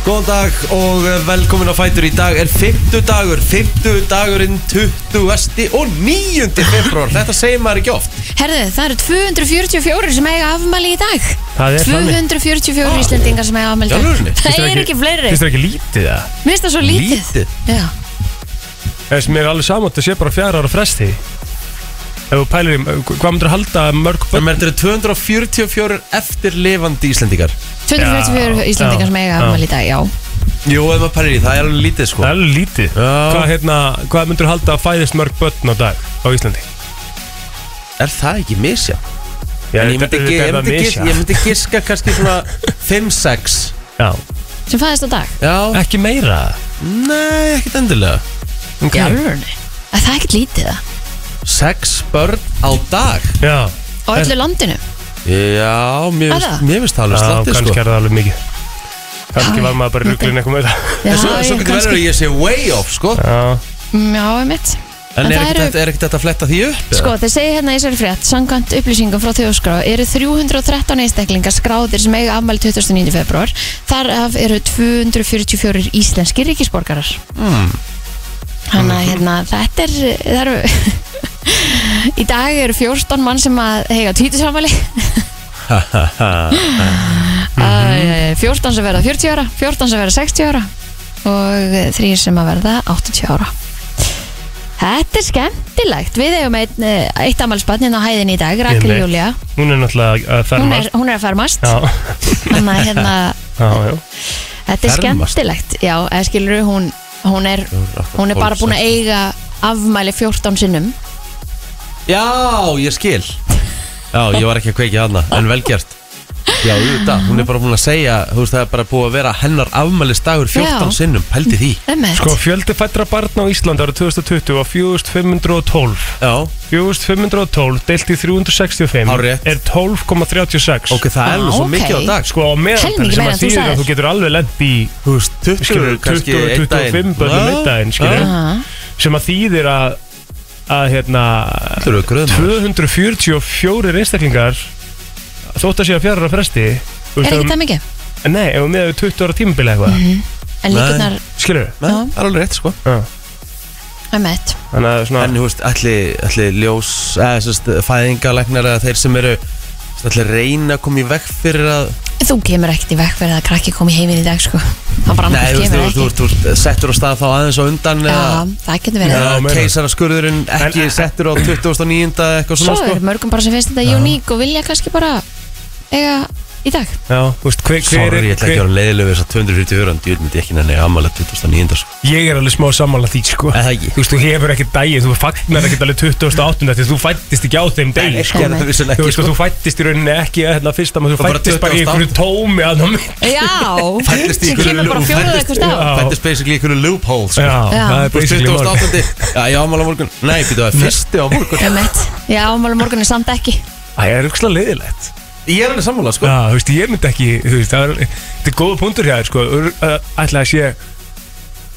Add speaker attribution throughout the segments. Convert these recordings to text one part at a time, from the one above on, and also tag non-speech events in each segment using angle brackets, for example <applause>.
Speaker 1: Góðan dag og velkomin á Fætur í dag er 50 dagur, 50 dagurinn 20. og 9. februar Þetta segir maður ekki oft
Speaker 2: Herðu, það eru 244 sem eiga afmæli í dag
Speaker 3: Það er þannig.
Speaker 2: 244 ah. Íslendingar sem eiga afmæli í dag
Speaker 1: Í alvörunni?
Speaker 2: Það er ekki fleiri
Speaker 3: Þetta er ekki lítið það
Speaker 2: Mér finnst það svo lítið, Já.
Speaker 3: Það sem er alveg saman Það sé bara fjara ára fresti Ef þú pælir í Hvað myndir að halda mörg
Speaker 1: Það
Speaker 3: börn
Speaker 1: með þetta eru 244 eftirlifandi Íslendingar
Speaker 2: 244
Speaker 3: Já, já,
Speaker 2: Íslendingar sem eiga
Speaker 3: já.
Speaker 2: afmæli í dag, já
Speaker 1: Jú, ef maður pælir í, það er alveg lítið
Speaker 3: Það
Speaker 1: sko
Speaker 3: er alveg lítið
Speaker 1: Já.
Speaker 3: Hvað, hérna, hvað myndir að halda að fæðist mörg börn á dag Á Íslandi
Speaker 1: Er það ekki misja?
Speaker 3: Já,
Speaker 1: En ég myndi,
Speaker 3: þetta-
Speaker 1: ekki, ég,
Speaker 3: þetta er
Speaker 1: myndi gis,
Speaker 3: misjafnt.
Speaker 1: ég myndi giska kannski svona 5-6
Speaker 3: Já.
Speaker 2: sem fæðist á dag
Speaker 1: Já,
Speaker 3: Ekki meira
Speaker 1: nei, ekkert endilega
Speaker 2: Í alvörunni Að Það er ekkert lítið það
Speaker 1: 6 börn á dag
Speaker 3: Já
Speaker 2: Á öllu landinu
Speaker 1: Já, mér
Speaker 2: Er
Speaker 1: finnst-
Speaker 2: það?
Speaker 1: mér finnst það alveg
Speaker 3: Já,
Speaker 1: slattið sko
Speaker 3: kannski er það alveg mikið Kannski
Speaker 2: Já.
Speaker 3: var maður bara ruglun eitthvað með það
Speaker 2: Já,
Speaker 1: En svo, svo
Speaker 2: ég-
Speaker 1: getur verður að ég sé way off sko
Speaker 3: Já,
Speaker 2: Mm, Já, ég mitt
Speaker 1: En,
Speaker 2: En
Speaker 1: er,
Speaker 2: það
Speaker 1: ekkert
Speaker 2: eru-
Speaker 1: þetta, er ekkert þetta að fletta því upp?
Speaker 2: Sko, þeir segja hérna í þessari frétt, samkvæmt upplýsingum frá þjóðskrá, eru 313 einstaklingar skráðir sem eiga afmæli 29. februar. Þar af eru 244 íslenski ríkisborgarar. Mm. Þannig að hérna, þetta er, það eru, í dag eru 14 mann sem að eiga
Speaker 3: <laughs>
Speaker 2: tvítusamæli,
Speaker 3: Mhm.
Speaker 2: mm 14 sem verða 40 ára, 14 sem verða 60 ára og þrýr sem að verða 80 ára. Þetta er skemmtilegt. Við eigum eitt, eitt ammalspanninn á hæðin í dag, Rakel
Speaker 3: Ég leik.
Speaker 2: Júlia.
Speaker 3: hún er náttúrulega uh, að
Speaker 2: Hún er,
Speaker 3: fermast
Speaker 2: hún er að fermast.
Speaker 3: Já,
Speaker 2: <laughs>
Speaker 3: <laughs>
Speaker 2: Þannig að hérna,
Speaker 3: já, já
Speaker 2: þetta er
Speaker 1: Fermast?
Speaker 2: skemmtilegt. Já, eða skilur hún, hún er, hún er bara búin að eiga afmæli 14 sinnum.
Speaker 1: Já, ég skil Já, ég var ekki að kveikja hana, en velgjart Já, auðvitað, hún er bara búin að segja Þú veist, það er bara búið að vera hennar afmælisdagur 14
Speaker 2: Já.
Speaker 1: sinnum, pældi því
Speaker 2: Emmett.
Speaker 3: Sko, fjöldi fættra barna á Íslandi árið 2020 var 4512
Speaker 1: Já,
Speaker 3: 4512 deilt í 365
Speaker 1: Hárrétt.
Speaker 3: er 12,36
Speaker 1: ok, það er nú svo
Speaker 2: Ah,
Speaker 1: mikið á
Speaker 2: ok.
Speaker 1: dag sko.
Speaker 3: Sko, á meðan
Speaker 2: Helmingi
Speaker 3: sem
Speaker 2: meira en
Speaker 3: að
Speaker 2: þú
Speaker 3: þýðir
Speaker 2: sagðir.
Speaker 3: að þú getur alveg lent í
Speaker 1: Þú veist, 20,
Speaker 3: skilur,
Speaker 1: kannski
Speaker 3: 20,
Speaker 1: einn daginn.
Speaker 3: 25 börnum
Speaker 1: Já,
Speaker 3: einn daginn,
Speaker 1: já.
Speaker 3: skilur
Speaker 2: Ah,
Speaker 3: sem að þýðir að að hérna
Speaker 1: Þetta eru gröðum
Speaker 3: 244 einstaklingar þótt að sé að fjara á fresti þú
Speaker 2: er
Speaker 3: veist,
Speaker 2: ekki
Speaker 3: ef-
Speaker 2: það Mhm. mikið?
Speaker 3: Nei, ef við meðum 20 ára tímabili eitthvað mm
Speaker 2: En líkurnar,
Speaker 3: skilur
Speaker 1: Nei, það er alveg rétt, sko
Speaker 2: Emmett.
Speaker 3: þannig að svona
Speaker 1: En, þú veist, allir, allir ljós eða, sérst, fæðingalegnar eða þeir sem eru allir reyna að koma í vekk fyrir að
Speaker 2: Þú kemur ekkert í vekk fyrir að krakki komi heiminn í dag, sko. Það bara
Speaker 1: Nei, þú
Speaker 2: annars
Speaker 1: veist, þú-
Speaker 2: kemur
Speaker 1: þú
Speaker 2: ekki.
Speaker 1: þú- þú settur á stað þá aðeins á undan
Speaker 2: Já,
Speaker 1: eða-
Speaker 2: það getur verið.
Speaker 3: Já,
Speaker 1: eða
Speaker 3: meina.
Speaker 1: keisaraskurðurinn ekki
Speaker 3: En-
Speaker 1: settur á 29. eitthvað
Speaker 2: Svo
Speaker 1: svona sko.
Speaker 2: er mörgum bara sem finnst þetta uník og vilja kannski bara eiga í dag.
Speaker 3: já, þú veist, hver, hver
Speaker 1: Sorry, ég ætla ekki að
Speaker 3: hver,
Speaker 1: vera leiðilegu þess að 244 en djúðmyndi ekki nenni ammala 2009 sko.
Speaker 3: ég er alveg smá sammála því sko.
Speaker 1: Eða ekki?
Speaker 3: þú veist, þú hefur ekki dagið, þú fagnar ekki alveg 28. því að þú fættist ekki á þeim degi sko.
Speaker 2: ekki.
Speaker 1: Gerðu það vissulega
Speaker 3: þú
Speaker 1: ekki
Speaker 3: veist, og
Speaker 1: sko.
Speaker 3: þú fættist í rauninni ekki hérna, fyrsta maður,
Speaker 1: Og
Speaker 3: þú
Speaker 1: bara
Speaker 3: fættist bara í
Speaker 1: 28.
Speaker 3: einhverju tómi að námi
Speaker 2: Já,
Speaker 1: Fæddist í
Speaker 2: sem
Speaker 1: einhverju-
Speaker 2: kemur bara
Speaker 1: og
Speaker 2: fjóruð
Speaker 1: fæddist-
Speaker 2: eitthvað stað.
Speaker 3: Já.
Speaker 1: Fættist basically einhverju loophole sko.
Speaker 2: Já.
Speaker 3: það er
Speaker 1: Þú veist,
Speaker 3: basically morgun
Speaker 1: 28. Já, ég ammala morgun Nei, býtu það, fyrsti á morgun
Speaker 2: Emmett. Já, ámálum morgun er samt ekki.
Speaker 3: það er aukslega leiðilegt
Speaker 1: Ég er alveg sammála sko.
Speaker 3: Já, þú veist, ég myndi ekki, þú veist, það er, þetta er góða punktur hjá þér, sko, ætla að sé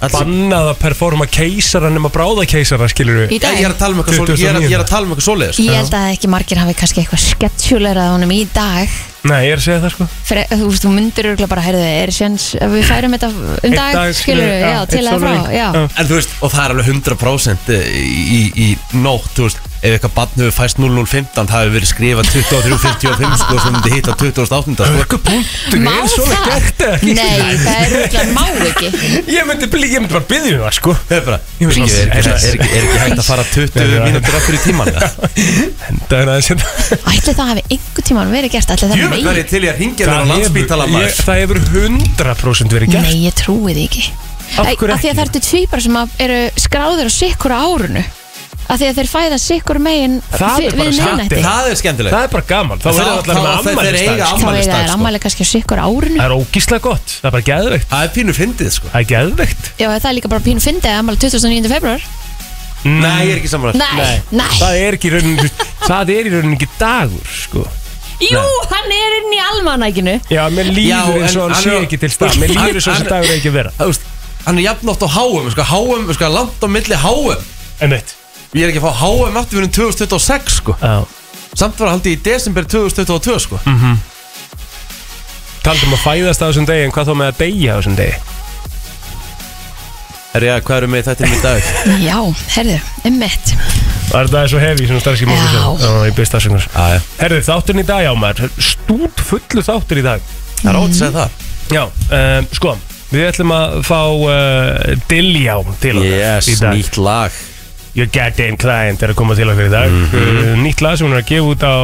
Speaker 1: Alls-
Speaker 3: bannað að performa keisara nema bráða keisara, skilur við.
Speaker 2: Í dag.
Speaker 1: Ég er að tala um eitthvað svoleiðis, ég er að- ég er að tala um eitthvað svoleiðis sko.
Speaker 2: Ég held að ekki margir hafi kannski eitthvað sketsjulerað honum í dag
Speaker 3: Nei, ég er að segja það, sko.
Speaker 2: fyrir, þú veist, þú myndir örgulega bara heyrðu, er séns að við færum þetta um
Speaker 3: Einn
Speaker 2: dag, dag skilur við, já,
Speaker 3: einn
Speaker 2: til að frá
Speaker 3: sólarhring.
Speaker 2: já.
Speaker 1: En þú veist, og það er alveg 100% í, í, í nótt, þú veist Ef eitthvað barn hefur fæst 0015 Það hefur verið skrifað 2355 sko, sem myndi hitta 2008 sko.
Speaker 3: Hvað punktur
Speaker 2: Má
Speaker 3: er svona gert eða
Speaker 2: það?
Speaker 3: ekki?
Speaker 2: Nei, það er örgulega má ekki
Speaker 3: Ég myndi, bli- ég myndi bara byggja um það, sko.
Speaker 1: Það er bara,
Speaker 3: Ég veist
Speaker 1: Bíddu, er ekki-
Speaker 3: það.
Speaker 1: er ekki er ekki hægt að fara 20 mínútur aftur í <laughs> tíman
Speaker 3: Henda hérna aðeins hérna.
Speaker 2: Ætli það hafi einhver tíman verið gert Ætli það
Speaker 1: Jöfnveld
Speaker 2: megi
Speaker 1: verið til ég að ringja þér á landsbítala
Speaker 3: hefur- ég-
Speaker 1: maður
Speaker 3: það hefur 100% verið gert.
Speaker 2: Nei, ég trúi því ekki
Speaker 3: Af
Speaker 2: Æ,
Speaker 3: hverju
Speaker 2: Af því
Speaker 3: ekki?
Speaker 2: að það ertu tvípar sem að eru skráður á sikkur árunu Af því að þeir fæða sikkur megin
Speaker 3: Það er
Speaker 2: við
Speaker 3: bara
Speaker 2: miðnætti.
Speaker 3: skatið.
Speaker 1: Það er skemmtilegt
Speaker 3: Það er bara gaman. Þá
Speaker 1: Þá-
Speaker 3: verður allar
Speaker 1: þá- þeir- þeir
Speaker 3: með ammælisdag,
Speaker 1: eiga
Speaker 3: sko.
Speaker 2: Þá eiga
Speaker 1: afmælisdag,
Speaker 2: þeir
Speaker 1: sko.
Speaker 2: ammæli kannski á sikkur árunu
Speaker 3: Það er ógíslega gott. Það er bara geðveikt.
Speaker 1: Það er pínu fyndið sko
Speaker 3: Það er geðveikt.
Speaker 2: Já, það er líka bara pínu fyndið að ammali 2009. februar
Speaker 1: Nei, ég er ekki saman
Speaker 2: Nei, nei
Speaker 3: Mm. Það er ekki í rauninni, það er í rauninni ekki dagur, sko.
Speaker 2: Jú, hann er inn í almanækinu
Speaker 3: Já, mér líður
Speaker 1: Já,
Speaker 3: eins og
Speaker 1: en
Speaker 3: hann sé
Speaker 1: hann-
Speaker 3: ekki til stað Mér líður eins
Speaker 1: <laughs>
Speaker 3: og
Speaker 1: hann-
Speaker 3: þessi dagur er ekki að vera
Speaker 1: Þú veist, hann er jafnótt á HM sko HM, sko, langt á milli HM
Speaker 3: Emmett
Speaker 1: Ég er ekki að fá HM aftur fyrir 2026 sko Samt var að haldi í desember 2022 sko
Speaker 3: um Taldum að fæðast á þessum degi En hvað þá með að deyja á þessum degi
Speaker 1: Herri, já, hvað eru með þetta um í <laughs> dag?
Speaker 2: Já, herðu, emmitt
Speaker 3: Var þetta svo hefi, svona starfski móti
Speaker 2: Já.
Speaker 3: Já, ég byrst afsökunar
Speaker 1: Æ,
Speaker 3: Herðu, þátturinn í dag, já maður Stút fullu þáttur í dag
Speaker 1: það er ótt að segja það
Speaker 3: Já, um, sko Við ætlum að fá uh, Dilljá til okkar
Speaker 1: Yes,
Speaker 3: í dag
Speaker 1: nýtt lag
Speaker 3: Your goddamn client er að koma til okkur í dag uh, Nýtt lag sem hún er að gefa út á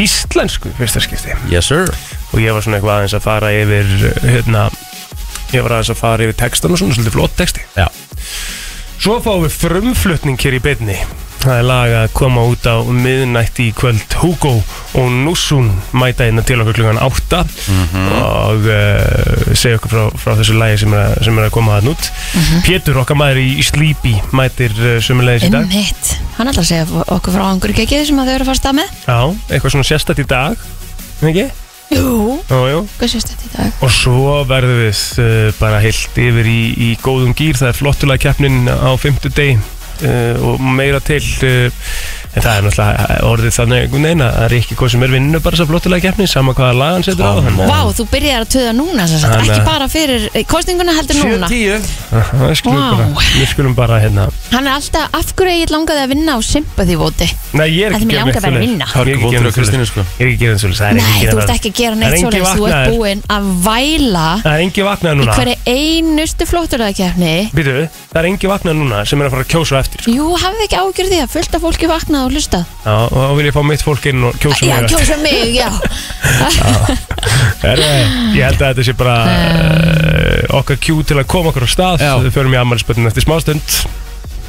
Speaker 3: íslensku fyrstaskipti
Speaker 1: Yes, sir
Speaker 3: og ég var svona eitthvað aðeins að fara yfir uh, hérna, ég var aðeins að fara yfir textan og svona svolítið flott texti
Speaker 1: Já,
Speaker 3: Svo fáum við frumflutning hér í beinni Það er lag að koma út á miðnætti í kvöld Hugo og Nussun mæta hérna til okkur klukkan 8 og uh, segja okkur frá, frá þessu lagi sem er, að- sem er að koma þarna út Pétur, okkar maður í, í Sleepy mætir uh, sömulegis í dag
Speaker 2: Emmitt, hann ætlar að segja okkur frá einhverju kekið sem að þau eru að fara af stað með
Speaker 3: Já, eitthvað svona sérstætt í dag ekki?
Speaker 2: Jú,
Speaker 3: Jú, jú
Speaker 2: hvað sést þetta í dag?
Speaker 3: Og svo verðum við uh, bara heilt yfir í, í góðum gýr, það er flottulega keppnin á fymtu degi uh, og meira til uh, en það er náttúrulega orðið þannig neina að Rikki hvað sem er vinnur bara þess að flottulega keppnin sama hvaða lag hann setur á hann
Speaker 1: Come on.
Speaker 2: Vá, þú byrjar að töða núna sem sagt,
Speaker 3: Hann,
Speaker 2: ekki
Speaker 3: eh,
Speaker 2: bara fyrir eh, kosninguna heldur núna
Speaker 1: 7-10
Speaker 3: Við skulum,
Speaker 2: Vá.
Speaker 3: bara, við skulum bara hérna
Speaker 2: Hann er alltaf, af hverju ég langaði að vinna á sympathy voti?
Speaker 3: Nei, ég
Speaker 2: En
Speaker 3: er ekki
Speaker 2: mig
Speaker 3: að gera
Speaker 2: langar
Speaker 3: neitt
Speaker 2: bara að
Speaker 3: svoleiðis.
Speaker 2: vinna.
Speaker 3: Ég er ekki að
Speaker 1: Hörguvótur á Kristínu, sko.
Speaker 3: gera neitt svoleiðis. Ég er ekki að gera þessu
Speaker 2: Nei, þú ert ekki að gera neitt svoleiðis, þú ert búinn að væla
Speaker 3: Það er engi vaknað
Speaker 2: í
Speaker 3: núna
Speaker 2: hverju einustu flotturæðakefni
Speaker 3: Býtu, það er engi vaknað núna sem er að fara að kjósa á eftir sko.
Speaker 2: Jú, hafið ekki ágjörð því að fullt af fólki vaknað og hlusta
Speaker 3: Já, og þá vil ég fá mitt fólk inn og kjósa
Speaker 2: Já,
Speaker 3: mig á eftir.
Speaker 2: kjósa mig, já
Speaker 3: <laughs> Er, ég held að þetta sé bara uh, okkar kjú til að koma okkur á stað
Speaker 1: Já.
Speaker 3: Við förum í ammælisbötun eftir smástund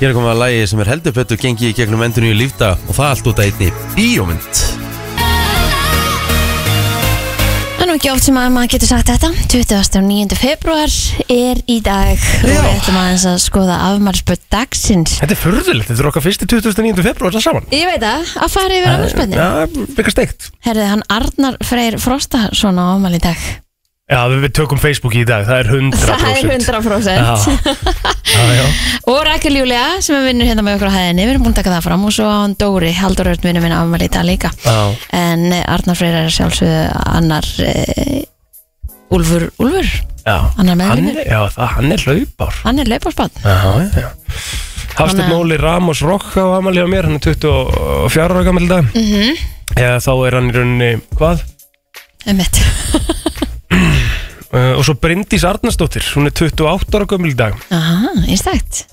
Speaker 1: Ég er að koma að lagi sem er heldur betur gengið í gegnum endinu í lífdaga og það allt út að einni bíómynd
Speaker 2: Það er nú ekki oft sem að maður getur sagt þetta 29. februar er í dag og við ætlum aðeins að skoða afmælspöld dagsins
Speaker 3: Þetta er furðulegt, þetta er okkar fyrsti 2009. februar það saman
Speaker 2: Ég veit að, að fara yfir afmælspöldin
Speaker 3: Já, byggja steikt
Speaker 2: Herðið, hann Arnar Freyr Frostason á afmæli í dag
Speaker 3: Já, við, við tökum Facebook í dag, það er 100%
Speaker 2: Það er 100%
Speaker 3: Já, já, já.
Speaker 2: Og Rakel Júlia sem er vinnur hérna með okkur á hæðinni Við erum búin að taka það fram og svo á hann Dóri Haldur Örn vinnur minn afmæli í dag líka
Speaker 3: já.
Speaker 2: En eh, Arnar Freyr er að sjálfsögðu annar e, Úlfur, Úlfur
Speaker 3: já.
Speaker 2: Hann er meðvinur.
Speaker 3: Hann- Já, það, hann er hlaupár
Speaker 2: Hann er lauparspann
Speaker 3: Já, já, já Hafsteinn
Speaker 2: Þannig að-
Speaker 3: Móli Ramos Rokka á ammæli á mér, hann er 24 ára gammal dag mm
Speaker 2: Mhm.
Speaker 3: -hmm. Eða þá er hann í rauninni, hvað?
Speaker 2: Emmett
Speaker 3: Uh, og svo Bryndís Arnarsdóttir, hún er 28 ára gömul í dag
Speaker 2: Aha, einstækt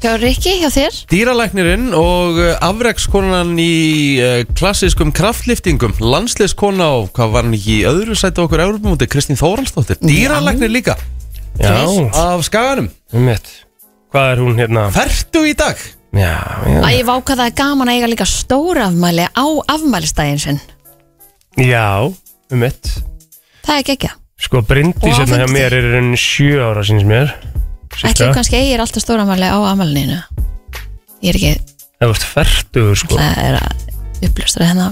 Speaker 2: Hjá Rikki, hjá þér
Speaker 1: Dýralæknirinn og uh, afrekskonan í uh, klassískum kraftliftingum landsliðskona og hvað var hann ekki í öðru sæti á okkur Európamúti, Kristín Þóraldsdóttir Dýralæknir líka
Speaker 3: Já,
Speaker 2: Trist.
Speaker 1: af skaganum,
Speaker 3: um Hvað er hún hérna?
Speaker 1: ferdu í dag
Speaker 3: Já, já,
Speaker 2: Æ, ég váka það er gaman að eiga líka stóra afmæli á afmælistæðin sinn
Speaker 3: já um
Speaker 2: Það er gekkja
Speaker 3: Sko Bryndís
Speaker 2: Og á
Speaker 3: hérna hjá
Speaker 2: fimmtudegi.
Speaker 3: mér er enn 7 ára síns mér
Speaker 2: Ætli
Speaker 3: Sýkka,
Speaker 2: kannski eigir alltaf stóra afmæli á afmælinu Ég er ekki
Speaker 3: það vart færtugur sko
Speaker 2: Það er að upplöstra hérna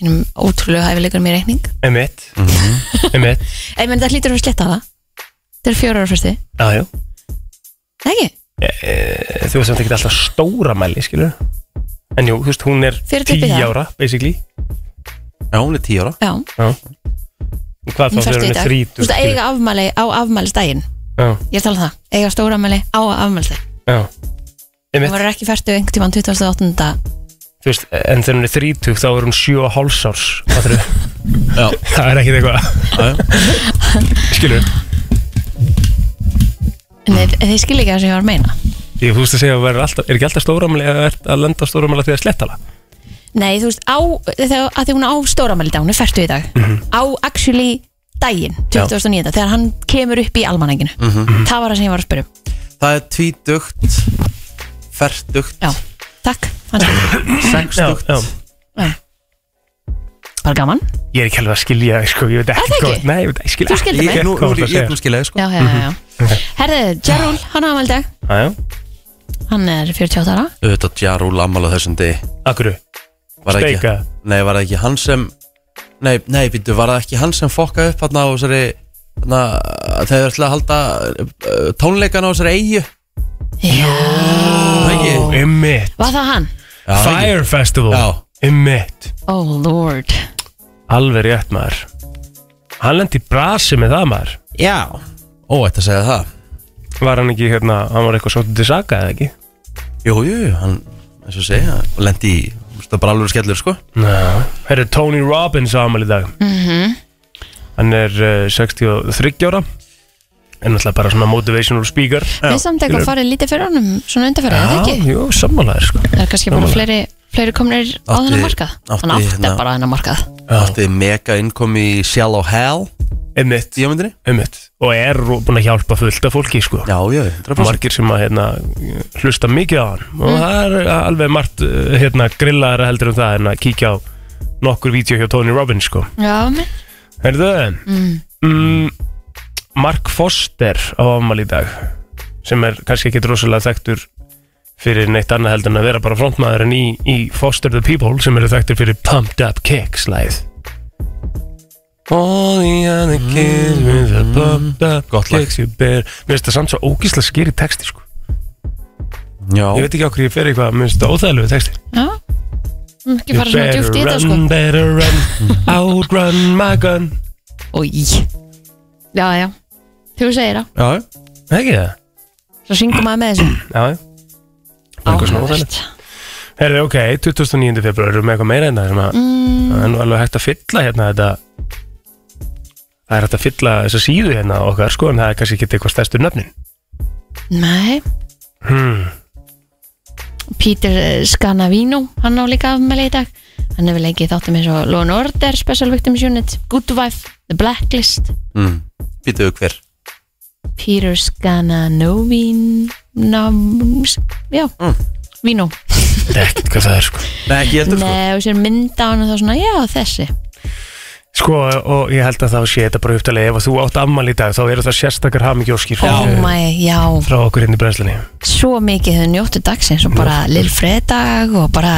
Speaker 2: Mínum ótrúlegu hæfileikur mér reikning
Speaker 3: Um mitt
Speaker 2: Mhm.
Speaker 3: Um mitt,
Speaker 2: Ég menn það hlýtur að vera sletta það Þetta er fjóra ára fyrsti
Speaker 3: já, já
Speaker 2: Nei ekki,
Speaker 3: Þú veist samt ekki alltaf stóra mæli, skilur En jú, þú veist, hún er
Speaker 2: Fyrir
Speaker 3: 10
Speaker 2: upp í það.
Speaker 3: ára, basically
Speaker 1: Já, hún er 10 ára
Speaker 2: já,
Speaker 3: Já Hvað þá
Speaker 2: hún
Speaker 3: þegar
Speaker 2: fyrstu
Speaker 3: hún
Speaker 2: í
Speaker 3: er
Speaker 2: dag Þú
Speaker 3: þrítug
Speaker 2: veist að eiga afmæli á afmælistægin
Speaker 3: Já,
Speaker 2: Ég er að tala um það, eiga stóra afmæli á afmælistægin
Speaker 3: já Um
Speaker 2: Hún verður ekki fyrstu einhvern tímann 28.
Speaker 3: þú veist, en þegar hún er 30 þá er hún 7 og hálfs árs fattarðu?
Speaker 1: Já,
Speaker 3: <laughs> það er ekkit eitthvað
Speaker 1: já, já.
Speaker 3: skilur,
Speaker 2: En þeir, þeir skil ekki það sem ég var að meina
Speaker 3: ég þú veist að segja að verður alltaf, er ekki alltaf stóramæli eða er að lenda á stóramæli þegar slettala
Speaker 2: Nei, þú veist, á, þegar að því hún á stóramæli í dag, hún er færtu í dag
Speaker 3: Mhm.
Speaker 2: Á actually daginn, 2009 Þegar hann kemur upp í almanenginu
Speaker 3: Mhm.
Speaker 2: Það var það sem ég var að spyrja um
Speaker 1: það er tvítugt ferdugt,
Speaker 2: Já, takk, fannst það
Speaker 1: sextugt
Speaker 3: já.
Speaker 2: Já. Bara gaman,
Speaker 3: ég er ekki alveg að skilja, sko, ég veit
Speaker 2: Er það
Speaker 3: ekki
Speaker 2: ekki?
Speaker 3: hvað nei, ég veit, ég skil
Speaker 2: Þú
Speaker 3: ekki
Speaker 2: skildir mig.
Speaker 1: Ég, nú, nú, ég,
Speaker 3: hvað það
Speaker 1: ég,
Speaker 3: segja
Speaker 1: nú skilja, ég sko
Speaker 2: já, já, já, já. Herðið, Jarul, hann á afmæli í dag
Speaker 3: aðjá,
Speaker 2: Hann er 48 ára
Speaker 1: Auðvitað Jarúl Amal á þessum degi
Speaker 3: akkur
Speaker 1: Var það
Speaker 3: Steika.
Speaker 1: ekki, nei, var það ekki hann sem Nei, nei, býttu, var það ekki hann sem fokkaði upp hann á þessari Þannig að þeir ætla að halda uh, tónleikan á þessari eigu
Speaker 2: Já,
Speaker 1: Það ekki?
Speaker 3: emmitt,
Speaker 2: var það hann?
Speaker 1: Já, það ekki?
Speaker 3: Oh. Fire
Speaker 1: Já.
Speaker 3: Festival emmitt,
Speaker 2: Oh lord
Speaker 3: alveg rétt maður hann lendi í brasi með það maður
Speaker 1: Já Ó, ætti að segja það
Speaker 3: var hann ekki hérna, hann var eitthvað svolítið til saka eða ekki?
Speaker 1: Jú, jú, jú, hann, eins og ég segja, lendi í, þú veist, það er bara alveg skellur, sko
Speaker 3: Ná. Herri, Tony Robbins á amal í dag
Speaker 2: Mhm.
Speaker 3: Hann er uh, 63 ára En náttúrulega bara svona motivational speaker
Speaker 2: Við samt eitthvað farið lítið fyrir honum svona undanferðið, er það
Speaker 3: Já,
Speaker 2: ekki?
Speaker 3: jú, sammálaðir sko
Speaker 2: Það er kannski bara
Speaker 3: Sammála.
Speaker 2: fleiri, fleiri komnir á
Speaker 1: Átti-
Speaker 2: þennan markað
Speaker 1: átti
Speaker 2: Hann átti
Speaker 1: hérna-
Speaker 2: bara á þennan markað
Speaker 1: Átti mega innkomi í Shallow Hell
Speaker 3: Einmitt,
Speaker 1: Díamundinni?
Speaker 3: einmitt Og er ro- búin að hjálpa fullt af fólki sko
Speaker 1: Já, já, 100%
Speaker 3: Margir sem að hérna, hlusta mikið á hann Og
Speaker 2: Mm.
Speaker 3: það er alveg margt uh, hérna, grillaðara heldur um það En að kíkja á nokkur vídeo hjá Tony Robbins sko
Speaker 2: Já, minn
Speaker 3: Herðu mm, Mark Foster á afmæli í dag sem er kannski ekki rosalega þekktur fyrir neitt annað heldur en að vera bara frontmaðurinn í, í Foster the People sem eru þekktur fyrir Pumped Up Kicks læð All the other kids with the pumped up
Speaker 1: Mm. Gott lag.
Speaker 3: kicks you bear Mér finnst það samt svo ógísla skýri texti sko
Speaker 1: Já,
Speaker 3: Ég veit ekki á hverju ég fer eitthvað, mér finnst það óþægilegu texti
Speaker 2: Já Mm, Ekki fara svona djúpt í þetta sko
Speaker 3: run, better run, outrun my gun
Speaker 2: Új Já, já Þú segir það
Speaker 1: já,
Speaker 3: Ekki það?
Speaker 2: Svo syngum maður með þessu
Speaker 3: Já, já Eitthvað svona óþægilegt Herði, ok, 29. februar, erum við með eitthvað meira en það sem að
Speaker 2: Mm,
Speaker 3: það er nú alveg hægt að fylla hérna þetta það er hægt að fylla þessa síðu hérna okkar sko, en það er kannski ekki eitthvað stærstu nöfnin
Speaker 2: Nei
Speaker 3: hmm.
Speaker 2: Peter eh, Scanavino, hann á líka afmæli í dag hann hefur leikið í þáttum eins og Law and Order, Special Victims Unit Good Wife, The Blacklist
Speaker 1: mm. býtuðu hver
Speaker 2: Peter Scananovin Nams, já
Speaker 1: Mm.
Speaker 2: Vino,
Speaker 3: Þetta er ekkert hvað það er sko
Speaker 1: Nei, ekki heldur, sko
Speaker 2: nei og sér mynda hann og þá svona, já þessi
Speaker 3: Sko, og ég held að þá sé þetta bara upptalið ef að þú átt afmæli í dag, þá eru það sérstakar hamingjóskir
Speaker 2: oh my, já,
Speaker 3: frá okkur inn í brenslinni
Speaker 2: svo mikið þau njóttu dagsins og bara Lil Fredag og bara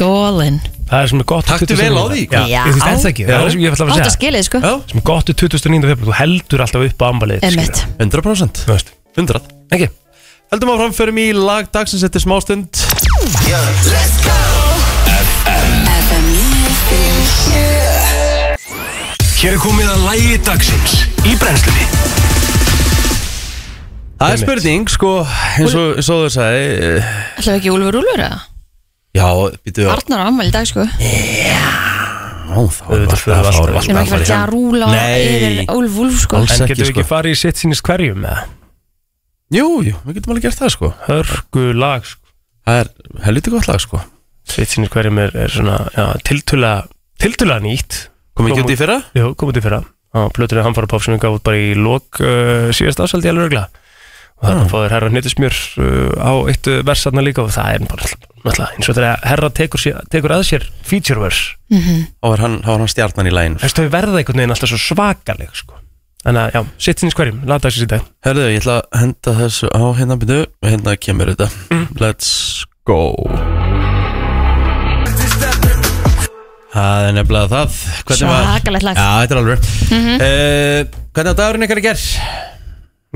Speaker 2: Golin,
Speaker 3: Það er sem er gott
Speaker 1: Taktu
Speaker 3: 29.
Speaker 1: vel á því,
Speaker 3: Já,
Speaker 2: hvað? Já.
Speaker 3: ég veist það ekki, það er sem
Speaker 2: átt
Speaker 3: ég ætla að fara
Speaker 2: að
Speaker 3: að segja
Speaker 2: skilið sko
Speaker 1: Já,
Speaker 3: sem er gott við 29. februar, þú heldur alltaf upp á afmælið þitt,
Speaker 2: emmett,
Speaker 3: skilurðu.
Speaker 1: 100%
Speaker 3: Þú veist,
Speaker 1: 100
Speaker 3: ekki
Speaker 1: Heldum áfram, förum í lag dagsins eftir smástund
Speaker 4: FM 957
Speaker 5: Hér er komið að lægi dagsins í brennslunni
Speaker 1: Það er spurning, sko, eins og, eins og þú sagði eh,
Speaker 2: ætlum við ekki Úlfur Úlfur eða?
Speaker 1: Já, býtuðu
Speaker 2: Arnar á afmæli í dag sko
Speaker 1: Það
Speaker 3: Auðvitað, það var alltaf-
Speaker 2: Við erum ekki verið að rúla
Speaker 1: Nei.
Speaker 2: yfir Ólf Úlf sko
Speaker 1: Alls-
Speaker 3: En
Speaker 1: ekki,
Speaker 3: getum við
Speaker 1: sko.
Speaker 3: ekki farið í sitt sínist hverjum eða?
Speaker 1: Jú, jú, við getum alveg gert það, sko
Speaker 3: Hörgu lag sko.
Speaker 1: Það er helviti gott lag, sko
Speaker 3: Sitt sínist hverjum er, er svona já, tiltula, tiltula nýtt
Speaker 1: Komum ekki út í fyrra?
Speaker 3: Jú, komið til fyrra á plötunni Hamfara Pop sem við gaf út bara í lok uh, síðast ásaldi alveg regla og þarna fóður herra nýttismjör uh, á eitt uh, vers þarna líka og það er bara náttúrulega eins og þegar herra tekur, sér, tekur að sér feature verse
Speaker 1: Þá var hann, þá var hann stjarnan í læginu
Speaker 3: Þessu þau verða einhvern veginn alltaf svo svakaleg sko. Þannig að já, sitt sínist hverjum, lata þessi dag
Speaker 1: Herðu, ég ætla að henda þessu á hérna byrju Hérna kemur þetta
Speaker 2: Mm.
Speaker 1: Let's go Það er nefnilega það Hvernig var-
Speaker 2: Svakalegt lag. Mhm.
Speaker 1: Já, þetta er alveg mm Hvernig að dagurinn ykkar í gerð?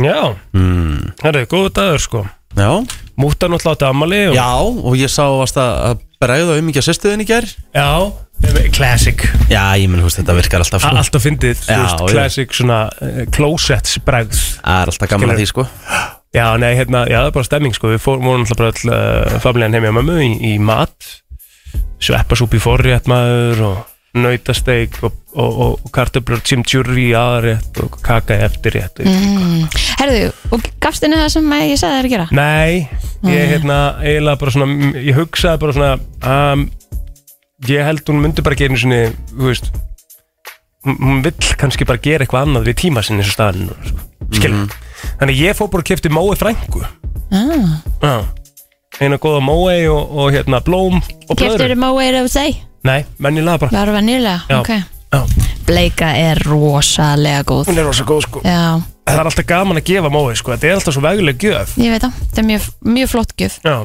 Speaker 3: Já,
Speaker 1: Mm.
Speaker 3: herru, góðu dagur sko
Speaker 1: Já.
Speaker 3: Hmm. Múttan náttúrulega átti ammali og
Speaker 1: Já, og ég sá varst að að bregða um ekki að sérstuðin í gerð
Speaker 3: Já, classic
Speaker 1: Já, ég menn, húst, þetta virkar alltaf
Speaker 3: A-
Speaker 1: sko
Speaker 3: Allt að fyndið, þú
Speaker 1: Já,
Speaker 3: veist,
Speaker 1: já.
Speaker 3: classic svona uh, closets bregð
Speaker 1: Það er alltaf gaman að því sko
Speaker 3: Já, nei, hérna, já, það er bara stemming sko Við fórum vorum alltaf bara all, uh, familjan heim hjá mömmu í, í mat Sveppasúpi forrétt maður og nautasteik og, og, og, og kartöflur chimchurri í aðrétt og kaka í eftirrétt mm.
Speaker 2: Herðu, og gafst henni það sem ég sagði þér að gera?
Speaker 3: Nei, ég hérna eiginlega bara svona, mm, ég hugsaði bara svona um, ég held hún myndi bara gera einu sinni, þú veist hún- hún vill kannski bara gera eitthvað annað við tíma sinni eins og staðan sko. skil, þannig að ég fór bara og kefti mói frængu
Speaker 2: Ah.
Speaker 3: ah. eina góða mói og, og hérna blóm og
Speaker 2: Keftur
Speaker 3: blöður
Speaker 2: um á Way to Say?
Speaker 3: nei, mennilega bara
Speaker 2: Var það
Speaker 3: Já.
Speaker 2: nýlega? Ok
Speaker 3: Já.
Speaker 2: Bleika er rosalega góð
Speaker 3: hún er rosa góð sko
Speaker 2: Já,
Speaker 3: það er alltaf gaman að gefa mói sko, þetta er alltaf svo veguleg gjöf
Speaker 2: ég veit það, þetta er mjög, mjög flott gjöf
Speaker 3: já,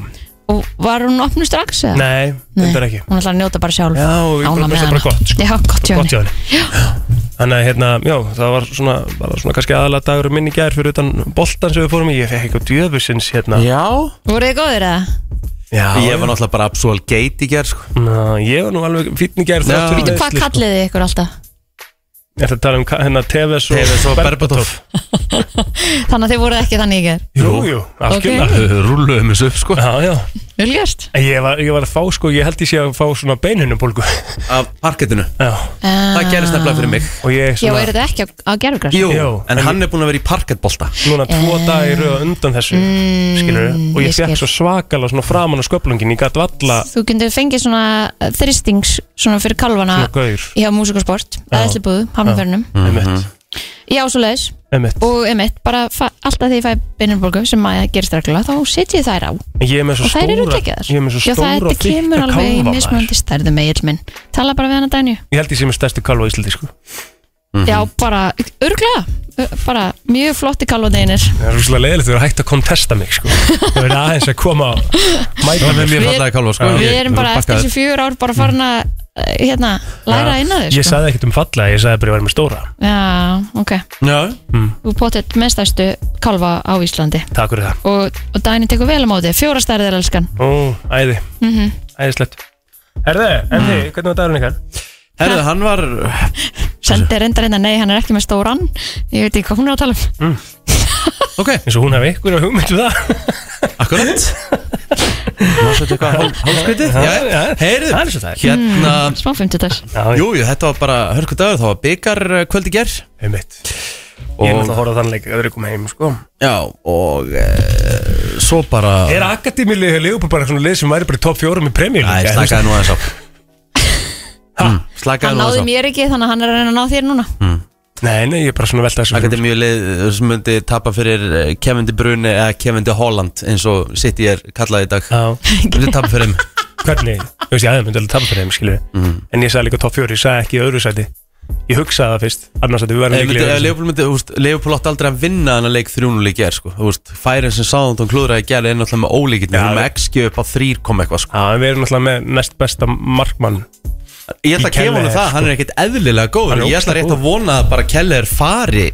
Speaker 2: Og var hún opnu strax eða?
Speaker 3: nei, þetta er ekki
Speaker 2: Hún ætlaði að njóta bara sjálf
Speaker 3: Já, og við bara-
Speaker 2: Ánægð með
Speaker 3: finnst það
Speaker 2: hana.
Speaker 3: bara gott, sko.
Speaker 2: Já, gott hjá
Speaker 3: gott hjá
Speaker 2: henni
Speaker 3: henni Þannig að hérna, já, það var svona, bara svona kannski aðalega dagur minn í gær fyrir utan boltan sem við fórum í, ég fekk eitthvað djöfusins hérna.
Speaker 1: Já
Speaker 2: Voruð þið góðir eða?
Speaker 3: Já,
Speaker 1: Ég var náttúrulega bara absol gate í gerð sko
Speaker 3: Ná, ég var nú alveg fínn í gær þrátt
Speaker 1: Já.
Speaker 3: fyrir
Speaker 1: Bíddu,
Speaker 2: Hvað
Speaker 3: meiðsli, sko.
Speaker 2: kalliði þið ykkur alltaf?
Speaker 3: Er þetta að tala um ka- hennar Tevez og,
Speaker 1: Tevez og Berbatov.
Speaker 2: Þannig að þið voruð ekki þannig í ger
Speaker 3: Jú, jú, algjörlega
Speaker 1: Rúluðum þessu upp sko
Speaker 3: Já, já
Speaker 2: Vilgjast?
Speaker 3: En Ég var, ég var að fá sko, ég held ég sé að fá svona beinhunubólgu
Speaker 1: Af parkettinu
Speaker 3: <laughs> Já,
Speaker 1: Það gerist nefnilega fyrir mig
Speaker 3: og ég
Speaker 2: Já, er
Speaker 3: svona
Speaker 2: þetta ekki á, á gerfugræs?
Speaker 1: Jú,
Speaker 3: Jú,
Speaker 1: en
Speaker 3: en-
Speaker 1: hann er búin að vera í parkettbolta
Speaker 3: núna tvo dagar í röð á undan þessu mm, og ég
Speaker 2: ég
Speaker 3: fekk
Speaker 2: skil. Ah.
Speaker 3: svo svakalega svona framan á sköplungin, ég gæti valla
Speaker 2: Þú getur fengið svona þristings svona fyrir kalvana
Speaker 3: svona gaur
Speaker 2: hjá músikasport,
Speaker 3: Já.
Speaker 2: aðeinslubúðu, hafnafjörnum
Speaker 1: Mhm. Mm-hmm.
Speaker 3: Emitt,
Speaker 2: Já, svo leiðis
Speaker 3: emitt
Speaker 2: og emitt, bara fa- alltaf því ég fæ beinurborgu sem maður gerist reglulega, þá setjum ég þær á
Speaker 3: Ég er með svo
Speaker 2: og þær
Speaker 3: stóra
Speaker 2: eru geggjaðar
Speaker 3: Ég er með svo
Speaker 2: Já, það
Speaker 3: stóra
Speaker 2: þetta kemur alveg í mismunandi stærðum eigill minn Tala bara við hana Dænju
Speaker 3: Ég held ég sé með stærstu kalva í Íslandi sko
Speaker 2: Já, bara, örglega bara mjög flotti kalvadeinir
Speaker 3: Það er rúslega leiðilegt þú er hægt að kontesta mig sko Það er aðeins að koma á mæta mig
Speaker 1: Mjög
Speaker 2: Við-
Speaker 1: fallega kálfa sko
Speaker 2: Við
Speaker 1: Ég-
Speaker 2: erum bara eftir
Speaker 1: bakkaður.
Speaker 2: þessi fjögur ár bara farin að eh, hérna, læra inn að þau
Speaker 3: Ég
Speaker 2: sko.
Speaker 3: sagði ekkert um falla, ég sagði bara ég var með stóra
Speaker 2: Já, ok
Speaker 1: Já,
Speaker 2: Þú potið mestæstu kalva á Íslandi
Speaker 3: Takk fyrir það
Speaker 2: og, og Dæni tekur vel á móti fjóra stærðir elskan
Speaker 3: Ó, æði,
Speaker 2: Mhm.
Speaker 3: æðislegt Herðu, en
Speaker 2: Mm.
Speaker 3: þið, hvernig var dagurinn ykkar?
Speaker 1: herðu, hann var
Speaker 2: Sendi reyndar hérna, nei, hann er ekki með stóran Ég veit ekki hvað hún er að tala
Speaker 3: Hm?
Speaker 2: um
Speaker 1: Ok,
Speaker 3: Eins og hún hefði ykkur að hugmyndu um það
Speaker 1: akkurat Má setja eitthvað hál- hálfskrítið Já,
Speaker 3: <laughs> já.
Speaker 1: heyrðu
Speaker 3: Það er svo það er.
Speaker 1: Hérna,
Speaker 2: Smá 50 dags
Speaker 3: Já,
Speaker 1: jú, jú, þetta var bara hörku dagur Það var eh, byggar kvöldi ger
Speaker 3: ég mitt Ég er náttúrulega að horfa á þann leik að það er komið heim sko
Speaker 1: Já, og e, svo bara
Speaker 3: Er akademilið hefur Leopold bara svona lið sem væri bara í topp fjórum í
Speaker 1: Æ,
Speaker 3: premjörlíka?
Speaker 1: slakaði nú aðeins á Mm, Slakaði
Speaker 2: Hann
Speaker 1: nú
Speaker 2: náði
Speaker 1: aðeins á
Speaker 2: mér ekki, þannig að hann er að reyna að ná þér núna
Speaker 3: Hm, Nei, nei, ég er bara svona að velta þessu
Speaker 1: Það er mjög leið eh, sem myndi tapa fyrir eh, Kevin De Bruyne eða Kevin De Holland eins og City er kallað í dag
Speaker 3: Já,
Speaker 1: Myndi tapa fyrir þeim
Speaker 3: <laughs> hvernig, þú veist ég aðeins myndi alveg tapa fyrir þeim skilur En ég sagði líka topp fjóri, ég sagði ekki í öðru sæti Ég hugsaði það fyrst, annars að við verðum
Speaker 1: Ef myndi-
Speaker 3: líklega
Speaker 1: ef
Speaker 3: í öðru sæti.
Speaker 1: Leopold myndi, þú veist, Leopold átti aldrei að vinna þannig að leik 3-0 í ger, sko Þú veist, færin sem sáðan tón klúðraði í ger er náttúrulega með ólíkinn
Speaker 3: Já.
Speaker 1: Hún með XG upp á 3 kom eitthvað, sko
Speaker 3: Já, en við erum náttúrulega með næst besta markmann
Speaker 1: Ég ætla
Speaker 3: Í
Speaker 1: að kefa
Speaker 3: Keller,
Speaker 1: honum það,
Speaker 3: sko.
Speaker 1: hann er ekkit eðlilega góður
Speaker 3: Hann er
Speaker 1: Ég ætla
Speaker 3: ógeðslega
Speaker 1: rétt að vona að bara Keller fari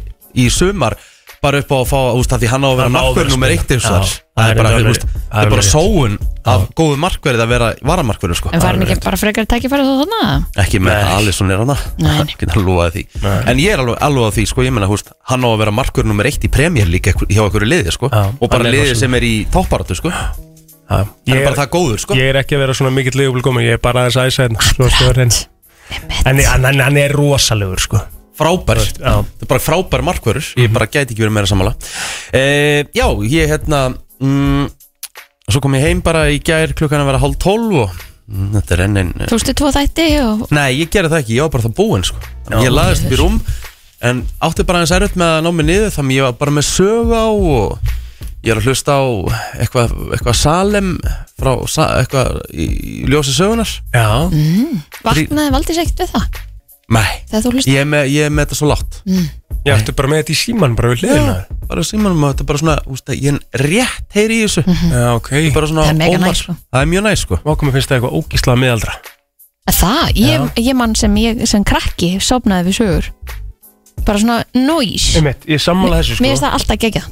Speaker 1: í sumar bara upp á að fá, þú veist, af því hann á að vera
Speaker 3: Hann á að vera
Speaker 1: markverð nummer
Speaker 3: spila.
Speaker 1: eitt eins
Speaker 3: Já,
Speaker 1: og þar Það
Speaker 3: það er
Speaker 1: er bara,
Speaker 3: alveg-
Speaker 1: þú veist,
Speaker 3: það
Speaker 1: það
Speaker 3: er
Speaker 1: er bara
Speaker 3: alveg rétt.
Speaker 1: sóun af góðu markverð að vera varamarkverð, sko
Speaker 2: En fær hann ekki bara frekar tækifæri þá þannig
Speaker 1: Ekki með
Speaker 3: Nei.
Speaker 1: að Alisson er hana
Speaker 2: Nei.
Speaker 1: Geta hann lofaði því En ég er alveg, alveg að því, sko, ég menna, húst Hann á að vera markur nummer eitt í premjör líka ekkur- hjá einhverju liði, sko
Speaker 3: Já,
Speaker 1: Og bara
Speaker 3: hann er
Speaker 1: liði
Speaker 3: rosalega.
Speaker 1: sem er í topparatu, sko Hann
Speaker 3: Já,
Speaker 1: er bara það góður, sko
Speaker 3: Ég er ekki að vera svona mikill leigubli gómi, ég er bara aðeins aðeins aðeins Svo stóður henn En ég- hann- hann hann er rosalegur sko
Speaker 1: Frábær,
Speaker 3: Já. Mhm.
Speaker 1: það er bara frábær markverður Ég bara gæti ekki verið meira sammála e, Já, ég, hérna mm, Svo kom ég heim bara í gær klukkan að vera hálf tólf og mm, Þetta er enn einn
Speaker 2: að Þú stu tvo þætti og
Speaker 1: Nei, ég gerði það ekki, ég var bara það búinn sko. Ég laðist upp í rúm En átti bara eins erut með að ná mig niður Þannig ég var bara með sög á og Ég er að hlusta á eitthvað, eitthvað Salem frá sa- eitthvað í í ljósi sögunar
Speaker 3: Já,
Speaker 2: vaknaði valdís ekkert við það
Speaker 1: Nei,
Speaker 2: Þegar þú hlust
Speaker 1: ég er með, ég er með þetta svo látt
Speaker 3: ég ætti bara með þetta í síman bara við hliðina
Speaker 1: Já, Bara símanum og þetta er bara svona úst, Ég rétt heyri í þessu
Speaker 3: Já, ok
Speaker 1: bara svona
Speaker 2: Mhm. Það er mega
Speaker 1: ómar-
Speaker 2: næs, sko.
Speaker 1: Það er mjög næs sko
Speaker 3: Vákum finnst það eitthvað ógíslað miðaldra
Speaker 2: Það, ég, ég mann sem, ég, sem krakki sopnaði við sögur Bara svona noise
Speaker 3: Einmitt, Ég sammála þessu
Speaker 2: Mér finnst
Speaker 3: sko
Speaker 2: það alltaf gegja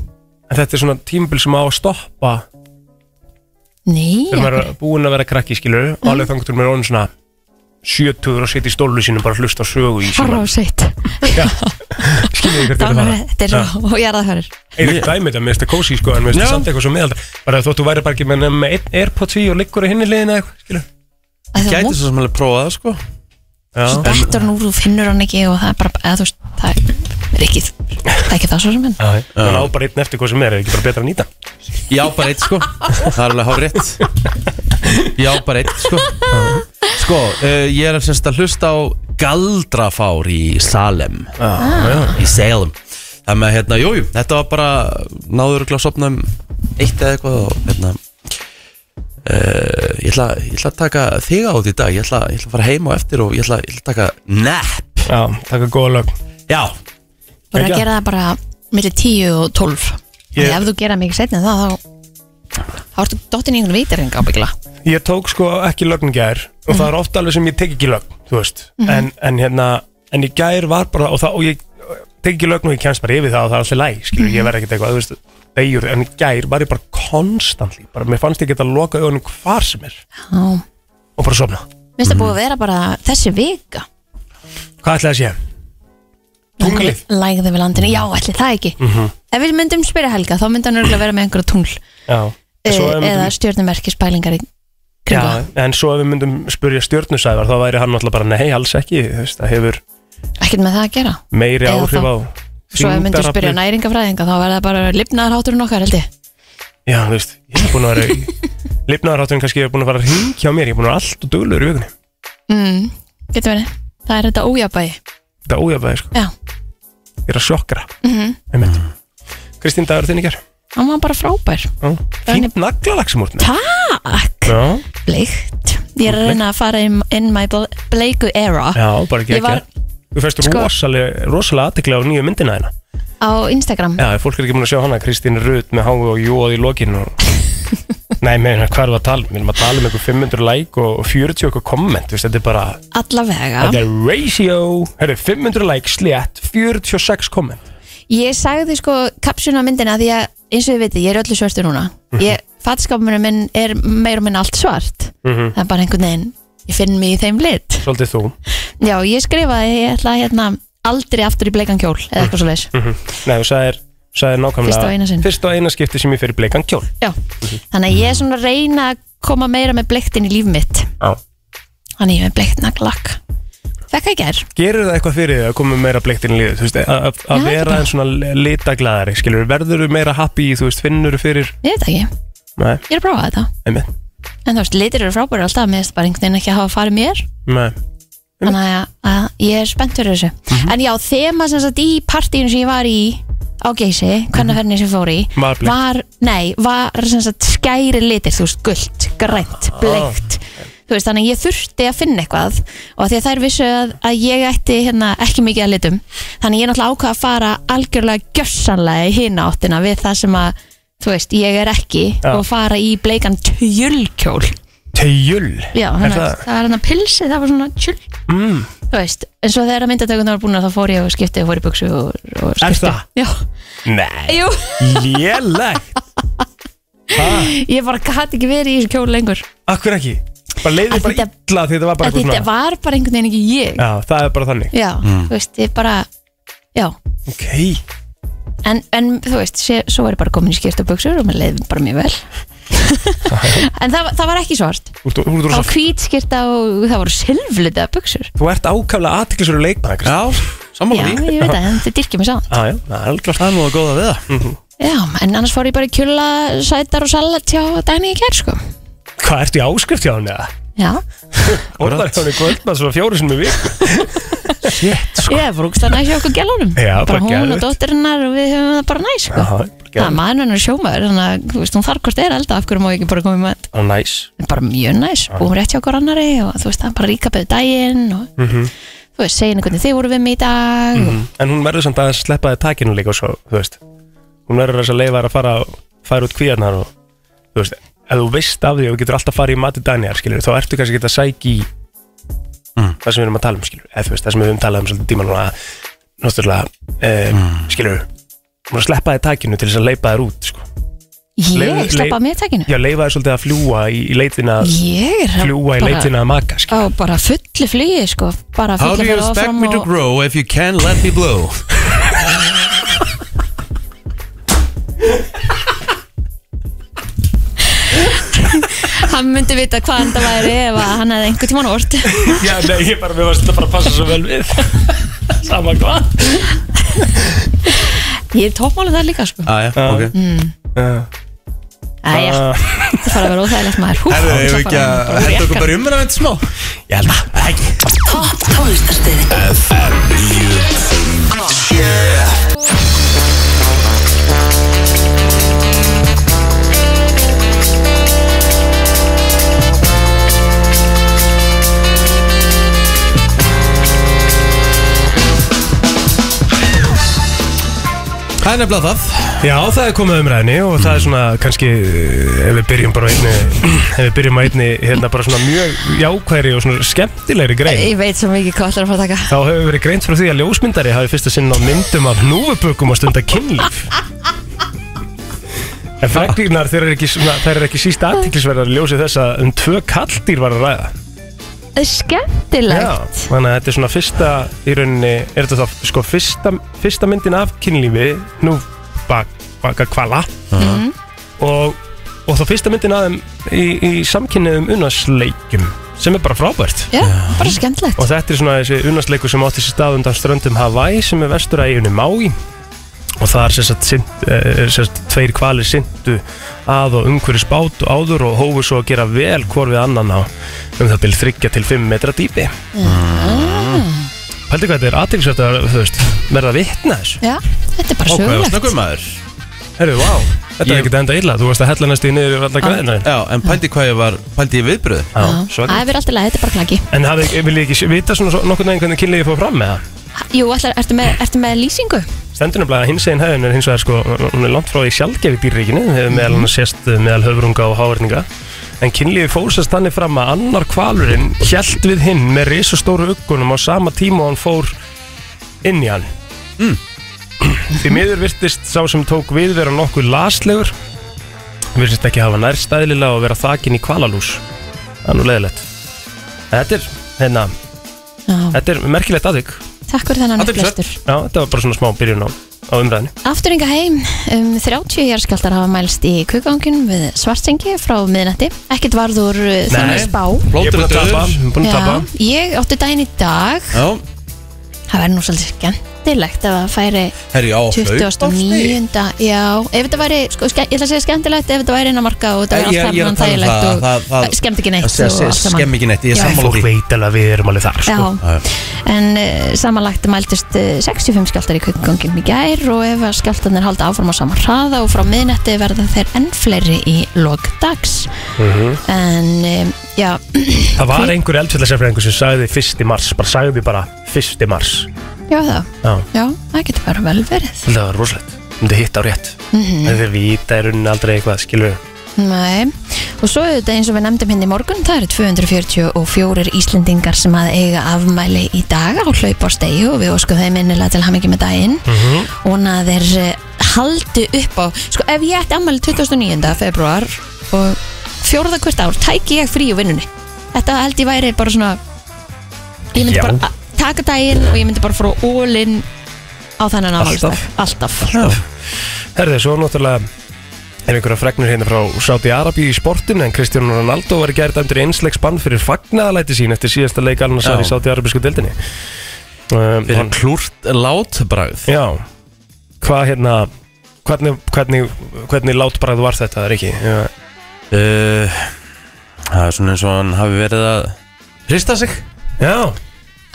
Speaker 3: En þetta er svona tímabil sem á að stoppa
Speaker 2: Nei,
Speaker 3: Þegar maður
Speaker 2: akkur-
Speaker 3: er búinn að vera krakki skilur Og alveg þangt til maður er orðin svona 70 og setja í stólu sínum bara að hlusta á sögu í
Speaker 2: horra á
Speaker 3: síman
Speaker 2: sveit
Speaker 3: Skiljið þið hvert er að fara
Speaker 2: Þetta er svo, og ég er það fyrir
Speaker 3: Eirik dæmið þetta, mér finnst það kósi sko En mér finnst
Speaker 1: Já.
Speaker 3: það samt eitthvað svo miðaldra Bara þóttu væri bara ekki með nema með einn Airpods í og liggur í hinni liðina eða eitthvað skilur
Speaker 1: Gæti svo sem alveg prófað það, sko
Speaker 2: Svo
Speaker 3: Já,
Speaker 2: dættur hann úr, þú finnur hann ekki og það er bara, eða þú veist, það er ekki það er ekki það svo sem henn
Speaker 3: já Þannig á bara einn eftir hvað sem er, er ekki bara betra að nýta
Speaker 1: Ég á bara eitt sko Það er alveg hár rétt Ég á bara eitt sko Sko, uh, ég er semst að hlusta á Galdrafár í Salem
Speaker 3: Já, já
Speaker 1: Í Salem Það með hérna, jújú, jú, þetta var bara Náður ekki að sopna um eitt eða eitthvað Og hérna uh, ég, ætla, ég ætla að taka þig át í dag Ég ætla, ég ætla að fara heim á eftir Og ég ætla, ég ætla að taka nap
Speaker 3: Já, taka góða lög
Speaker 1: Já,
Speaker 2: Þú er að
Speaker 3: Ekki.
Speaker 2: gera það bara millir 10 og 12
Speaker 3: Ég-
Speaker 2: Þannig ef þú gera mikið setna það þá þá ertu dottin í einhvern veitarinn ábyggla
Speaker 3: Ég tók sko ekki lögn í gær og
Speaker 2: Mhm.
Speaker 3: það er ofta alveg sem ég tek ekki lögn, þú veist en, en hérna, en í gær var bara og, það, og ég tek ekki lögn og ég kemst bara yfir það og það er alltaf læg,
Speaker 2: Mhm.
Speaker 3: skilur, ég verð ekkert eitthvað þú veist, degjur, en í gær var ég bara konstantli, bara mér fannst ég geta að loka augunum hvar sem er
Speaker 2: Mér
Speaker 3: og bara sofna.
Speaker 2: finnst það búið að vera bara þessi vika
Speaker 3: Hvað ætlaði að sé? Tunglið? Mhm.
Speaker 2: Lægði við landinu, já, allir það ekki Ef við myndum spyrja Helga, þá myndi hann örgulega vera með einhverja tungl
Speaker 3: Já
Speaker 2: e
Speaker 3: En svo ef við
Speaker 2: eða
Speaker 3: myndum-
Speaker 2: stjörnumerkis pælingar í
Speaker 3: Já,
Speaker 2: kringu
Speaker 3: en svo ef við myndum spyrja stjórnusæðar þá væri hann náttúrulega bara nei, alls ekki þú veist, það hefur
Speaker 2: Ekkert með það að gera
Speaker 3: meiri
Speaker 2: Eða
Speaker 3: áhrif
Speaker 2: þá-
Speaker 3: á
Speaker 2: Svo ef við myndum spyrja
Speaker 3: þyngdaraflið.
Speaker 2: næringafræðinga, þá verða það bara lifnaðarhátturinn okkar, held ég
Speaker 3: Já, þú veist, ég er búin
Speaker 2: <laughs>
Speaker 3: að vera lifnaðarhátturinn kannski er búin að fara að hringja á mér ég er búin að vera allt og duglur í vikunni
Speaker 2: mm, Getur verið, það er þetta ójabæði
Speaker 3: þetta ójafæði, sko,
Speaker 2: Já,
Speaker 3: ég er að sjokkra
Speaker 2: mm
Speaker 3: einmitt. Kristín Dagur þinn í ger
Speaker 2: hann var bara fræðingar
Speaker 3: fínt naglalags múrt með
Speaker 2: Takk,
Speaker 3: Já,
Speaker 2: bleikt Ég er að reyna að fara in, in my ble- bleiku era
Speaker 3: já, bara ekki
Speaker 2: Ég var
Speaker 3: ekki Þú fæst
Speaker 2: Sko-
Speaker 3: rosalega, rosalega aðtekla á nýju myndina hérna
Speaker 2: á Instagram
Speaker 3: Já, ef fólk er ekki búin að sjá hana, Kristín Rut með háu og jóð í lokin
Speaker 2: <laughs>
Speaker 3: og... Nei, meina, hvað er það að tala? um? Við erum að tala um einhver 500 like og og 40 okkur komment, veist, þetta er bara,
Speaker 2: Allavega
Speaker 3: þetta er ratio, herru, 500 like slétt, 46 komment.
Speaker 2: Ég sagði sko kapsjuna myndina því að eins og við veitum, ég er öllu svörtu núna ég, fatskapurinn minn er meir og minn allt svart
Speaker 3: Mhm.
Speaker 2: það er bara einhvern veginn ég finn mig í þeim lit
Speaker 3: Svolítið þú.
Speaker 2: já, ég skrifaði, ég ætla að hérna aldrei aftur í bleikan kjól eða eitthvað svo leis
Speaker 3: Nei, þú sagðir, sagðir nákvæmlega,
Speaker 2: Fyrst og eina sinn.
Speaker 3: fyrst og eina skipti sem ég fer í bleikan kjól.
Speaker 2: já,
Speaker 3: Mhm.
Speaker 2: þannig að ég er svona að reyna að koma meira með bleiktin í líf mitt
Speaker 3: Já.
Speaker 2: þannig að ég er með bleikt naglakk fekk að ger,
Speaker 3: Gerur það eitthvað fyrir þig að koma meira bleikt inn í liðið, þú veist, að- að-
Speaker 2: Já,
Speaker 3: að
Speaker 2: þetta
Speaker 3: vera
Speaker 2: bara-
Speaker 3: en svona litaglæðari, skilur, verður þú meira happy, þú veist, finnur þú fyrir,
Speaker 2: ég veit ekki
Speaker 3: nei,
Speaker 2: ég er að prófa þetta,
Speaker 3: einmitt,
Speaker 2: en þú veist, litir eru frábæri alltaf, mér er bara einhvern veginn ekki að hafa farið mér
Speaker 3: nei,
Speaker 2: þannig að, að ég er spennt fyrir þessu
Speaker 3: Mhm.
Speaker 2: en já, þema sem sagt í partíinu sem ég var í á geysi, hvernig sem ég fór í
Speaker 3: Mhm. Var bleikt.
Speaker 2: var nei, var sem sagt skæri litir þú veist, gult, grænt,
Speaker 3: Ah.
Speaker 2: bleikt þú veist, þannig að ég þurfti að finna eitthvað og því að þær vissu að, að ég ætti hérna ekki mikið að litum þannig að ég náttúrulega ákvað að fara algjörlega gjössanlega í hina áttina við það sem að þú veist, ég er ekki
Speaker 3: Já.
Speaker 2: og fara í bleikan tjölkjól
Speaker 3: tejul,
Speaker 2: Já,
Speaker 3: er
Speaker 2: þannig að
Speaker 3: það?
Speaker 2: það var hann að pilsi, það var svona tjull
Speaker 3: Mm.
Speaker 2: Þú veist, en svo þegar myndatökun var búin þá fór ég og skipti og fór í buksu og, og skipti
Speaker 3: það?
Speaker 2: Já,
Speaker 3: Nei,
Speaker 2: jú,
Speaker 3: lélegt
Speaker 2: ég bara gæti ekki verið í þessu kjólu lengur
Speaker 3: Akkur ekki Bara leiði
Speaker 2: Að
Speaker 3: bara
Speaker 2: þetta-
Speaker 3: illa því þetta var bara
Speaker 2: Að
Speaker 3: eitthvað
Speaker 2: Þetta
Speaker 3: svona
Speaker 2: var bara einhvern veginn ekki ég Já,
Speaker 3: Já, það er bara þannig
Speaker 2: þú veist, ég bara Já,
Speaker 3: Ok,
Speaker 2: en, en þú veist, sé, svo var ég bara komin í skipt og buksur og mér leiði bara mjög vel
Speaker 3: <laughs>
Speaker 2: En það, var- það var ekki svart
Speaker 3: þú ert- þú ert
Speaker 2: Það
Speaker 3: rosa-
Speaker 2: var hvít skirta og það voru silflita buksur
Speaker 3: þú ert ákaflega aðtiklisverður leikmaður Kristín.
Speaker 1: Já,
Speaker 2: Já,
Speaker 1: sammála
Speaker 2: ég
Speaker 1: því
Speaker 2: veit það, en þetta dyrkja mig saman
Speaker 3: Já, Ah. já, það er alveg
Speaker 1: Það er nú að góða við það
Speaker 2: Já, en annars fór ég bara í kjula sætar og salat hjá Dæni í kær, sko
Speaker 3: Hvað ertu í áskrift hjá hann eða?
Speaker 2: Já,
Speaker 3: Orðar hjá hann í kvöldmann svona fjóru sinni við Shit,
Speaker 2: ég er bara úkslega næs hjá okkur gælunum
Speaker 3: Sko. Já, bara
Speaker 2: Bara hún
Speaker 3: geðveikt.
Speaker 2: og dóttirinnar og við höfum það bara næs sko. Það er
Speaker 3: sko
Speaker 2: maður hennar er sjómaður Þannig að þú veist, hún þarf hvort er elda Af hverju má ég ekki bara koma í mat
Speaker 3: Það er næs
Speaker 2: Bara mjög næs, búum rétt hjá okkur annari Og þú veist, það er bara ríka beðu daginn og,
Speaker 3: Mhm.
Speaker 2: Þú veist, segja henni hvernig þið voru við mig í dag og,
Speaker 3: En hún verður samt aðeins sleppa þið takinu líka og svo, þú veist Hún verður þess að leifa þér að fara fara út kvíarnar og, þú veist Ef þú veist af því og þú getur alltaf farið í mati Daniel, skilur þá ertu kannski ekki að sækja í það sem við erum að tala um, skilur eða þú veist, það sem við höfum talað um svolítið tíma núna náttúrulega, um, skilur hún er að sleppa þið takinu til þess að leipa þér út sko. Leif-
Speaker 2: Ég slappa
Speaker 3: leif-
Speaker 2: af mér takinu
Speaker 3: Já, leifa þér svolítið að fljúa í, í leitina
Speaker 2: Ég er
Speaker 3: fljúa í
Speaker 2: bara
Speaker 3: leitina að maka, skilur
Speaker 2: á bara fullu flugi sko. Bara
Speaker 1: How do
Speaker 2: fullu
Speaker 1: you
Speaker 2: flugi
Speaker 1: expect
Speaker 2: áfram
Speaker 1: me to
Speaker 2: og
Speaker 1: grow if you can't let me blow?
Speaker 2: Hann myndi vita hvað hann það væri Ef að hann hefði einhvern tímann orð
Speaker 3: Já, nei, ég bara, mér varst þetta bara að passa svo vel við Sama hvað
Speaker 2: Ég er tópmálið það líka sko.
Speaker 1: Aja,
Speaker 3: Já.
Speaker 1: Ah, ok
Speaker 3: Ah.
Speaker 2: Æja, þetta fara að vera óþægilegt maður Hú,
Speaker 1: Ah. Herðu, ég vil ekki að henda okkur bara umræðan þetta smá
Speaker 3: Ég held að, ekki
Speaker 4: Topp tónlistarstöð
Speaker 1: Það er nefnilega það
Speaker 3: Já, það er komið umræðinni og það er svona kannski eh, ef við byrjum bara á einni <clears throat> ef við byrjum á einni hérna bara svona mjög jákværi og svona skemmtilegri grein
Speaker 2: Ég veit svo mikið hvað allar að fara að taka
Speaker 3: þá hefur verið greint frá því að ljósmyndari hafi fyrst að sinna á myndum af núfubökum að stunda kynlíf En frækdýrnar þeir eru ekki, svona, þeir eru ekki síst aðtiklisverðar ljósið þess að um tvö kalldýr var að ræða Já,
Speaker 2: skemmtilegt
Speaker 3: þannig að þetta er svona fyrsta í rauninni, er þetta þá sko fyrsta, fyrsta myndin af kynlífi nú bak, baka kvala og, og þá fyrsta myndin af þeim í, í samkynniðum unnasleikjum sem er bara frábært
Speaker 2: Já, bara skemmtilegt
Speaker 3: og þetta er svona þessi unnasleikur sem átti sér stað undan ströndum Hawaii sem er vestur að eigunni Maui og það er sérst, sint, eh, sérst tveir kvalir sindu að og umhverjus bát og áður og hófu svo að gera vel hvort við annan á um það byrð þryggja til 5 metra dýpi Pældi hvað þetta er aðtilsvært að þú veist, verða að vitna þessu
Speaker 2: Já, þetta er bara
Speaker 1: Ákveðu og
Speaker 2: sögulegt
Speaker 1: snöggum maður
Speaker 3: Herru, vá, þetta er
Speaker 1: Ég-
Speaker 3: ekkert enda illa, þú varst að hella næstu í niður í alla græðina
Speaker 1: Já, en pældi hvað ég var, pældi ég viðbröðin
Speaker 3: Já,
Speaker 2: Já, Ah. Það
Speaker 3: svaka.
Speaker 2: er verið alltaf leið, þetta er bara klaki
Speaker 3: En hafði, vil ég ekki vita svona nokkur neginn hvernig kynliði fór fram með það?
Speaker 2: Jú, ætlar, ertu með, ertu með lýsingu?
Speaker 3: Stendur nefnilega að hins einn hefðin er hins vegar sko, hún er langt frá í sjálfgefi dýrríkinu hefur meðal hann sést uh, meðal höfrunga og háverninga en kynlífi fórsast þannig fram að annar kvalurinn hjælt við hinn með risastóru uggunum á sama tíma og hann fór inn í hann Því miður virtist sá sem tók við vera nokkuð laslegur virtist ekki hafa nærstæðlilega og vera þakin í kvalalús Það er nú leðilegt Þetta er, hérna,
Speaker 2: Já,
Speaker 3: þetta er merkilegt aðvík
Speaker 2: takk fyrir þennan
Speaker 1: Athyglisvert.
Speaker 2: upplestur
Speaker 3: Já, þetta var bara svona smá byrjun á, á umræðinu
Speaker 2: Aftur yngar heim, um 30 jarðskjaldar hafa mælst í kukangunum við svartsengi frá miðnætti. Ekkert varð úr uh, þannig spá.
Speaker 3: Ég er
Speaker 1: Blótur
Speaker 3: búin að tapa,
Speaker 1: döður
Speaker 3: ég er búin að tapa
Speaker 2: Já, ég átti daginn í dag.
Speaker 1: Já,
Speaker 2: Það verður nú svolítið skemmtilegt ef það færi
Speaker 1: herri, já, hlaupar þig.
Speaker 2: 29. Já, ef þetta væri, sko, ske, ég ætla að segja skemmtilegt ef þetta væri innan marka og þetta
Speaker 1: Ég-
Speaker 2: væri
Speaker 1: ég-
Speaker 2: allt
Speaker 1: ég er
Speaker 2: þarna
Speaker 1: að tala um
Speaker 2: þægilegt
Speaker 1: það,
Speaker 2: og
Speaker 1: það- það-
Speaker 2: það skemmt ekki
Speaker 1: Það
Speaker 2: neitt
Speaker 1: sé-
Speaker 2: og
Speaker 1: sé-
Speaker 2: allt saman.
Speaker 1: skemm ekki neitt, ég er
Speaker 2: Já.
Speaker 1: sammála
Speaker 3: Fólk
Speaker 1: því
Speaker 3: veit alveg að við erum alveg þar sko.
Speaker 2: Já, en uh, samanlagt mæltist uh, 65 skjáltar í kukungunum í gær og ef að skjáltarnir halda áfram á sama hraða og frá miðnætti verða þeir enn fleiri í lok dags en um, já,
Speaker 3: Mhm.
Speaker 2: <clears throat>
Speaker 3: Það var einhver eldfjallarsefræðingur sem sagði 1. mars bara sagði bara 1. mars
Speaker 2: já það
Speaker 3: Já.
Speaker 2: já, það getur bara vel verið
Speaker 3: Það var rosalegt Myndi hitt á rétt mm
Speaker 2: Mhm.
Speaker 3: -hmm. Þau vita í rauninni aldrei eitthvað skilur
Speaker 2: Nei. og svo auðvitað eins og við nefndum hérna í morgun það eru 244 Íslendingar sem að eiga afmæli í dag á hlaupárstegi og við óskum þeim innilega til hamingi með daginn og að þeir eh, haldi upp á sko ef ég ætti afmæli 29. februar og fjórða hvert ár tæki ég frí úr vinnunni þetta held ég væri bara svona ég myndi
Speaker 3: Já.
Speaker 2: bara a- taka daginn og ég myndi bara fóra ólinn á þannan afmælisdag alltaf, alltaf.
Speaker 3: Herði, svo náttúrulega er einhverja fregnur hérna frá Saudi Arabíu í sportinu en Kristján Ronaldo var gerð dæmdur einslegs bann fyrir fagnaðalæti sín eftir síðasta leik annarsar
Speaker 1: Já.
Speaker 3: í Saudi Arabísku deildinni um,
Speaker 1: Við erum
Speaker 3: hann-
Speaker 1: klúrt látbragð
Speaker 3: Já Hvað hérna Hvernig, hvernig, hvernig látbræð var þetta, er ekki?
Speaker 1: Uh, Það er svona eins og hann hafi verið að hrista sig
Speaker 3: Já,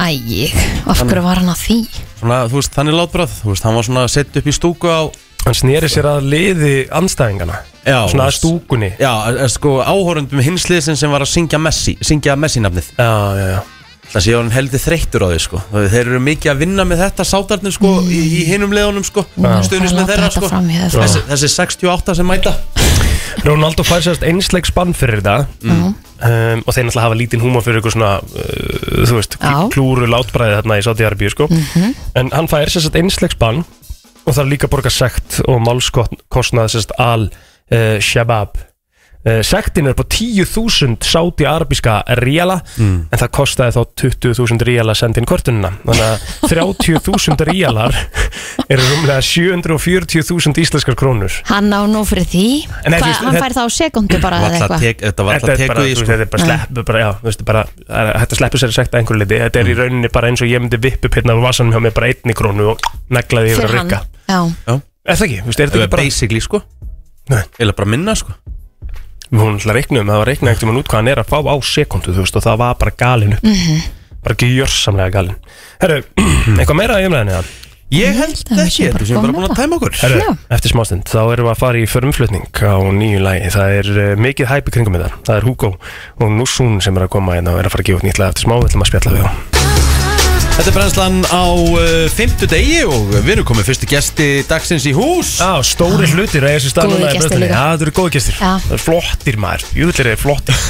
Speaker 2: æg, af hverju var hann að því
Speaker 1: svona, þú veist, þannig látbröð þú veist, hann var svona sett upp í stúku á
Speaker 3: hann sneri sér að liði anstæðingana
Speaker 1: já,
Speaker 3: svona að stúkunni
Speaker 1: já, eh, sko, áhorundum hinsliðsin sem var að syngja Messi syngja Messi nafnið
Speaker 3: já, já, já.
Speaker 1: það sé hann heldur þreyttur á því sko. þeir eru mikið að vinna með þetta sátarnir sko, í, í hinum leðunum sko, stuðnist
Speaker 2: Það
Speaker 1: með þeirra
Speaker 2: láta
Speaker 1: sko.
Speaker 2: þetta fram í þeirra.
Speaker 1: þessi, þessi 68 sem mæta
Speaker 3: Ronaldo fær sérst einsleik spann fyrir þetta um, og þeir náttúrulega hafa lítinn húma fyrir eitthvað svona uh, þú veist,
Speaker 2: Já. Mhm.
Speaker 3: kl- klúru látbræði þarna í Saudi Arabíu sko. en hann fær sérst einsleik spann og þarf líka að borga sekt og málskostnað sérst al uh, shabab uh, sektin er på 10.000 Saudi Arabíska ríala en það kostaði þá 20.000 ríala að senda inn kortunina þannig að 30.000 ríalar <laughs> eru rúmlega 740.000 íslenskar krónur
Speaker 2: Hann á nú fyrir því Hva,
Speaker 3: En nei, þú veist,
Speaker 2: Hann
Speaker 3: þetta-
Speaker 2: fær það á sekundu bara eða
Speaker 1: Varla
Speaker 2: eitthvað
Speaker 1: tek- þetta var
Speaker 3: Þetta
Speaker 1: alltaf
Speaker 3: er bara,
Speaker 1: tekuð í
Speaker 3: þú veist,
Speaker 1: sko.
Speaker 3: þetta er bara sleppu bara, já, þú veist, bara, það er hægt að sleppu sér að sekta einhverju liti Þetta er
Speaker 1: Mm.
Speaker 3: í rauninni bara eins og ég myndi vipp upp hérna á vasanum hjá mér bara einni krónu og neglaði yfir að
Speaker 2: Fyrir hann
Speaker 3: rikka
Speaker 2: Já,
Speaker 3: Er það ekki, þú
Speaker 1: Þetta
Speaker 3: veist, er þetta
Speaker 1: er
Speaker 3: ekki bara
Speaker 1: basically sko
Speaker 3: Nei.
Speaker 1: eða bara minna sko
Speaker 3: Við hún ætla að reikna um, það var reikna ekkert um hann út hvað hann er að fá á sekundu, þú veist, og það var bara galin upp
Speaker 2: Mhm.
Speaker 3: Bara gjörsamlega galin Herru, <clears throat> eitthvað meira í umræðinni það?
Speaker 1: ég held
Speaker 2: að við
Speaker 1: ekki,
Speaker 2: séum bara
Speaker 1: þetta sem bara
Speaker 2: komin
Speaker 1: búin
Speaker 2: á
Speaker 1: að
Speaker 2: það.
Speaker 1: tæma okkur
Speaker 3: Herru,
Speaker 2: Já.
Speaker 3: eftir smástund, þá erum við að fara í förumflutning á nýju lægi Það er uh, mikið hæpi kringum þetta, það er Hugo og Nussun sem er að koma hérna og er að fara að gefa út nýtt lag eftir smá, við ætlum að spjalla við hann
Speaker 1: Þetta er brennslan á uh, fymtu degi og við erum komið fyrstu gesti dagsins í hús
Speaker 3: Já, stóri hlutir að þessu stað
Speaker 2: Ah. Góðir
Speaker 3: núna í
Speaker 2: gestir
Speaker 3: brennslunni.
Speaker 2: líka.
Speaker 3: Já, þetta eru góði gestir
Speaker 2: Já.
Speaker 3: Það eru flottir maður, júðlir eru
Speaker 2: <laughs>
Speaker 3: flottir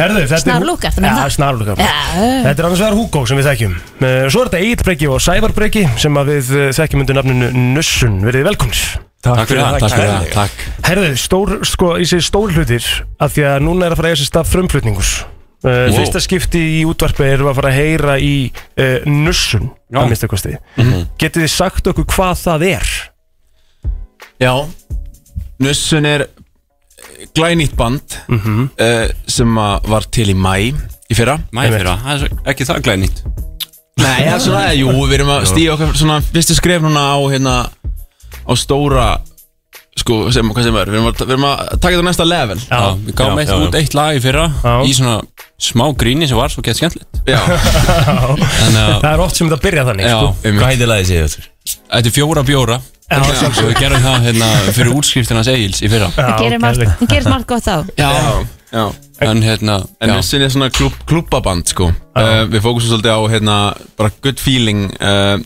Speaker 3: Herðu, þetta er
Speaker 2: Snarlúkar, ertu að meina
Speaker 3: Já,
Speaker 2: það?
Speaker 3: snarlúkar
Speaker 2: Já.
Speaker 3: Þetta er annars vegar Hugo sem við þekkjum Eh, Svo er þetta Egil Breki og Sævar Breki sem að við eh, þekkjum undir nafninu Nussun Verðið velkomnir
Speaker 6: Takk fyrir það, takk fyrir það, takk
Speaker 3: Herðu, stór, sko, í sér stóri hlutir að því að núna er að fara að eiga sér stað frumflutningus Uh,
Speaker 1: Wow.
Speaker 3: Fyrsta skipti í útvarpi erum við að fara að heyra í uh, nussun
Speaker 5: Já.
Speaker 3: að mista kosti
Speaker 6: Mhm.
Speaker 3: Getið þið sagt okkur hvað það er?
Speaker 5: Já Nussun er glænýtt band
Speaker 6: Mhm.
Speaker 5: eh, sem að var til í mæ í fyrra
Speaker 6: Mæði fyrra, það er svo- ekki það glæði nýtt
Speaker 5: Nei, það er svona, jú, við erum að stíða okkar svona fyrstu skref núna á hérna á stóra sko, sem, hvað sem er, við erum að, við erum að taka þetta á næsta level
Speaker 6: Já, Við gáum
Speaker 5: já,
Speaker 6: eitt
Speaker 5: já,
Speaker 6: út eitt lag í fyrra
Speaker 3: Já.
Speaker 6: Í svona smá gríni sem var svo gett skemmtilegt <laughs>
Speaker 5: Já,
Speaker 6: Þannig
Speaker 5: Sko,
Speaker 6: að
Speaker 3: Það er oft sem þetta byrja þannig
Speaker 6: Já,
Speaker 3: sko.
Speaker 6: um,
Speaker 7: Hvað heitir lagið sér þetta?
Speaker 6: þetta er fjóra bjóra
Speaker 3: Já,
Speaker 6: og við gerum það hérna fyrir útskriftina Egils í fyrra
Speaker 3: Já,
Speaker 2: Það gerir
Speaker 3: geðveikt.
Speaker 2: margt, gerir margt gott á
Speaker 5: já, já
Speaker 6: en hérna,
Speaker 5: En
Speaker 6: já,
Speaker 5: Nussin er svona klub, klubbaband, sko uh, Við fókusum svolítið á, hérna, bara good feeling uh,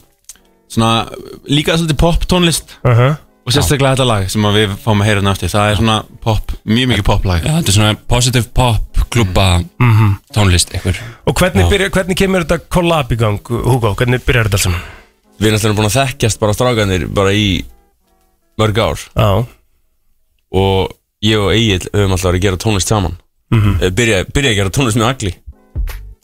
Speaker 5: Svona, líka svolítið pop tónlist
Speaker 3: Uh-huh.
Speaker 5: Og sérstaklega þetta lag sem að við fáum að heyra hérna eftir Það er svona pop, mjög mikið pop lag
Speaker 6: já, þetta er svona positive pop klubba
Speaker 7: Mhm.
Speaker 6: tónlist einhver
Speaker 3: Og hvernig, byrja, hvernig kemur þetta kollab í gang, Hugo? Hvernig byrjar þetta sem?
Speaker 7: Við erum alltaf búin að þekkjast bara strákanir bara í mörg ár
Speaker 3: Já,
Speaker 7: og ég og Egil höfum alltaf verið að gera tónlist saman mm
Speaker 3: Mhm.
Speaker 7: byrja, byrja að gera tónlist með Agli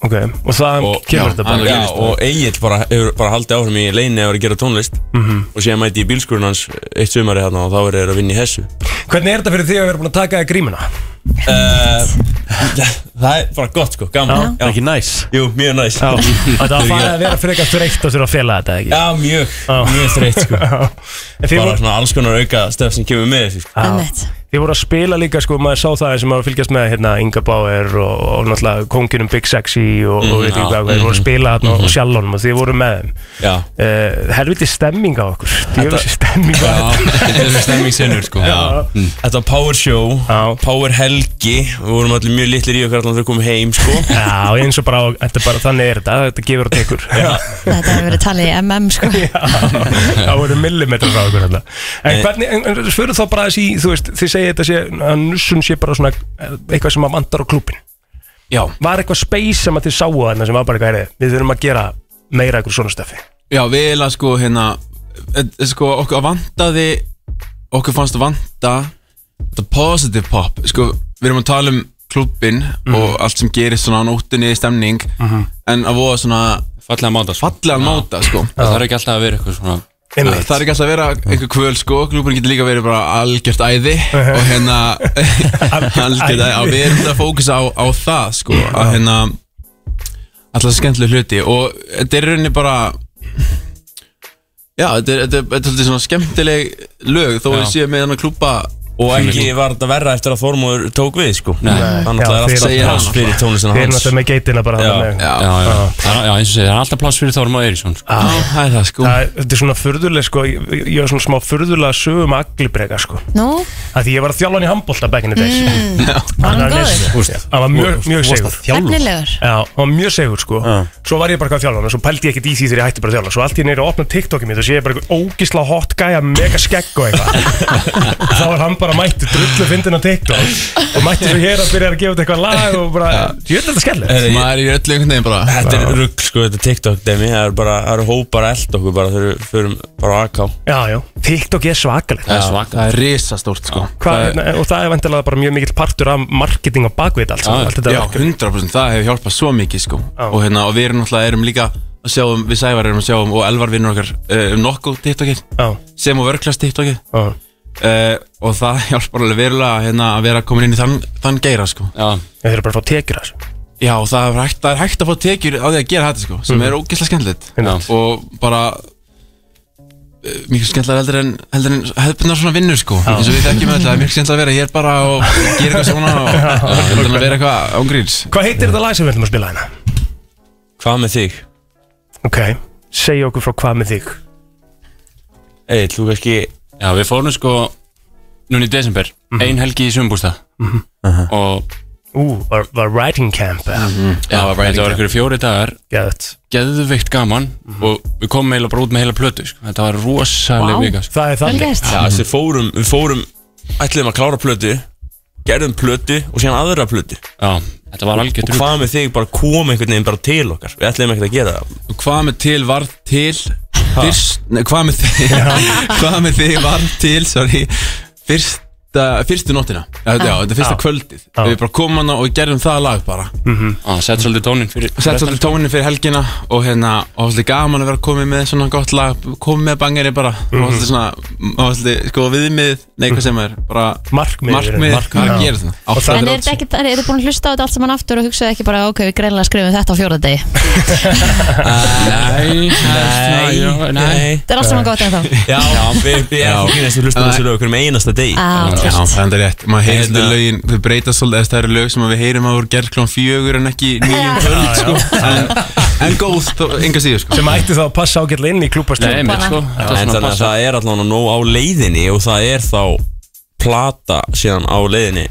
Speaker 3: ok Og það
Speaker 7: Og-
Speaker 3: kemur þetta bara
Speaker 5: alveg.
Speaker 7: Já,
Speaker 5: gerist það.
Speaker 7: og Egil bara, hefur bara haldið áfram í leini að vera að gera tónlist
Speaker 3: Mhm.
Speaker 7: og síðan mæti ég bílskurinn hans eitt sumari þarna og þá verið þeir að vinna í hessu
Speaker 3: Hvernig er þetta fyrir því að vera búin að taka það grímuna?
Speaker 7: <laughs> Það er bara gott sko, gaman
Speaker 1: Það er ekki næs
Speaker 7: Jú, mjög næs
Speaker 3: Já,
Speaker 7: <laughs>
Speaker 3: þetta var farið að vera frekar þreytt og þurfa að fela þetta ekki
Speaker 7: Já, mjög,
Speaker 3: Já.
Speaker 7: mjög þreytt sko
Speaker 3: En þið
Speaker 7: Bara
Speaker 3: voru,
Speaker 7: svona alls konar auka stöf sem kemur með þessu sko.
Speaker 2: Emmett
Speaker 3: þið voru að spila líka sko, maður sá það sem maður fylgjast með hérna, Inga Bauer og, og náttúrulega konginum Big Sexy og,
Speaker 7: Mm,
Speaker 3: og veit ekki
Speaker 6: já,
Speaker 3: hvað, þið
Speaker 7: Mm-hmm.
Speaker 3: voru að spila þarna og sjálfónum og þið voru með þeim
Speaker 6: já,
Speaker 3: uh, Helviti stemming á okkur, djöfisir stemming á
Speaker 6: já,
Speaker 3: þetta
Speaker 6: þetta er svo stemming sinnur sko já,
Speaker 7: Þetta var Power Show,
Speaker 3: Já.
Speaker 7: Power Helgi Við vorum allir mjög litlir í okkar allan þegar komum heim sko
Speaker 3: <laughs> Já, eins og bara, þetta er bara, þannig er þetta, þetta gefur og tekur <laughs>
Speaker 2: Þetta hefur verið talið í MM sko
Speaker 3: Það voru millimetrar á okkur þetta
Speaker 7: Eh.
Speaker 3: En hvernig, en, en spurðu þá bara þessi, þú veist, þið segir þetta sé, að nussun sé bara svona eh, eitthvað sem að vantar á klúbin
Speaker 5: Já,
Speaker 3: var eitthvað space sem að þið sáu þarna sem var bara eitthvað heyrðu, við þurfum að gera meira eitthvað svona stöfi
Speaker 5: já, við eiginlega, sko, hérna eh, Sko, okkur vantaði Okkur fannst vanta Þetta positive pop Sko, við erum að tala um klubbin
Speaker 6: Mhm.
Speaker 5: Og allt sem gerist svona á nóttunni stemning
Speaker 3: Mhm.
Speaker 5: En að voða svona
Speaker 6: fallega máta sko.
Speaker 5: fallegan máta, sko
Speaker 6: það þarf ekki alltaf að vera eitthvað svona
Speaker 3: Einmitt.
Speaker 5: Það er ekki alltaf að vera einhver kvöl sko Klúpurinn getur líka verið bara algjört æði Og hérna Algjört æði Og við erum þetta að fókusa á, á það sko Að hérna Alltaf skemmtileg hluti Og þetta er í rauninni bara Já, þetta er, þetta er, þetta er svolítið svona skemmtileg lög Þó við
Speaker 6: Já.
Speaker 5: séum með hann að klúpa
Speaker 7: Og ekki var þetta verra eftir að Þormóður tók við sko Nei, þannig að það er
Speaker 3: Já, þeir-
Speaker 7: alltaf
Speaker 5: segja
Speaker 7: pláss
Speaker 5: hann.
Speaker 7: fyrir tónlistina
Speaker 3: Við erum
Speaker 7: hans
Speaker 3: náttúrulega með geitina bara
Speaker 7: Já,
Speaker 3: þarna með.
Speaker 5: Já,
Speaker 6: já, já, Það- já, eins og segja, það er alltaf pláss fyrir Þorma Eirísson sko.
Speaker 5: Já, það er það sko
Speaker 3: Það er- Þetta er svona furðuleg sko, ég ég var svona smá furðulega sögum aglibrega sko
Speaker 2: Nú,
Speaker 3: að Því ég var að þjálfa hann í handbólta back in the days mm.
Speaker 2: var hann góður?
Speaker 3: Það var mjög, mjög segur
Speaker 2: Efnilegur
Speaker 3: Já, hann var mjög segur sko Svo var ég bara hvað að þjálfa hann og svo pældi ég ekkert í því þegar ég hætti bara að þjálfa Svo allt í neyri að opna TikTokið mitt og sé ég bara eitthvað ógisla hot gæja mega skegg
Speaker 2: <laughs>
Speaker 3: og eitthvað Þá var hann bara mættu drullu fyndin á TikTok Og mættu svo hér að byrja að gefa út eitthvað lag og bara, ég veit þetta skellið
Speaker 7: Herri, ég-
Speaker 5: Maður er í öllu einhvern veginn bara
Speaker 7: Þetta er rugg sko, þetta er TikTok demi Það eru bara, það eru hópar að elda okkur bara Þegar við förum bara á AK
Speaker 3: Já, já, TikTok er svakalegt
Speaker 6: það er svaka
Speaker 5: Það er risastórt sko
Speaker 3: Hva, og það er vendilega bara mjög mikill partur af marketing á bakvið allt, saman,
Speaker 6: Já,
Speaker 3: allt þetta
Speaker 5: Já,
Speaker 3: verk.
Speaker 5: 100% það hefur hjálpað svo mikið sko
Speaker 3: Já.
Speaker 5: og, hérna, og við erum náttúrulega erum líka að sjá um, við Sævar erum að sjá um og Elvar vinnur okkar uh, um nokkuð TikTokið
Speaker 3: Já,
Speaker 5: sem og vörklast TikTokið
Speaker 3: já,
Speaker 5: uh, og það <laughs> hjálpar alveg verulega hérna, að vera komin inn í þann, þann geira sko
Speaker 6: já,
Speaker 3: þeir eru bara að fá tekjur af þessu
Speaker 5: Já, og það er hægt, það er hægt að fá tekjur á því að gera þetta sko sem er ógeðslega skemmtilegt
Speaker 3: Einmitt.
Speaker 5: og bara eh, miklu skemmtilega heldur en, heldur en hefðbundar svona vinnur sko eins og við þekkjum alltaf, það er miklu skemmtilega að vera hér bara og gera eitthvað svona og heldur en að vera eitthvað ángríns
Speaker 3: Hvað heitir þetta lag sem við ætlum að spila hérna?
Speaker 7: Hvað með þig?
Speaker 3: Ok, segja okkur frá hvað með þig
Speaker 7: Ey, þú kannski
Speaker 6: já, við fórum sko núna í desember, ein helgi í sumbústa og
Speaker 3: Ú, var, var writing camp mm.
Speaker 2: Mhm.
Speaker 6: já, þetta var einhverju fjóri dagar
Speaker 3: Gæðt
Speaker 6: geðveikt gaman
Speaker 5: Mhm.
Speaker 6: og við komum eiginlega bara út með heila plötu sko. þetta var
Speaker 2: Vá.
Speaker 6: rosalega vika sko.
Speaker 3: Það er
Speaker 2: Vel
Speaker 3: þannig
Speaker 2: gert
Speaker 7: Já, þessi fórum, við fórum Ætliðum að klára plötu Gerðum plötu og síðan aðra plötu
Speaker 6: já, þetta var algjör
Speaker 7: Og
Speaker 6: drúk
Speaker 7: hvað með þig bara kom einhvern veginn bara til okkar Við ætliðum ekkert að gera það
Speaker 5: Og Hvað með til varð til <laughs> fyrst, nei, hvað, með þig, hvað með þig varð til sorry, fyrst, fyrsta, fyrstu nóttina já, já, þetta er fyrsta
Speaker 3: Já.
Speaker 5: kvöldið
Speaker 3: Já.
Speaker 5: Við bara komum hana og gerðum það lag bara
Speaker 6: að setja svolítið tónin fyrir
Speaker 5: Sett svolítið tónin fyrir helgina Og hérna, og svolítið gaman að vera komið með svona gott lag Komið með bangeri bara Og svolítið svona, og svolítið sko viðmið Nei, hvað sem er, bara
Speaker 3: Markmiðið.
Speaker 5: Markmiðið,
Speaker 3: Markmiðið.
Speaker 5: hvað
Speaker 3: Já.
Speaker 5: gerir það
Speaker 3: Og það-
Speaker 2: En er þetta ekki, er þetta búin að hlusta á þetta allt saman aftur og hugsaði ekki bara, ok, við greinlega skrifum þetta á fjóra degi Þetta
Speaker 5: Nei,
Speaker 6: Ah, Nei, nei
Speaker 2: er allt saman gott en
Speaker 8: <laughs>
Speaker 2: þá
Speaker 7: Já, við við erum ekki næstu hlusta þessu lög hverjum einasta deg
Speaker 6: Ah.
Speaker 2: Á,
Speaker 5: Já,
Speaker 2: trist.
Speaker 5: það er rétt, maður heyrði
Speaker 7: Hérna-
Speaker 5: lögin, þau breyta svolítið, þess, það eru lög sem að við heyrum að voru gerð klón fjögur en ekki nýjum kvöld, sko, en, en góð, þó- enga síður, sko.
Speaker 3: sem ætti þá að passa ágætlega inn í klúbastöð
Speaker 6: Nei, mér sko
Speaker 7: En
Speaker 6: Þetta er
Speaker 7: þannig
Speaker 6: svona
Speaker 7: að
Speaker 6: passa
Speaker 7: það er allan að nóg á leiðinni og það er þá plata síðan á leiðinni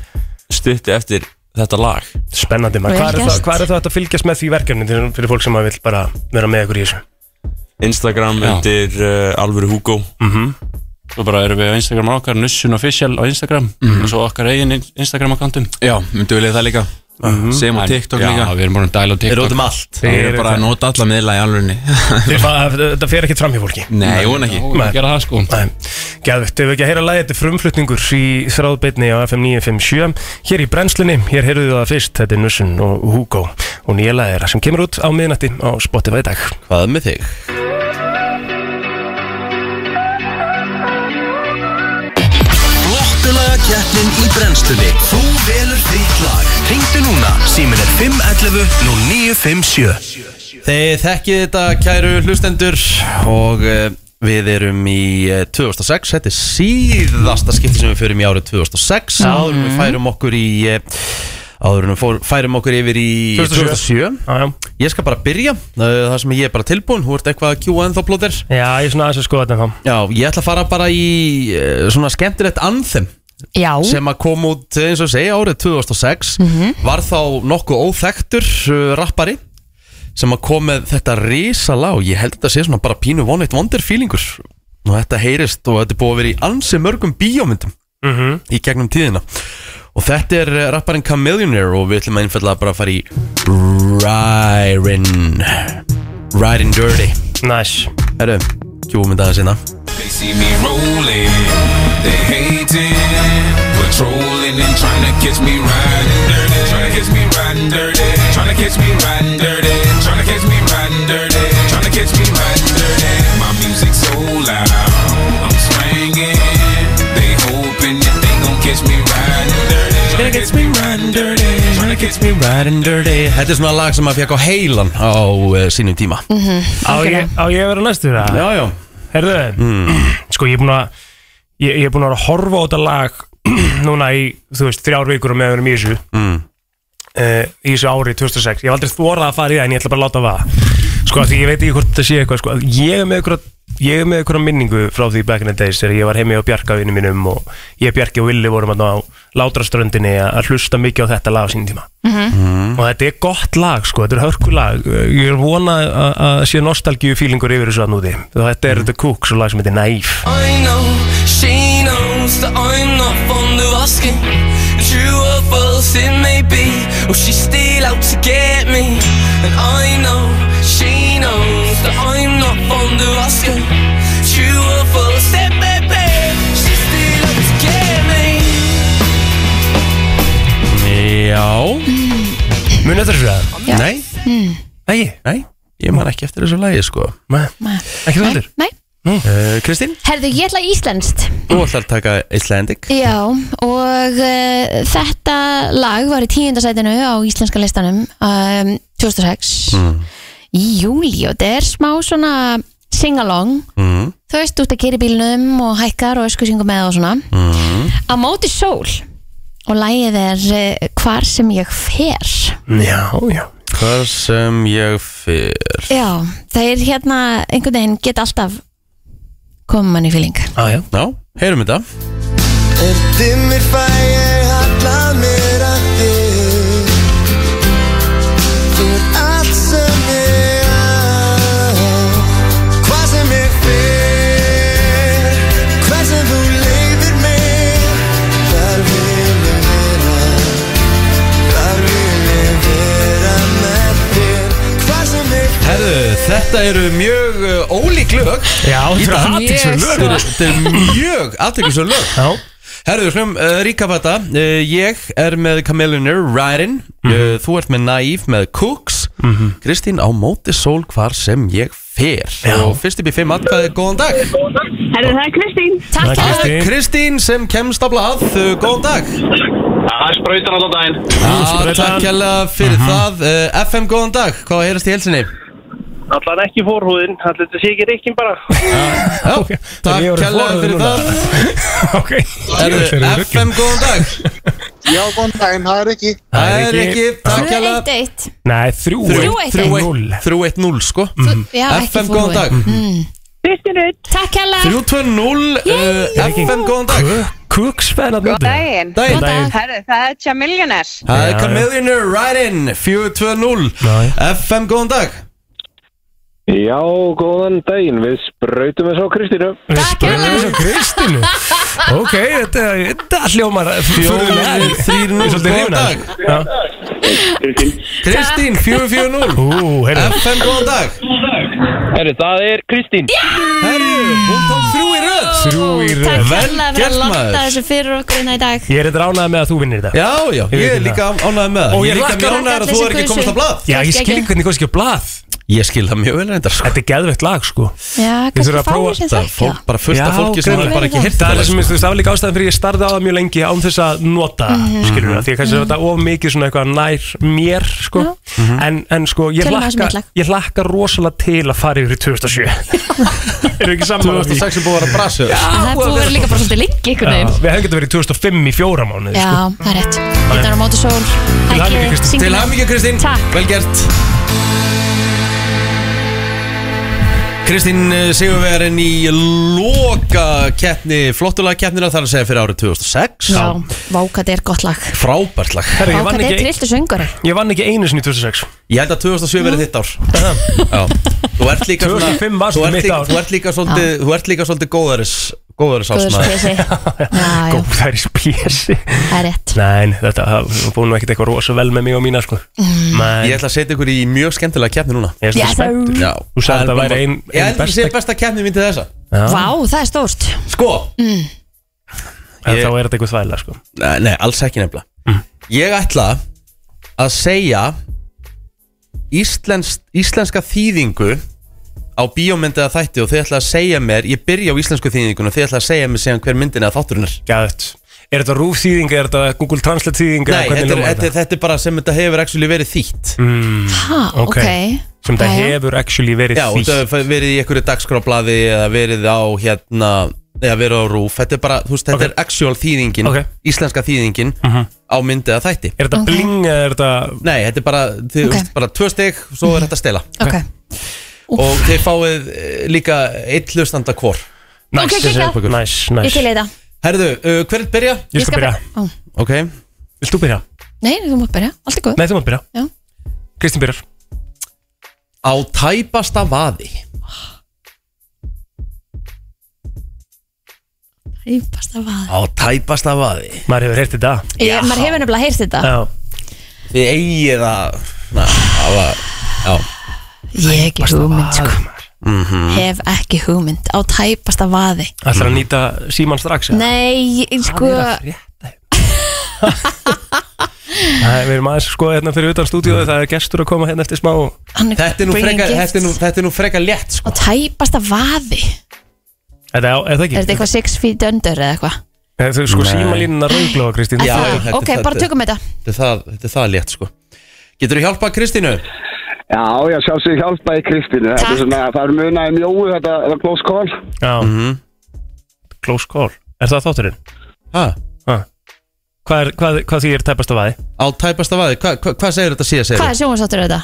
Speaker 7: stutti eftir þetta lag
Speaker 3: Spennandi maður,
Speaker 2: Vel
Speaker 3: hvað er,
Speaker 2: gert.
Speaker 3: það, hvað er það að fylgjast með því verkefni til- fyrir fólk sem að vill bara vera með ykkur í þessu
Speaker 7: Instagram
Speaker 6: Já.
Speaker 7: undir uh, Alvöru Hugo
Speaker 6: Svo bara erum við á Instagram okkar, Nussun Official á Instagram og svo okkar eigin Instagram akkantum
Speaker 5: Mhm. Já, myndu vilja það líka, sem og TikTok
Speaker 6: Já,
Speaker 5: líka,
Speaker 6: við erum búin að dæla á
Speaker 1: Við
Speaker 6: TikTok
Speaker 1: rótum allt
Speaker 5: það eru bara að nota alla miðla í alvörunni.
Speaker 3: <laughs> Þeir fa- Þetta fer ekkert fram hjá fólki
Speaker 5: Nei, hún ekki.
Speaker 6: Ó,
Speaker 3: Nei.
Speaker 6: að gera það sko
Speaker 3: Nei, Geðvegt, ef við ekki að heyra lagi Þetta er frumflutningur í þráðbyrni á FM 957 Hér í brennslunni, hér heyrðu það fyrst Þetta er Nussun og Hugo og nýja lagið þeirra sem kemur út á miðnætti á Spotify í dag
Speaker 1: Hvað með þig?
Speaker 9: Flottulaga keppnin í brennstunni Þú velur þitt lag Hringdu núna, símin er 511 0957
Speaker 1: Þeir þekkið þetta kæru hlustendur og eh, við erum í eh, 2006, þetta er síðasta skipti sem við förum í árið 2006 áður
Speaker 2: Mhm.
Speaker 1: en við færum okkur í eh, áður en við fór- færum okkur yfir í
Speaker 3: 2007.
Speaker 1: 2007.
Speaker 3: Já, já,
Speaker 1: Ég skal bara byrja, eh, það sem ég er bara tilbúin þú ert eitthvað að kjúa ennþá plóðir
Speaker 3: já ég er svona aðeins að skoða þetta þá
Speaker 1: Já, ég ætla að fara bara í eh, svona skemmtilegt anthem
Speaker 2: Já,
Speaker 1: sem að kom út eins og ég segi árið 2006 var þá nokkuð óþektur uh, rappari sem að kom með þetta risalá ég held að þetta sé svona bara pínu vonleitt vondir feelingur og þetta heyrist og þetta er búið að vera í ansi mörgum bíómyndum í gegnum tíðina og þetta er uh, rapparinn Chameleonaire og við ætlum að einfallega bara að fara í Riding Riding Dirty
Speaker 3: Næs,
Speaker 1: Herru, kjúum þetta aðeins hérna
Speaker 10: They see me rolling, they hating, patrolling and trying to catch me riding dirty, trying to catch me riding dirty, trying to catch me riding dirty, trying to catch me riding dirty, trying to catch me riding dirty. My music so loud, I'm swinging. They hoping that they gon' catch me riding dirty, trying to catch me riding dirty, trying to catch me.
Speaker 1: Riding Dirty Þetta er svona lag sem að fekk á heilan á uh, sínum tíma
Speaker 3: á ég, á ég að vera næstur það?
Speaker 1: Já, já
Speaker 3: Herðu, sko ég er búin að ég, ég er búin að vera að horfa á þetta lag <clears throat> núna í, þú veist, þrjár vikur og meðanum í þessu mm. í þessu ári 2006, ég hef aldrei þórað að fara í það en ég ætla bara að láta það sko, af því ég veit ekki hvort þetta sé eitthvað sko, ég er með ykkur ég er með ykkur minningu frá því back in the days þegar ég var heimi á Bjarkavinni mínum og ég, Bjarki og Willi vorum þarna á látraströndinni að- að hlusta mikið á þetta lag á sínum tíma og þetta er gott lag sko, þetta er hörkulag ég er vona að- að sé nostalgíu fílingur yfir þessu að núti þetta er The Cooks og lag sem heitir Naif
Speaker 11: I know she knows that I'm not fond of asking. True or false it may be, or she's still out to get me. And I know she knows that I'm not fond of asking. True or false it may be, she's still out to get me.
Speaker 1: Já
Speaker 3: munið þetta þessu að?
Speaker 2: Já.
Speaker 1: Nei,
Speaker 3: Nei,
Speaker 1: nei Ég man ekki eftir þessu lagi sko
Speaker 3: nei, ekki þú
Speaker 2: nei,
Speaker 3: heldur
Speaker 2: nei
Speaker 1: Uh, Kristín,
Speaker 2: Herðu, ég ætla íslenskt
Speaker 1: þú ætlar að taka Icelandic
Speaker 2: Já, og uh, þetta lag var í tíundasætinu á íslenska listanum um, 2006 í júli og þetta er smá svona sing-along
Speaker 1: mm.
Speaker 2: þú veist, út að gera í bílnum og hækkar og öskusingum með og svona á móti sól og lagið er uh, hvar sem ég fer
Speaker 3: já, já,
Speaker 1: Hvað sem ég fyrr
Speaker 2: Já, það er hérna einhvern veginn get alltaf koma mann í fylling
Speaker 3: á, já.
Speaker 1: Já, heyrum þetta
Speaker 11: En dimmir fæ ég halla mér að þig Þú er allt sem ég á Hvað sem ég fer Hvað sem þú leifir mig Þar vil ég vera Þar vil ég vera með þér Hvað sem ég fer
Speaker 1: Herðu, þetta eru mjög uh, ólík lög
Speaker 3: já,
Speaker 1: Í
Speaker 3: þetta er
Speaker 1: dag.
Speaker 3: hattis
Speaker 2: Yes.
Speaker 1: Þetta eru- þetta eru mjög aðteklisum lög
Speaker 3: já,
Speaker 1: Herðu, við slum, uh, ríkap þetta uh, Ég er með Chameleonair, Ryan uh, Þú ert með Naive, með Cooks
Speaker 3: Mhm.
Speaker 1: Kristín á móti sól hvar sem ég fer Og fyrst upp í fimm atkvæði, góðan dag
Speaker 12: Herðu, það er Kristín.
Speaker 1: Það er Kristín sem kemst á blað, uh, góðan dag
Speaker 13: Það er sprautan allan daginn
Speaker 1: Já, Takk hérlega fyrir það uh, FM, góðan dag, hvað heyrðast í helsinni?
Speaker 13: Allan ekki fórhúðin, allir þetta sé ekki reykinn bara
Speaker 1: Já, takk hérlega fyrir það
Speaker 3: <laughs>
Speaker 1: Herðu, FM, góðan dag
Speaker 14: Já, góðan daginn, það er ekki
Speaker 1: Það er ekki, takk
Speaker 2: Tvö,
Speaker 1: hérlega
Speaker 2: eitt, eitt.
Speaker 3: Nei, þrjú
Speaker 2: Þrjú eitt. Mm. Þrjú eitt.
Speaker 1: 3-1-0 sko
Speaker 3: Mhm.
Speaker 2: Já, ekki
Speaker 1: FM góðan dag
Speaker 2: Mm. Kristín Rutt. Mhm. Takk hérlega.
Speaker 1: 3-2-0 uh, FM góðan dag
Speaker 3: Kuksfæðan
Speaker 8: Góð daginn.
Speaker 1: Daginn. Góðan dag.
Speaker 8: Herðu, það er Chamillionaire.
Speaker 1: Það er Chameleonair right in 4-2-0 FM góðan dag
Speaker 15: Já, góðan daginn, við sprautum þess á Kristínu
Speaker 3: Takk hérna Eins og Kristínu Ok, þetta, þetta hljómar
Speaker 1: Fjórir, þrír, núll, góðan dag. Kristín 4-4-0 FM góðan dag
Speaker 13: Herru, það er Kristín
Speaker 1: Herru, hún tók þrjú í röð
Speaker 3: Þrjú í
Speaker 2: Takk
Speaker 3: röð
Speaker 2: hérlega fyrir að landa þessu fyrir okkur hérna í dag.
Speaker 3: Ég er þetta ránaði með að þú vinnir þetta
Speaker 1: Já, já, ég er líka ánægð með það
Speaker 3: Og
Speaker 1: Ég
Speaker 3: ég
Speaker 1: er líka
Speaker 3: hlakka-
Speaker 1: mjög ánægður að þú er ekki komast á blað
Speaker 3: Já, ég skil ekki hvernig komst ekki á blað
Speaker 1: Ég skil það mjög vel reyndar sko.
Speaker 3: Þetta er geðveikt lag sko
Speaker 2: Já,
Speaker 3: Ég þurf
Speaker 2: kannski
Speaker 3: að prófa
Speaker 2: fáir sem
Speaker 3: þetta.
Speaker 2: þekkja.
Speaker 1: Fólk- bara fullt af fólki sem hefur bara ekki heyrt
Speaker 3: það
Speaker 1: þetta,
Speaker 3: er sem
Speaker 1: sko.
Speaker 3: minnst, þú veist, það var líka ástæðan fyrir ég starði á það mjög lengi án þess að nota mm
Speaker 1: Mhm.
Speaker 3: skilur það, því að kannski mm þetta of mikið svona eitthvað nær mér, sko en, en sko, ég
Speaker 2: Tölum aðeins um eitt
Speaker 3: hlakka
Speaker 2: lag.
Speaker 3: ég hlakka rosalega til að fara yfir í
Speaker 2: <laughs>
Speaker 3: 2007 Erum við ekki saman
Speaker 1: 2006 er búið að vera brasið
Speaker 3: Já,
Speaker 2: Það er búið að vera líka bara svolítið lengi ykkur
Speaker 3: Já,
Speaker 2: veginn.
Speaker 3: Við hefum getað verið í 2005 í fjóra mánuði
Speaker 2: Já,
Speaker 3: sko.
Speaker 2: það er rétt. Þetta er á móti sól.
Speaker 3: hamingju,
Speaker 2: Hækki,
Speaker 3: Kristín.
Speaker 2: syngdu
Speaker 3: Til
Speaker 2: með.
Speaker 1: hamingju, Kristín.
Speaker 2: Takk.
Speaker 1: Vel gert Kristín eh, Sigurvegarinn í loka keppni, flottulega keppnina þar að segja fyrir árið 2006
Speaker 2: Já, vá, hvað þetta er gott lag.
Speaker 1: Frábært lag
Speaker 2: Vá, hvað þetta er trilltu söngari.
Speaker 3: Ég vann ekki einu sinni í 2006
Speaker 1: Ég held að 2007 verið þitt
Speaker 3: <laughs>
Speaker 1: ár Já. Þú ert líka
Speaker 3: 2005 var
Speaker 1: þú ert
Speaker 3: mitt
Speaker 1: líka-
Speaker 3: ár.
Speaker 1: Þú ert líka svolítið, þú ert líka svolítið góðaris Góðaris
Speaker 3: <laughs>
Speaker 2: Guðspesi. Já, já,
Speaker 3: Góðæris pjessi
Speaker 2: það er rétt.
Speaker 3: Nei, þetta það búið nú ekkert eitthvað rosa vel með mig og mína sko.
Speaker 2: Mm.
Speaker 3: Men,
Speaker 1: Ég ætla að setja ykkur í mjög skemmtilega keppni núna
Speaker 3: Ég er svolítið
Speaker 2: Yes,
Speaker 3: spenntur.
Speaker 1: Já.
Speaker 3: Þú sagði að það væri ein,
Speaker 1: Ég
Speaker 3: ein
Speaker 1: held að
Speaker 3: besta
Speaker 1: sé besta keppni mín til þessa
Speaker 2: Vá, það er stórt.
Speaker 1: Sko
Speaker 2: Mm.
Speaker 3: En þá er þetta eitthvað þvæla sko.
Speaker 1: Nei, nei, alls ekki nefnilega
Speaker 3: Mm.
Speaker 1: Ég ætla að segja Íslens, Íslenska þýðingu á bíómyndið að þætti og þið ætla að segja mér ég byrja á íslensku þýðingun og þið ætla að segja mér síðan hver myndin eða þátturinn er
Speaker 3: Gæðt Er þetta rúf þýðing, er þetta Google Translate þýðing
Speaker 1: Nei, þetta er, þetta, er- þetta er bara sem þetta hefur actually verið þýtt
Speaker 3: mm,
Speaker 2: Ha, ok.
Speaker 3: Sem þetta
Speaker 2: Jæja.
Speaker 3: hefur actually verið
Speaker 1: Já, og
Speaker 3: þýtt
Speaker 1: þetta hefur verið í einhverju dagskráblaði eða verið á hérna eða verið á rúf, þetta er bara, þú veist, þetta er actual þýðingin,
Speaker 3: Ok. Mhm.
Speaker 1: íslenska þýðingin á myndið að þætti
Speaker 3: Er þetta bling eða er þetta
Speaker 1: Nei, þetta er bara, þið,
Speaker 2: Ok.
Speaker 1: okay. bara tvö stygg, svo er þetta að stela
Speaker 2: Ok.
Speaker 1: og þið fáið eh, líka eitt hlustanda hvor
Speaker 2: Nice. Ok, geggjað.
Speaker 3: Næs,
Speaker 2: Ég til í þetta.
Speaker 1: Herðu, uh, hver er byrja?
Speaker 3: Ég skal byrja
Speaker 2: Ó,
Speaker 1: Ok
Speaker 3: Vilt þú byrja?
Speaker 2: Nei, þú mátt byrja. Allt er góð.
Speaker 3: Nei, þú mátt byrja
Speaker 2: Já.
Speaker 3: Kristín byrjar
Speaker 1: Á tæpasta vaði
Speaker 2: Íbasta vað.
Speaker 1: Á tæpasta vaði
Speaker 3: Maður hefur heyrt þetta
Speaker 2: Ég, Eh, maður hefur nefnilega heyrt þetta.
Speaker 1: Þið eigið að Na, það var Já
Speaker 2: Ég hef ekki hugmynd, sko.
Speaker 1: mm -hmm.
Speaker 2: Hef ekki hugmynd. Á tæpasta vaði.
Speaker 3: Ætlar að nýta síman strax eða?
Speaker 2: Nei, ég- sko.
Speaker 3: <laughs> Nei, Við erum aðeins sko hérna fyrir utan stúdíu Það er gestur að koma hérna eftir smá
Speaker 1: Þetta er nú
Speaker 2: bringing
Speaker 1: freka,
Speaker 2: gifts.
Speaker 1: þetta er nú, þetta er nú freka létt sko.
Speaker 2: Á tæpasta vaði.
Speaker 3: Þetta er, er það
Speaker 2: Er þetta
Speaker 3: ekki?
Speaker 2: eitthvað six feet under eða eitthvað?
Speaker 3: Er þetta sko
Speaker 1: Nei.
Speaker 3: símalínuna rauglóa, Kristín
Speaker 1: Já,
Speaker 2: Það-
Speaker 1: þetta-
Speaker 2: ok, bara
Speaker 1: þetta-
Speaker 2: tökum þetta.
Speaker 1: Þetta er það, þetta er það létt sko Getur þú hjálpað Kristínu?
Speaker 14: Já, já, sjálfsög hjálpaði Kristínu Þetta er svona, það er munaði mjóu þetta, þetta close call
Speaker 3: Já Close call Er það þátturinn?
Speaker 1: Ha?
Speaker 3: Ha. Hvað, er, hvað, hvað því er tæpast að vaði?
Speaker 1: Á tæpasta vaði, hva, hva, hvað segir þetta síðan segir?
Speaker 2: Hvað er sjónvarsáttur þetta?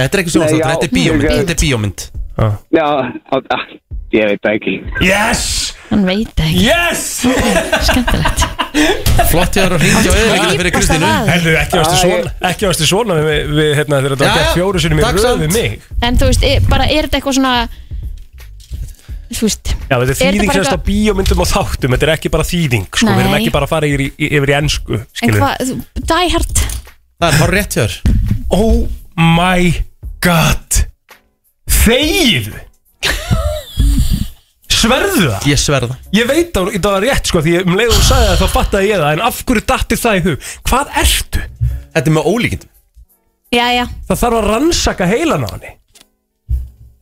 Speaker 1: Þetta er ekki sjónastáttur,
Speaker 14: Nei, já,
Speaker 1: þetta er bíómynd
Speaker 14: ég-
Speaker 1: Þetta er bíómynd
Speaker 14: Já, á, á, ég veit það ekki
Speaker 3: Yes!
Speaker 2: Hann veit það
Speaker 1: <laughs>
Speaker 2: ekki.
Speaker 3: Yes!
Speaker 2: Skemmtilegt.
Speaker 1: Flott ég var að ringja og eða fyrir Kristínu
Speaker 3: Heldur, ekki varstu
Speaker 2: Ah,
Speaker 3: svona, ekki varstu svona við, við hérna, þegar þetta
Speaker 1: Já,
Speaker 3: var gert
Speaker 1: já.
Speaker 3: fjóru sinni
Speaker 1: Takk
Speaker 3: með röð
Speaker 1: samt.
Speaker 3: við mig
Speaker 2: En þú veist, er, bara er þetta eitthvað svona Þú veist
Speaker 3: Já, þetta er
Speaker 2: þetta
Speaker 3: þýðing
Speaker 2: bara
Speaker 3: semst á
Speaker 2: eitthvað-
Speaker 3: bíómyndum og þáttum, þetta er ekki bara þýðing, sko, við erum
Speaker 2: Nei.
Speaker 3: ekki bara að fara yfir, í- yfir í ennsku,
Speaker 2: En
Speaker 3: skilur
Speaker 2: hvað, þú- die hard
Speaker 1: Það er hár rétt hjör
Speaker 3: Oh
Speaker 2: <laughs>
Speaker 3: my god Þegið Sverðu það?
Speaker 1: Ég sverða
Speaker 3: Ég veit að það var rétt sko Því ég- um leið og hún sagði það þá fattaði ég það En af hverju dattir það í hug? Hvað ertu?
Speaker 1: Þetta er með ólíkindum
Speaker 2: já, já,
Speaker 3: Það þarf að rannsaka heilan á henni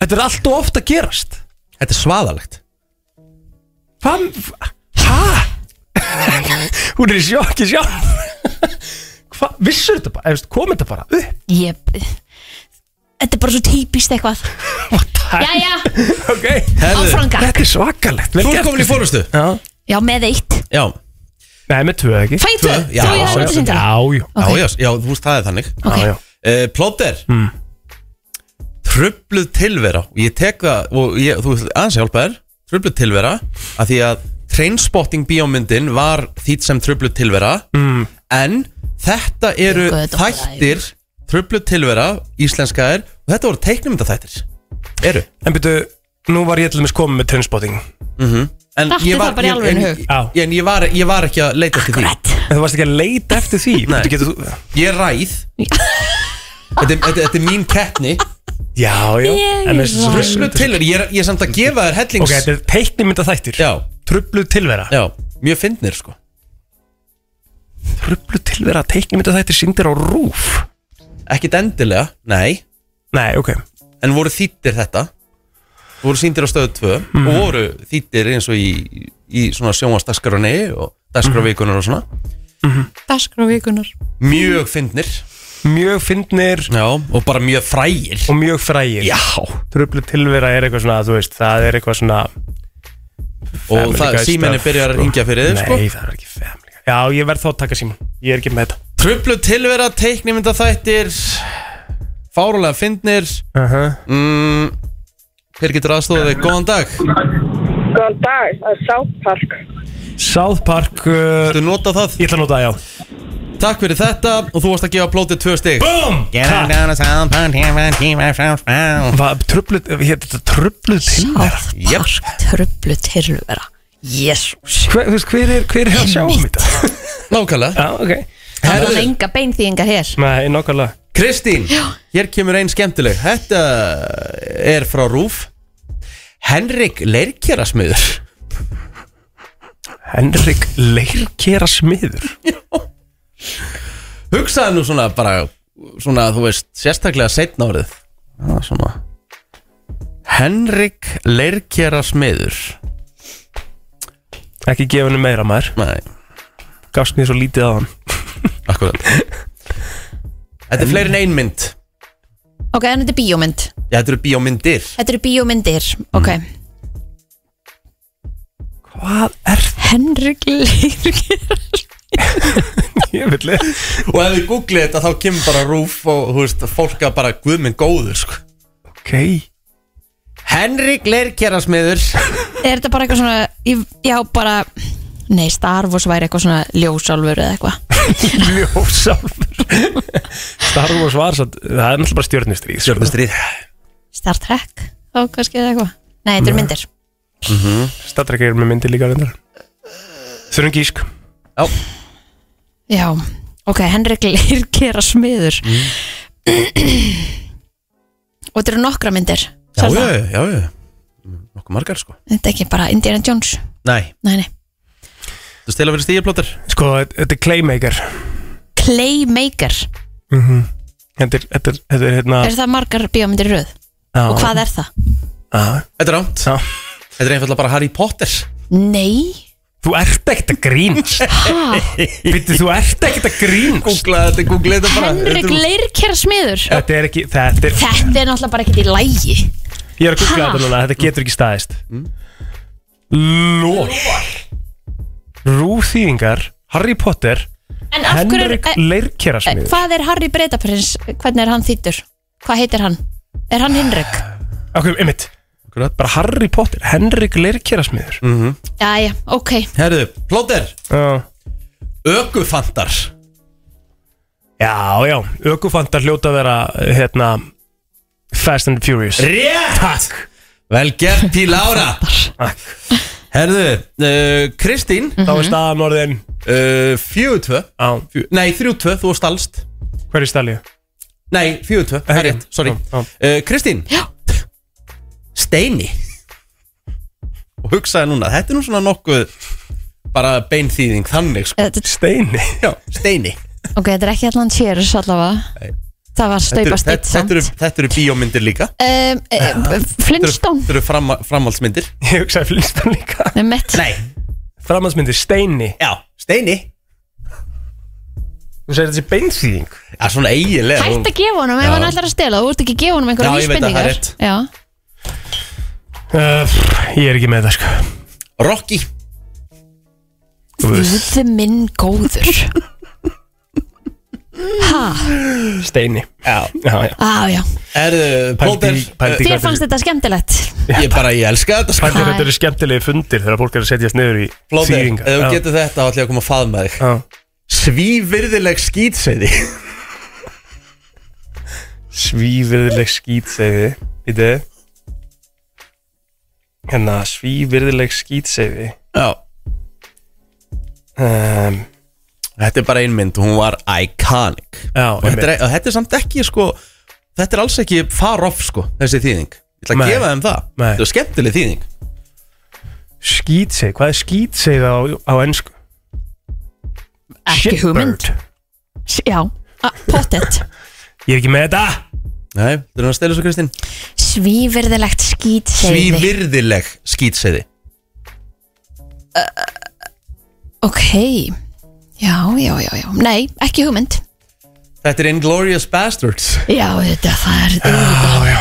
Speaker 3: Þetta er allt og oft að gerast
Speaker 1: Þetta er svaðalegt
Speaker 3: Hvað? Hæ? <laughs> Hún er í sjokki sjálf Hvað? Vissur þetta bara? Eftir, kom þetta bara upp?
Speaker 2: ég Þetta er bara svo típist eitthvað Já, já,
Speaker 3: Ok
Speaker 2: Áfram gakk.
Speaker 3: Þetta er svakalegt Vel
Speaker 1: Þú
Speaker 3: gert.
Speaker 1: er komin í fórustu
Speaker 3: Já
Speaker 2: já, með eitt
Speaker 1: Já
Speaker 3: Nei, með tvö ekki
Speaker 2: Fæ tvö?
Speaker 1: Já,
Speaker 2: Þú, ég hafði
Speaker 1: já,
Speaker 2: upplýsingar.
Speaker 3: já,
Speaker 1: já, já, já, þú veist það er þannig
Speaker 2: Ok.
Speaker 3: Já, já.
Speaker 1: uh, Plóter
Speaker 3: mm.
Speaker 1: Trubluð tilvera Og ég tek það, og ég, þú veist aðeins að hjálpa þér Trubluð tilvera Af því að Trainspotting bíómyndin var þýtt sem trubluð tilvera
Speaker 3: mm.
Speaker 1: En þetta eru þættir Trubluð tilvera, íslenska er Og þetta voru teiknumynda þættir Eru
Speaker 3: En byrju, nú var ég til dæmis komið með trendspotting
Speaker 1: mm -hmm. En
Speaker 2: Datti
Speaker 1: ég
Speaker 2: það
Speaker 1: var,
Speaker 2: bara í
Speaker 1: ég,
Speaker 2: alvörunni
Speaker 1: en,
Speaker 2: hug?
Speaker 3: Já.
Speaker 1: ég, en ég, var, ég var ekki að leita eftir því
Speaker 3: En þú varst ekki að leita eftir því
Speaker 1: Nei.
Speaker 3: Bíddu, getur þú...
Speaker 1: Ég ræð þetta, er- þetta, þetta er mín keppni
Speaker 3: Já, já
Speaker 2: Ég
Speaker 3: En þessi-
Speaker 1: Trubluð tilvera, ég, er- ég er samt að gefa þér hellings
Speaker 3: Ok, þetta er teiknimynda þættir
Speaker 1: Já,
Speaker 3: Trubluð tilvera
Speaker 1: já, mjög fyndnir sko
Speaker 3: Trubluð tilvera teiknimynda þættir síndir á rúf
Speaker 1: Ekkit endilega, nei
Speaker 3: Nei, ok
Speaker 1: En voru þýttir þetta Voru sýndir á stöðu 2
Speaker 3: Mhm.
Speaker 1: Og voru þýttir eins og í, í svona sjónvastaskráni Og dagskrávíkunar og svona
Speaker 2: Daskra vikunar
Speaker 1: Mjög fyndnir
Speaker 3: Mjög fyndnir
Speaker 1: Já, og bara mjög frægir
Speaker 3: Og mjög frægir
Speaker 1: Já
Speaker 3: Trubluð tilvera er eitthvað svona, þú veist Það er eitthvað svona
Speaker 1: Og
Speaker 3: Family
Speaker 1: það
Speaker 3: Guy
Speaker 1: síminni
Speaker 3: stuff,
Speaker 1: byrjar að
Speaker 3: sko.
Speaker 1: ringja fyrir þið sko
Speaker 3: Nei, það er ekki family Guy. Já, ég verð þá að taka síman Ég er ekki með þetta
Speaker 1: Trublu tilvera, teiknimynda þættir Fárulega fyndnir mm, Hver getur aðstofið? Góðan dag
Speaker 12: Góðan dag, það er South Park.
Speaker 3: South Park uh,
Speaker 1: Þú nota það
Speaker 3: Ég ætla að nota það, já
Speaker 1: Takk fyrir þetta og þú varst að gefa plótið tvö stig
Speaker 3: Búm! Hvað, trubluð, hér, þetta trubluð tilvera
Speaker 1: Jep.
Speaker 2: Tröflu tilvera Jésús
Speaker 3: Hver, þú veist, hver er, hver er að sjá um þetta?
Speaker 1: Nákvæmlega
Speaker 3: Já, ok
Speaker 2: Það er enga beinþýðingar hér
Speaker 3: Nei, nokkarlega
Speaker 1: Kristín, hér kemur einn skemmtileg Þetta er frá Rúf Henrik Leirkjærasmiður
Speaker 3: Henrik leirkera smiður
Speaker 1: Hugsaði nú svona bara Svona, þú veist, sérstaklega setna árið Já, Svona Henrik Leirkjærasmiður
Speaker 3: Ekki gefa henni meira maður
Speaker 1: Nei,
Speaker 3: Gafst mér svo lítið á hann
Speaker 1: akkurat Þetta er fleiri en einmynd
Speaker 2: Ok, en þetta er bíómynd
Speaker 1: Já, þetta eru bíómyndir
Speaker 2: Þetta eru bíómyndir Ok
Speaker 3: Hvað er
Speaker 2: Henrik Leirkjara
Speaker 3: ég villi?
Speaker 1: Og ef við googlið þetta þá kemur bara rúf og þú veist, fólk að bara guðminn góður sko.
Speaker 3: Ok
Speaker 1: Henrik Leirkjærasmiður
Speaker 2: Er þetta bara eitthvað svona ég, Já, bara Nei, Star Wars væri eitthvað svona ljósálfur eða eitthvað
Speaker 3: Ljósálfur Star Wars var satt Það er náttúrulega bara stjörnustríð sko.
Speaker 1: Stjórnustrið
Speaker 2: Star Trek Þá kannski eða eitthvað Nei, þetta eru myndir
Speaker 3: Star Trek er með myndi líka reyndar Þurfum gísk
Speaker 2: Já, ok, Henrik <laughs> Leirkjara smiður Og þetta eru nokkra myndir
Speaker 1: Mm. Já,
Speaker 2: sagði
Speaker 1: já,
Speaker 2: það.
Speaker 1: já, já, já Nokkuð margar sko
Speaker 2: Þetta er ekki bara Indiana Jones
Speaker 1: Nei,
Speaker 2: Nei, nei
Speaker 1: þú stila verið stíðplótur
Speaker 3: Sko, þetta- þetta er Claymaker
Speaker 2: Playmaker,
Speaker 3: mm þetta, er, þetta, er, þetta er
Speaker 1: Ah.
Speaker 3: hérna
Speaker 2: er það margar bíómyndir í röð?
Speaker 3: á,
Speaker 2: Og hvað er það?
Speaker 3: á,
Speaker 1: Þetta er rámt
Speaker 3: Já.
Speaker 1: Þetta er einfallega bara Harry Potter
Speaker 2: Nei,
Speaker 3: Þú ert ekkert að grínast
Speaker 2: <laughs> ha?
Speaker 3: Vittu, þú ert ekkert að sko. grínast
Speaker 1: Googlaði þetta, googlaði <laughs> þetta bara
Speaker 2: Henrik
Speaker 1: Þetta er- Eh.
Speaker 2: Leirkjara smiður
Speaker 3: Þetta er ekki, þetta er
Speaker 2: Þetta er náttúrulega bara ekkert í lægi
Speaker 3: Ég er að googla
Speaker 2: Ha?
Speaker 3: þetta núna, þetta getur ekki staðist Lól Rúþýðingar Harry Potter
Speaker 2: En af hverju,
Speaker 3: Henrik
Speaker 2: eh, eh,
Speaker 3: Leirkerasmiður
Speaker 2: hvað er Harry Breitaprins? Hvernig er hann þýttur? Hvað heitir hann? Er hann Henrik?
Speaker 1: Ah.
Speaker 3: Okkur, einmitt
Speaker 1: Akkurat.
Speaker 3: Bara Harry Potter, Henrik Leirkerasmiður
Speaker 2: Jæja, ok Eh,
Speaker 1: Herðu, plótur
Speaker 3: Já,
Speaker 1: Ögufantar
Speaker 3: já, já Ökufandar hljóta að vera hérna Fast and Furious
Speaker 1: Rétt Takk Vel gert til Lára
Speaker 3: Takk.
Speaker 1: Herðu, uh, Kristín
Speaker 3: Þá
Speaker 2: Mhm.
Speaker 3: er staðan orðin
Speaker 1: uh, 4-2
Speaker 3: á,
Speaker 1: Fjö- Nei, 3-2, þú varst allst
Speaker 3: Hverju stalið?
Speaker 1: Nei, Eh, 4-2, það er rétt, sorry
Speaker 3: Já, já.
Speaker 1: uh, Kristín
Speaker 2: Já.
Speaker 1: Steini og hugsaði núna, þetta er nú svona nokkuð bara beinþýðing þannig sko.
Speaker 3: Steini
Speaker 1: Já, steini
Speaker 2: Ok, þetta er ekki allan Cheers allavega Það var
Speaker 1: Þetta eru-
Speaker 2: staupast eitt
Speaker 1: þetta- Þetta eru- þetta eru bíómyndir líka
Speaker 2: um, uh, Flintstone
Speaker 1: Þetta eru fram, framhaldsmyndir
Speaker 3: Ég hugsaði Flintstone líka
Speaker 2: Nei, mitt
Speaker 1: Nei
Speaker 3: Framhaldsmyndir Steini
Speaker 1: Já, Steini
Speaker 3: Þú segir þetta sé beinþýðing
Speaker 1: Já, svona eiginlega
Speaker 2: Hætt að gefa honum ef
Speaker 3: Já.
Speaker 2: hann ætlar að stela Þú ert ekki að gefa honum einhverja
Speaker 3: Já, ég veit að það er
Speaker 2: vísbendingar
Speaker 3: rétt.
Speaker 2: Já,
Speaker 3: Uh, pff, ég er ekki með það sko
Speaker 1: Rocky
Speaker 2: Guði minn góður
Speaker 3: <laughs>
Speaker 2: Hæ,
Speaker 3: Steini
Speaker 1: Já, eh,
Speaker 3: já, já.
Speaker 2: á Ah, já
Speaker 1: Erðu, Plóter
Speaker 2: Þér fannst þetta skemmtilegt
Speaker 1: eh, Ég bara, ég elska þetta sko.
Speaker 3: Pældi
Speaker 2: Hæ.
Speaker 3: þetta eru skemmtilegi fundir þegar fólk er að setjast niður í
Speaker 1: Plóter, ef
Speaker 3: þýðingar.
Speaker 1: þú
Speaker 3: Já.
Speaker 1: getur þetta þá ætla ég að koma að faðma þig
Speaker 3: Já.
Speaker 1: Svívirðileg skýtseiði
Speaker 3: Svívirðileg skýtseiði Býtu Hérna, svívirðileg skýtseiði
Speaker 1: Já
Speaker 3: um,
Speaker 1: Þetta er bara ein mynd, hún var iconic
Speaker 3: Já,
Speaker 1: og þetta, er, og þetta er samt ekki sko, Þetta er alls ekki far off sko, Þessi þýðing Ég ætla að
Speaker 3: Nei.
Speaker 1: gefa þeim það
Speaker 3: Nei.
Speaker 1: Þetta er skemmtileg þýðing
Speaker 3: Skýtseið, hvað er skýtseið á, á ennsku?
Speaker 2: Ekki hugmynd Já, a- pottet
Speaker 3: Ég er ekki með þetta <laughs>
Speaker 1: Nei, þú erum að stela svo Kristinn
Speaker 2: Svívirðilegt skýt segði
Speaker 1: Svívirðileg skýtseiði
Speaker 2: Ok, já, já, já, já Nei, ekki hugmynd
Speaker 1: Þetta er Inglourious Bastards
Speaker 2: Já, þetta það er
Speaker 3: Já, já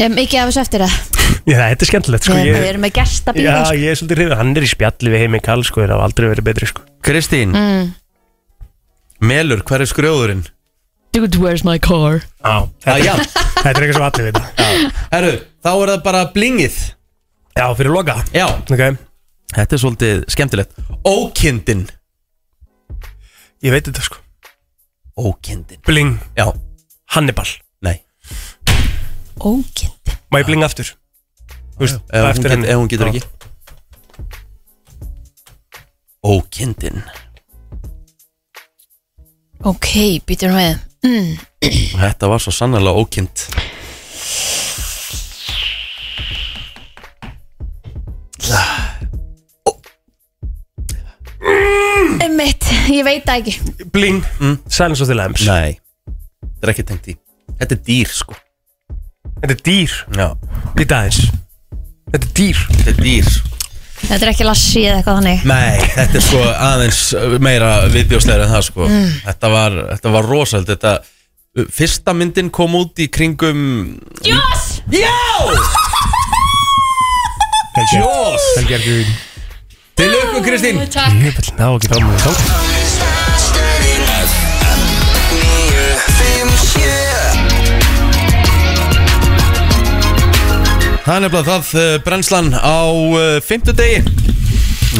Speaker 2: Hef mikið af þessu eftir það
Speaker 3: Já, þetta er skemmtilegt sko
Speaker 2: Við
Speaker 3: ég,
Speaker 2: við erum með gesta
Speaker 3: Já,
Speaker 2: bíða
Speaker 3: ég er svolítið hrifið Hann er í spjalli við heimi kall sko Það hafa aldrei verið betri sko
Speaker 1: Kristín,
Speaker 2: mm.
Speaker 1: Melur, hver er skrjóðurinn?
Speaker 2: Dude, where's my car?
Speaker 3: Já,
Speaker 1: <laughs> Ah, já.
Speaker 3: <laughs> þetta er eitthvað sem allir vita
Speaker 1: Herru, þá er það bara blingið
Speaker 3: Já, fyrir loka
Speaker 1: Já,
Speaker 3: okay.
Speaker 1: þetta er svolítið skemmtilegt Ókindin
Speaker 3: Ég veit þetta sko
Speaker 1: Ókindin
Speaker 3: Bling,
Speaker 1: Já,
Speaker 3: Hannibal
Speaker 1: nei
Speaker 2: Ókind
Speaker 3: Má ég bling aftur? Þú veist,
Speaker 1: Ef hún,
Speaker 3: eftir
Speaker 1: get,
Speaker 3: henni
Speaker 1: ef hún getur
Speaker 3: Já.
Speaker 1: ekki Ókindin
Speaker 2: Ok, býtum við mm.
Speaker 1: Þetta var svo sannlega ókind
Speaker 2: Mitt, ég veit það ekki
Speaker 3: Bling, Silence of the Lambs
Speaker 1: Mm. Nei, þetta er ekki tengt í Þetta er dýr sko
Speaker 3: Þetta er dýr,
Speaker 1: Já.
Speaker 3: býta aðeins Þetta er dýr
Speaker 1: Þetta er dýr
Speaker 2: Þetta er ekki lassi eða eitthvað þannig
Speaker 1: Nei, þetta er sko aðeins meira viðbjóðslega en það sko
Speaker 2: Mm.
Speaker 1: Þetta var, þetta var rosald þetta, Fyrsta myndin kom út í kringum
Speaker 2: Jós!
Speaker 1: Já! Jaws!
Speaker 3: Helgi er ekki
Speaker 1: Til ykkur Kristín
Speaker 2: Takk
Speaker 3: Ég vil ná ekki fram með þá
Speaker 1: Það er nefnilega það eh, brennslan á fymtudegi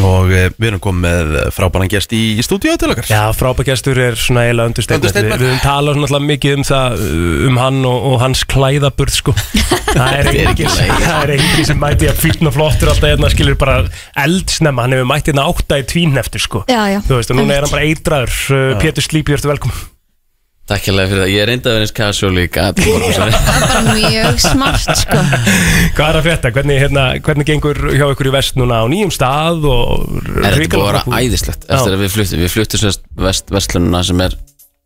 Speaker 1: Og eh, við erum komið með eh, frábæran gest í, í stúdíu til okkar
Speaker 3: Já, frábækjastur er svona eiginlega understatement Við
Speaker 1: Understatement.
Speaker 3: við höfum talað svona alltaf mikið um það uh, um hann og, og hans klæðaburð
Speaker 7: <laughs>
Speaker 3: sko Það er engin það er engin sem mæti að fýtna flottur alltaf hérna skilur bara eldsnemma hann hefur mætt hérna átta í tvín eftir sko
Speaker 2: Já, já
Speaker 3: Þú veist, og núna er hann bara eitraður uh,
Speaker 7: Já.
Speaker 3: Pétur Slípi, ertu velkom
Speaker 7: Takk hérlega fyrir það, ég reyndi að vera eins casual í gat
Speaker 2: Það er bara mjög smart sko
Speaker 3: Hvað er að frétta? Hvernig, hérna, hvernig gengur hjá ykkur í vest núna á nýjum stað og
Speaker 7: Er þetta búið að
Speaker 3: hrikalega
Speaker 7: vera
Speaker 3: búið?
Speaker 7: æðislegt
Speaker 3: Já.
Speaker 7: eftir að við fluttum Við fluttum sérst vest, vestlununa sem er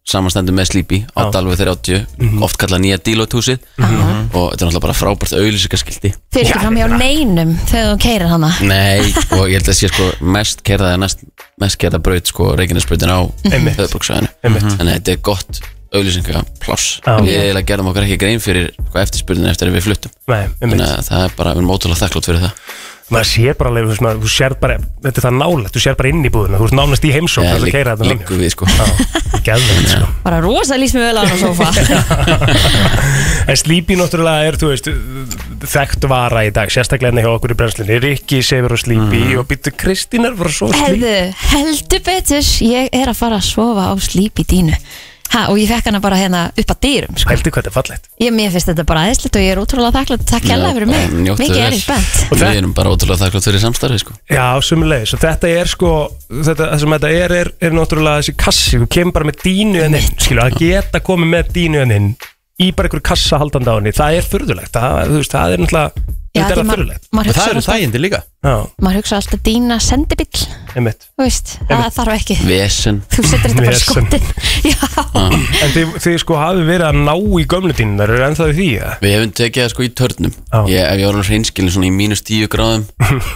Speaker 7: samanstendur með Sleepy á
Speaker 3: Já. Mhm.
Speaker 7: Dalvi 30 oft kallað nýja dílóthúsið
Speaker 8: Mhm.
Speaker 7: og þetta er náttúrulega bara frábært auðlýsingaskildi
Speaker 2: Þið er ekki fram hjá neinum þegar þú keirir hana
Speaker 7: Nei, og ég held að sé sko mest kerða eða næst- mest kerða braut sko Reykjanesbrautin á
Speaker 3: Einmitt.
Speaker 7: höfðbruksvæðinu
Speaker 3: Einmitt.
Speaker 7: Þannig að þetta er gott auðlýsingapláss
Speaker 3: Já.
Speaker 7: Við eiginlega gerðum okkar ekki grein fyrir sko, eftirspurnin eftir að við fluttum
Speaker 3: Nei, einmitt.
Speaker 7: Þannig að það er bara, við erum ótrúlega þakklátt fyrir það
Speaker 3: maður sér bara alveg, þú veist, maður- þú sér bara þetta er það nálægt, þú sér bara inn í búðuna þú ert nánast í heimsókn
Speaker 7: Já,
Speaker 3: þegar þú
Speaker 7: ligg-
Speaker 3: keira þetta
Speaker 7: liggum við sko
Speaker 3: Gæðvegt, sko.
Speaker 2: Bara rosa líst mér vel á hana á sofa <laughs>
Speaker 3: En Sleepy náttúrulega er, þú veist, þekkt vara í dag, sérstaklega hérna hjá okkur í brennslinni. Rikki sefur á Sleepy
Speaker 7: Mhm.
Speaker 3: og býttu Kristín er bara svo Sleepy.
Speaker 2: Hefðu, heldur betur Ég er að fara að sofa á slíp í dínu ha, Og ég fekk hana bara hérna upp að dýrum sko.
Speaker 3: Heldur hvað þetta er fallegt.
Speaker 2: ég, Mér finnst þetta bara aðeinslegt og ég er útrúlega þakklátt Takk hérlega fyrir mig,
Speaker 7: Njóttu
Speaker 2: mikið
Speaker 7: vel.
Speaker 2: er ég spennt
Speaker 3: Og
Speaker 7: Við
Speaker 3: þetta-
Speaker 7: erum bara ótrúlega þakklátt fyrir samstarfi sko
Speaker 3: Já, sumulegis. Og þetta er sko, þetta, það sem þetta er, er, er náttúrulega þessi kassi. Þú kemur bara með dínu en inn, skilu, að geta komið með dínu en inn í bara einhverju kassa haldandi á henni það er furðulegt, það, þú veist, það er náttúrulega
Speaker 2: Já,
Speaker 3: þetta er
Speaker 2: því
Speaker 3: það
Speaker 2: ma-
Speaker 3: furðulegt
Speaker 2: maður hugsar Það eru alltaf-
Speaker 1: þægindi líka
Speaker 3: Já,
Speaker 2: maður hugsa alltaf dýna sendibill
Speaker 3: einmitt
Speaker 2: þú veist, það þarf ekki
Speaker 1: Vesen
Speaker 2: þú setur þetta bara í
Speaker 3: Vesen.
Speaker 2: <laughs> skottin
Speaker 8: Ah.
Speaker 3: En þið, þið sko hafið verið að ná í gömlu dýnum, það eru ennþá í því ja?
Speaker 8: Við hefum tekið það sko í törnum ég, Ef ég var alveg hreinskilin svona í mínus 10 gráðum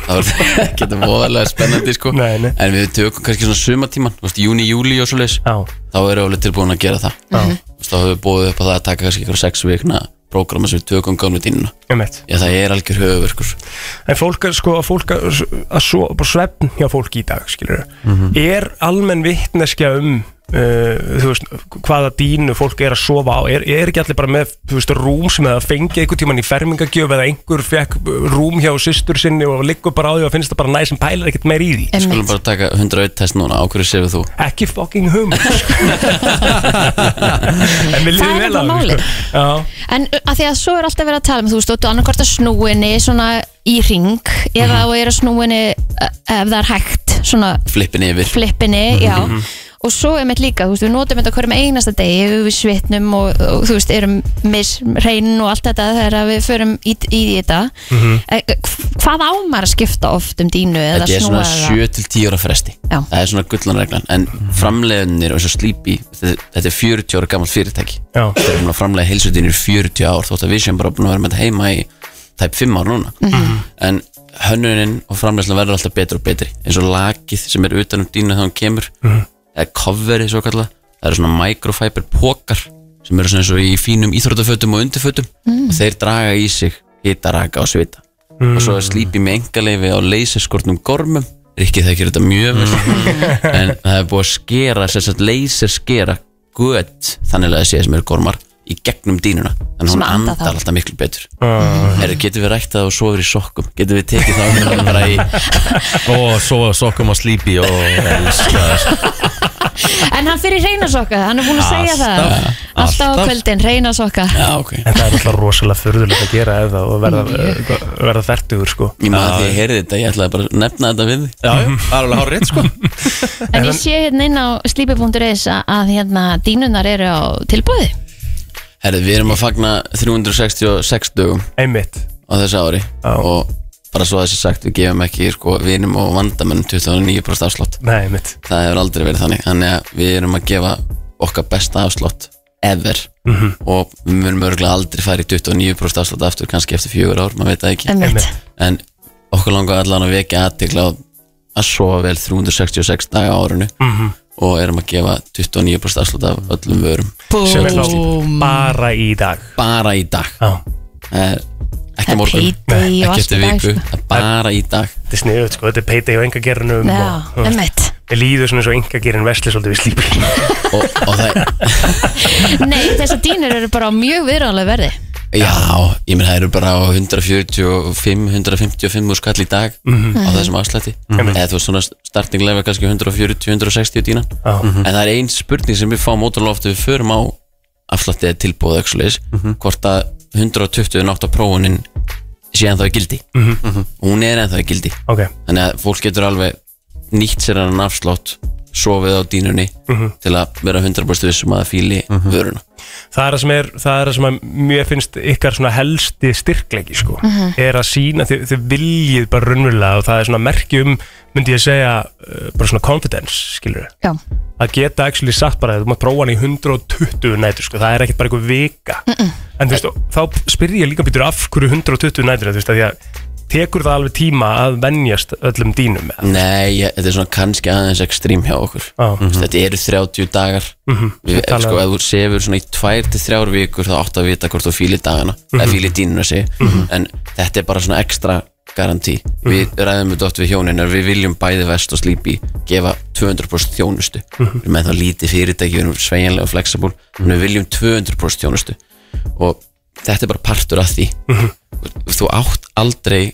Speaker 8: Það var getur voðalega spennandi sko nei, nei. En við tökum kannski svona sumatíman Þú veist, júni, júli og svo leis Þá erum við alveg tilbúin að gera það
Speaker 3: Já.
Speaker 2: Mhm.
Speaker 8: Þú veist, Þá höfum við búið upp á það að taka kannski ykkur sex vikna Prógrama sem við tökum gamlu dýnuna
Speaker 3: Einmitt.
Speaker 8: Já, það er algjör höfuverkur
Speaker 3: En fólk er sko fólk að, að svo, bara svefn hjá fólki í dag, skilur Er almenn vitneskja um uh, þú veist, hvaða dýnu fólk er að sofa á? Er, er ekki allir bara með, þú veist, rúm sem það fengið einhvern tímann í fermingagjöf eða einhver fekk uh, rúm hjá systur sinni og liggur bara á því og finnst það bara næ sem pælar ekkert meir í því?
Speaker 8: Skulum bara taka 101 test núna, á hverju sefur þú?
Speaker 3: Ekki fucking hum
Speaker 2: <laughs>
Speaker 3: En
Speaker 2: Það er
Speaker 3: við líðum vel
Speaker 2: nefnilega
Speaker 3: á því,
Speaker 2: málið.
Speaker 3: sko. Já
Speaker 2: En að því að svo er alltaf verið að tala um, þú veist, þú ert annarkvort að snúinni svona í ring eða
Speaker 8: Mhm.
Speaker 2: þú er að snúinni ef það er hægt, svona
Speaker 8: Flippin yfir
Speaker 2: flippinni, já.
Speaker 8: Mhm.
Speaker 2: Og svo er mitt líka, þú veist, við notum þetta á hverjum einasta degi, við svitnum og, og þú veist, erum misreinin og allt þetta þegar að við förum í, í þetta. Mm -hmm. Hvað á maður að skipta oft um dínu eða
Speaker 8: Mhm. Þetta er
Speaker 2: snúa
Speaker 8: svona
Speaker 2: eða?
Speaker 8: 7-10 ára fresti
Speaker 2: Já.
Speaker 8: Það er svona gullanreglan En
Speaker 3: Mhm.
Speaker 8: framleiðinir og eins og slípi Þetta þetta er 40 ára gammalt fyrirtæki
Speaker 3: Já.
Speaker 8: Þetta er búin að framleiða heilsutinu 40 ár Þótt að við séum bara búin að vera með þetta heima í Tæp 5 ár núna
Speaker 16: Mhm.
Speaker 8: En hönnunin og framleiðslan verður alltaf betri og betri Eins og lakið sem er utan um dýna þegar hún kemur
Speaker 16: Mhm.
Speaker 8: Eða coverið svo kallað Það eru svona microfiber pókar Sem eru svona eins og í fínum íþróttafötum og undirfötum
Speaker 16: Mhm.
Speaker 8: Og þeir draga í sig hitaraka og svita og svo er slípi með engaleifi á leyserskortnum gormum Rikki þekkir þetta mjög vel en það er búið að skera sem sagt leyserskera gött þannig að það sé sem eru gormar í gegnum dýnuna þannig að
Speaker 16: Sem
Speaker 8: hún
Speaker 16: anda
Speaker 8: andar
Speaker 16: þá.
Speaker 8: alltaf miklu betur
Speaker 3: Ah.
Speaker 8: er, getum við ræktað og sofir í sokkum getum við tekið það umræðu bara í
Speaker 1: og svo sokkum á slípi og elska það
Speaker 2: En hann fyrir reynasokka, hann er búin að segja það.
Speaker 1: Alltaf.
Speaker 2: Alltaf á
Speaker 3: Alltaf.
Speaker 2: kvöldin, reynasokka.
Speaker 8: Já, ok.
Speaker 3: En það er alltaf rosalega furðulegt að gera eða og verða, eh, verða þertugur sko
Speaker 8: Ég maður því að ég heyrði þetta, ég ætlaði bara að nefna þetta við
Speaker 1: Já, já, það er alveg hár rétt sko
Speaker 2: En ég sé hérna inn á sleepy.is að- að hérna dínunar eru á tilbúði
Speaker 8: <laughs> Herri, við erum að fagna 366 dögum
Speaker 3: Einmitt
Speaker 8: Á þessu ári Og bara svo þessi sagt, við gefum ekki sko, vinum og vandamönnum 29% afslott
Speaker 3: Nei, einmitt
Speaker 8: Það hefur aldrei verið þannig Þannig að við erum að gefa okkar besta afslott Ever
Speaker 3: Mhm.
Speaker 8: Og við munum örgulega aldrei fara í 29% afslott aftur Kannski eftir fjögur ár, maður veit það ekki
Speaker 2: Einmitt.
Speaker 8: En okkur langar allan að vekja aðtikla Að sofa vel 366 daga á árinu
Speaker 3: Mhm.
Speaker 8: Og erum að gefa 29% afslott af öllum vörum
Speaker 3: Sem er
Speaker 8: Sjáumst.
Speaker 3: þá Bara í dag
Speaker 8: bara í dag
Speaker 3: Já.
Speaker 8: Eh,
Speaker 3: Það
Speaker 8: ekki á
Speaker 3: er
Speaker 8: morgun,
Speaker 3: payday og
Speaker 8: ekki
Speaker 3: allt
Speaker 8: eftir
Speaker 3: í dag,
Speaker 8: viku
Speaker 3: sko.
Speaker 8: það er bara í dag
Speaker 3: Þetta er sniðut sko, þetta er peitei á engagerunum
Speaker 2: Já, einmitt.
Speaker 3: Við líður svona svo engagerin vesli svolítið við slípi
Speaker 8: og, og það
Speaker 2: Nei, þessar dínur eru bara á mjög viðráðanlega verði
Speaker 8: já, ég meina það eru bara á 145, 155 úr skall í dag
Speaker 16: Mhm.
Speaker 8: á þessum afslætti
Speaker 16: Mhm.
Speaker 8: eða þú veist svona startinglega kannski 140, 160 dínan
Speaker 3: Já.
Speaker 8: en það er ein spurning sem við fáum ótrúlega oft við förum á afslætti eða tilbúið öxleis, hvort að 120 nátt á prófunin sé ennþá í gildi
Speaker 3: Mhm.
Speaker 8: og hún er ennþá í gildi
Speaker 3: Ok.
Speaker 8: þannig að fólk getur alveg nýtt sér hann afslátt sofið á dínunni
Speaker 3: Mhm.
Speaker 8: til að vera 100% vissum um að það fíli vöruna
Speaker 3: Það er það sem er, það er það sem að mér finnst ykkar svona helsti styrkleiki sko
Speaker 8: Mhm.
Speaker 3: Er að sína, þið, þið viljið bara raunverulega og það er svona merki um, myndi ég segja, uh, bara svona confidence skilur við
Speaker 2: Já,
Speaker 3: að geta actually sagt bara að þú mátt prófa hann í 120 nætur sko, það er ekkert bara einhver vika en þú veist, þá spyr ég líka býtur af hverju 120 nætur, þú veist, að því að tekur það alveg tíma að venjast öllum dínum eða?
Speaker 8: Nei, ég, þetta er svona kannski aðeins ekstrím hjá okkur
Speaker 3: Þú
Speaker 16: Mhm.
Speaker 8: veist, Þetta eru 30 dagar
Speaker 3: Mhm.
Speaker 8: Við,
Speaker 3: Tala-
Speaker 16: um-
Speaker 8: sko, Ef þú sefur svona í 2-3 vikur þá áttu að vita hvort þú fíli dagana eða
Speaker 16: Mhm.
Speaker 8: fíli dínuna sig
Speaker 16: Mhm.
Speaker 8: en þetta er bara svona ekstra garantí Við ræðum þetta oft við hjónin en við viljum bæði vest og slípi gefa 200% þjónustu
Speaker 16: Mhm.
Speaker 8: Við erum með þá lítið fyrirtæki, við erum sveigjanlega og flexible en við viljum 200% þjónustu og þetta er bara partur af því
Speaker 16: Mhm.
Speaker 8: þú átt aldrei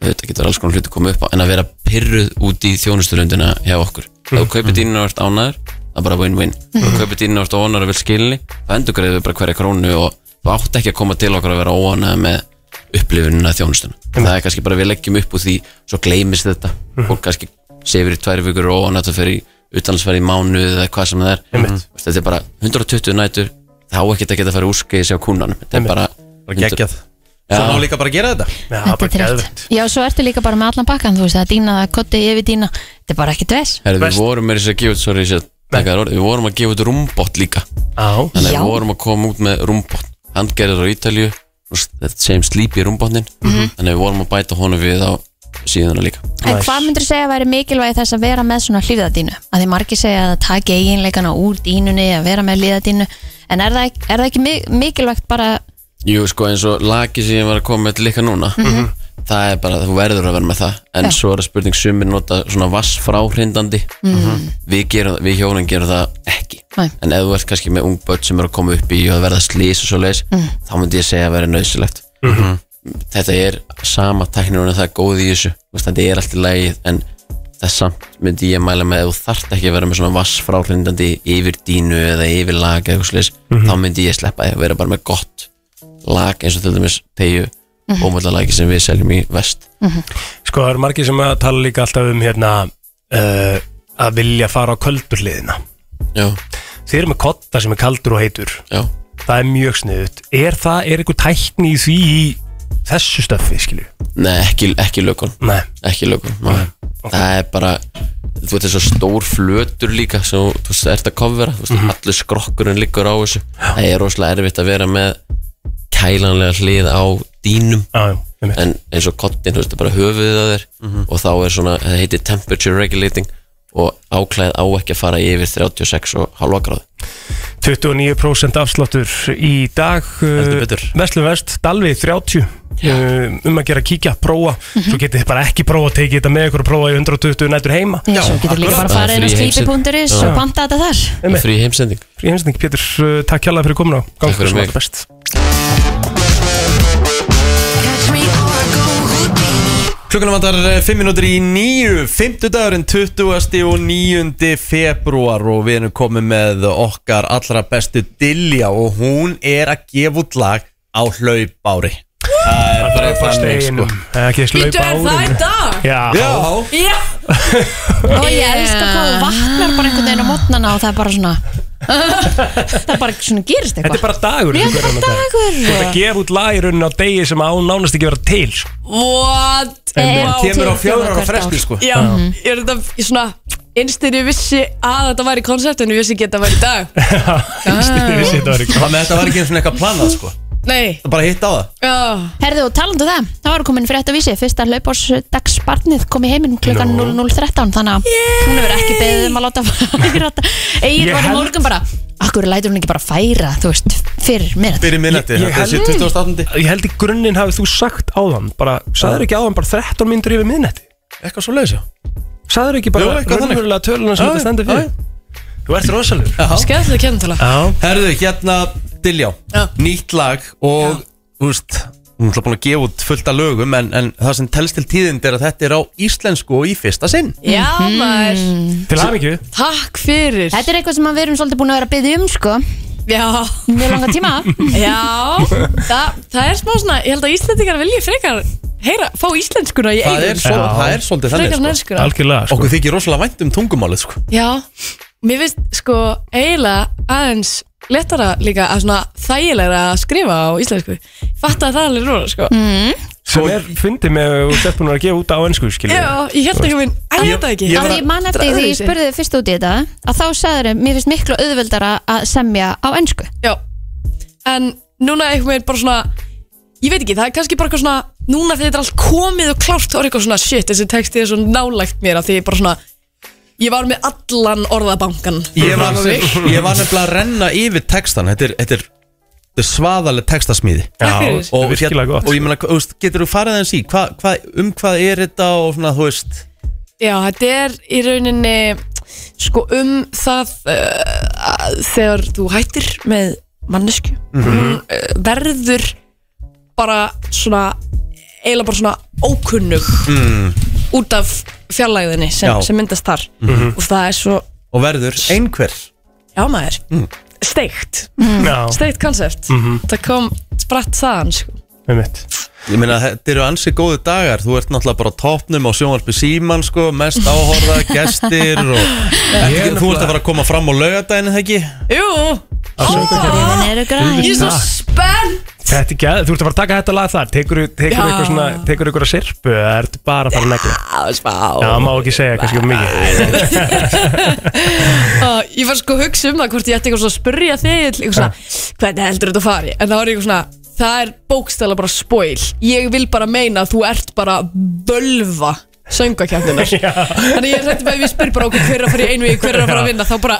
Speaker 8: þetta getur alls konar hluti komið upp á en að vera pyrruð út í þjónusturlundina hjá okkur ef þú kaupir dýnina og ert ánæður það er bara win-win ef þú kaupir dýnina og ert ónæður og vil skilni það endur greiður bara hverja krónu og þú átt ekki að koma til okkar að vera óanæð með upplifunina þjónustuna það er kannski bara við leggjum upp úr því svo gleymist þetta fólk kannski sefur í tvær vikur og óanæð það fer í utanlandsferð í mánuð eða hvað sem það er Mhm.
Speaker 3: Einmitt.
Speaker 8: þetta er bara 120 nætur þá ekkert að geta að fara úrskis á kúnanum þetta er bara bara geggjað
Speaker 1: Svo má líka bara gera þetta
Speaker 3: Já, þetta
Speaker 2: er rétt. Já, svo ertu líka bara með allan pakkan, þú veist, það er dýna, það er kotti, yfir dýna, þetta er bara ekkert ves.
Speaker 8: Herri, við vorum með þess að gefa út, sorry, ég sé að taka þér orð, við vorum að gefa út rúmbott líka
Speaker 3: Á.
Speaker 8: Þannig
Speaker 2: Já.
Speaker 8: að við vorum að koma út með rúmbott Handgerðar á Ítalju, þetta sem slípi rúmbotnin
Speaker 2: Mhm.
Speaker 8: Þannig að við vorum að bæta honum við á síðuna líka
Speaker 2: En hvað myndur segja að væri mikilvægi þess að vera með svona hlýðadínu? Að þið margir segja að það taki eiginleikana úr dínunni, að vera með hlýðadínu, en er það, ekki- er það ekki mi- mikilvægt bara,
Speaker 8: Jú, sko, eins og laki sem ég var að koma með til líka núna
Speaker 2: Mhm.
Speaker 8: Það er bara, þú verður að vera með það En
Speaker 2: Já.
Speaker 8: svo er það spurning sumir nota svona vassfráhrindandi
Speaker 2: Mhm.
Speaker 8: Við, gerum, við hjónin gerum það ekki
Speaker 2: Nei.
Speaker 8: En ef þú ert kannski með ung börn sem eru að koma upp í og að verða slís og svo leis
Speaker 2: Mm.
Speaker 8: Þá myndi ég segja að vera nöðsilegt
Speaker 3: Mhm.
Speaker 8: Þetta er sama tæknir og það er góð í þessu Þú veist, Þetta er allt í lagið en þess samt myndi ég mæla með að þú þarft ekki að vera með svona vassfráhrindandi yfir dínu eða yfir lag eða eitthvað slis
Speaker 3: Mhm.
Speaker 8: þá myndi ég sleppa því að vera bara með gott lag eins og til dæmis tegju mm
Speaker 3: Mhm.
Speaker 8: sem við seljum í vest
Speaker 3: Sko það eru margir sem að tala líka alltaf um hérna uh, að vilja fara á köldurliðina
Speaker 8: Já
Speaker 3: Þið eru með kotta sem er kaldur og heitur
Speaker 8: Já
Speaker 3: Það er mjög sniðut Er það, er einhver tækni í því í þessu stöffi, skilju?
Speaker 8: Nei, ekki, ekki lökun
Speaker 3: Nei.
Speaker 8: Ekki lökun, nei Það er bara, þú veist þessu stór flötur líka sem þú- þú veist, ert að kofvera þú veist, allur skrokkurinn liggur á þessu Það er rosalega erfitt að vera með kælanlega hlið á dýnum
Speaker 3: já,
Speaker 8: En eins og kottin, þú veist, það er bara höfuðið að þér og þá er svona, það heitir temperature regulating og áklæð á ekki að fara yfir 36 og halva gráðu
Speaker 3: 29% afsláttur í dag uh,
Speaker 8: Heldur betur.
Speaker 3: Vestlum Vest, Dalvi 30 uh, um að gera kíkja, prófa
Speaker 16: Mhm.
Speaker 3: svo getið þið bara ekki prófa að tekið þetta með ykkur og prófa í 120 nætur heima
Speaker 2: Já, svo getur líka bara
Speaker 8: Það er
Speaker 2: farið inn á
Speaker 8: frí heimsend-
Speaker 2: slípi.is
Speaker 8: Já.
Speaker 2: og panta þetta þar.
Speaker 8: Frí heimsending
Speaker 3: Frí heimsending, Pétur, uh, takk hjálpa fyrir komuna Gangi ykkur
Speaker 8: fyrir
Speaker 3: sem
Speaker 8: mig.
Speaker 3: alltaf best
Speaker 1: Klukkan vandar 5 minútur í nýju 5. dagurinn 20. og 9. februar og við erum komið með okkar allra bestu Dilja og hún er að gefa út lag á hlaupári Það er bara þannig sko
Speaker 3: Ekki þess
Speaker 16: Bíddu,
Speaker 3: laupa
Speaker 16: er það í dag?
Speaker 3: Já,
Speaker 1: Já.
Speaker 16: Já
Speaker 2: Og ég elska hvað þú vaknar bara einhvern veginn á mótnana og það er bara svona, <laughs> það er bara svona gerist
Speaker 3: Þetta er
Speaker 2: eitthvað.
Speaker 3: bara dagur
Speaker 2: Já,
Speaker 3: sem
Speaker 2: bara
Speaker 3: hverjum þetta er.
Speaker 2: dagur.
Speaker 3: Þú ert að gefa út lag í rauninni á degi sem á nánast ekki vera til sko.
Speaker 16: What
Speaker 3: Einmitt.
Speaker 16: Vá.
Speaker 3: Kemur á fjögurra ára fresti, sko.
Speaker 16: Já,
Speaker 3: Já.
Speaker 16: ég er þetta ég svona Einstinn ég vissi að þetta væri koncept En ég vissi ekki að þetta væri í
Speaker 1: <laughs>
Speaker 16: dag
Speaker 3: <laughs>
Speaker 16: <laughs>
Speaker 1: Þannig að þetta var ekki eins og eitthvað planað sko
Speaker 16: Nei
Speaker 1: Það bara hitt á það
Speaker 2: Herðu og talandu það, það var komin fyrir þetta vísi Fyrsta hlaupársdagsbarnið kom í heiminn klukkan 00.13 Þannig að hún hefur ekki beðið um að láta <laughs> færa þetta Egin
Speaker 1: Ég
Speaker 2: var í
Speaker 1: held-
Speaker 2: morgun bara Akkur lætur hún ekki bara færa, þú veist, fyrir minnati
Speaker 1: Fyrir minnati,
Speaker 3: Ég
Speaker 1: þetta er
Speaker 3: held-
Speaker 1: 28.
Speaker 3: Ég held í grunninn hafið þú sagt áðan bara, sagður ekki áðan bara 13 myndur yfir miðnætti
Speaker 1: Eitthvað svo leiðis, já
Speaker 3: Sagður ekki bara
Speaker 1: Jú, eitthvað þannig.
Speaker 3: raunverulega töluna sem
Speaker 1: Já,
Speaker 3: þetta stendur
Speaker 1: já.
Speaker 3: fyrir Þú ert rosalur
Speaker 16: Skæðilega kennatala
Speaker 1: Herðu, hérna Diljá
Speaker 16: Já.
Speaker 1: Nýtt lag og Þú veist, hún er búin að gefa út fullt af lögum en, en það sem telst til tíðind er að þetta er á íslensku og í fyrsta sinn
Speaker 16: Já maður
Speaker 3: Til hamingju
Speaker 16: Takk fyrir
Speaker 2: Þetta er eitthvað sem að við erum svolítið búin að vera að beðið um, sko
Speaker 16: Já
Speaker 2: Mjög langa tíma
Speaker 16: Já það, það er smá svona Ég held að Íslendingar vilja frekar Heyra, fá íslenskuna í
Speaker 1: Það
Speaker 16: eigin
Speaker 1: er, svo, það er svolítið
Speaker 16: Frekar en
Speaker 1: þannig sko.
Speaker 16: enskuna.
Speaker 3: Algjörlega sko.
Speaker 1: Okkur þykir rosalega vænt um tungumálið sko.
Speaker 16: Já, mér finnst sko eiginlega aðeins letara líka að svona þægilega að skrifa á íslensku. Ég fatt að það er alveg róla sko. Mm.
Speaker 3: Sem er fyndið með að þú sett búin að gefa út á ennsku skilja
Speaker 16: Já, ég held ekki minn, að ég held það ekki.
Speaker 2: Af því ég man eftir því ég spurði þið fyrst út í þetta að þá sagður mér finnst miklu auðveldara að semja á ennsku
Speaker 16: Já, en núna einhvern veginn bara svona, ég veit ekki, það er kannski bara eitthvað svona, núna þegar þetta er allt komið og klárt, þá er eitthvað svona shit, þessi texti er svo nálægt mér að því ég bara svona, ég var með allan orðabankan.
Speaker 1: Ég var,
Speaker 16: Þannig.
Speaker 1: <laughs> ég var nefnilega að renna yfir textan Þetta er, þetta er, þetta er svaðaleg textasmíði
Speaker 3: Takk
Speaker 1: og,
Speaker 3: fyrir.
Speaker 1: hérna-
Speaker 3: þetta er virkilega gott. sko.
Speaker 1: Og ég meina, þú veist, getur þú farið aðeins í hva, hva, Um hvað er þetta og svona, þú veist
Speaker 16: Já, þetta er í rauninni sko um það uh, að þegar þú hættir með mannesku
Speaker 1: Mhm.
Speaker 16: mm -hmm. verður bara svona eiginlega bara svona ókunnug
Speaker 1: mm,
Speaker 16: út af fjarlæðinni
Speaker 1: Já.
Speaker 16: sem, sem myndast þar
Speaker 1: Mhm.
Speaker 16: og það er svo,
Speaker 1: Og verður einhver
Speaker 16: já maður
Speaker 1: Mm.
Speaker 16: steikt,
Speaker 1: Já.
Speaker 16: steikt koncept
Speaker 1: Mhm.
Speaker 16: það kom spratt þaðan sko.
Speaker 1: Ég meina, þetta eru ansi góðu dagar Þú ert náttúrulega bara á topnum á sjónvarpi síman sko, Mest <laughs> áhorða, gestir og,
Speaker 16: Ég er
Speaker 1: en, Þú ert að fara að koma fram á laugardaginu, það ekki?
Speaker 16: Jú,
Speaker 3: að
Speaker 2: Augun eru græn
Speaker 16: Ég er svo spenn
Speaker 3: Þetta er gæð, þú ert að fara að taka þetta lag þar Tekur
Speaker 16: Já.
Speaker 3: ykkur svona, tekur ykkur að sirpu eða ertu bara að fara að negla
Speaker 16: smá
Speaker 3: Já, má ekki segja kannski um mikið
Speaker 16: Ah, Ég var sko að hugsa um það hvort ég ætti eitthvað svona að spyrja þig eitthvað svona, hvernig heldur þetta að fari en það var eitthvað svona, það er bókstæla bara spoil, ég vil bara meina að þú ert bara völva söngakjarninar
Speaker 3: <laughs>
Speaker 16: þannig ég er hætti með að ég spyr bara okkur hver er að fara í einu í hver er að fara að vinna þá bara,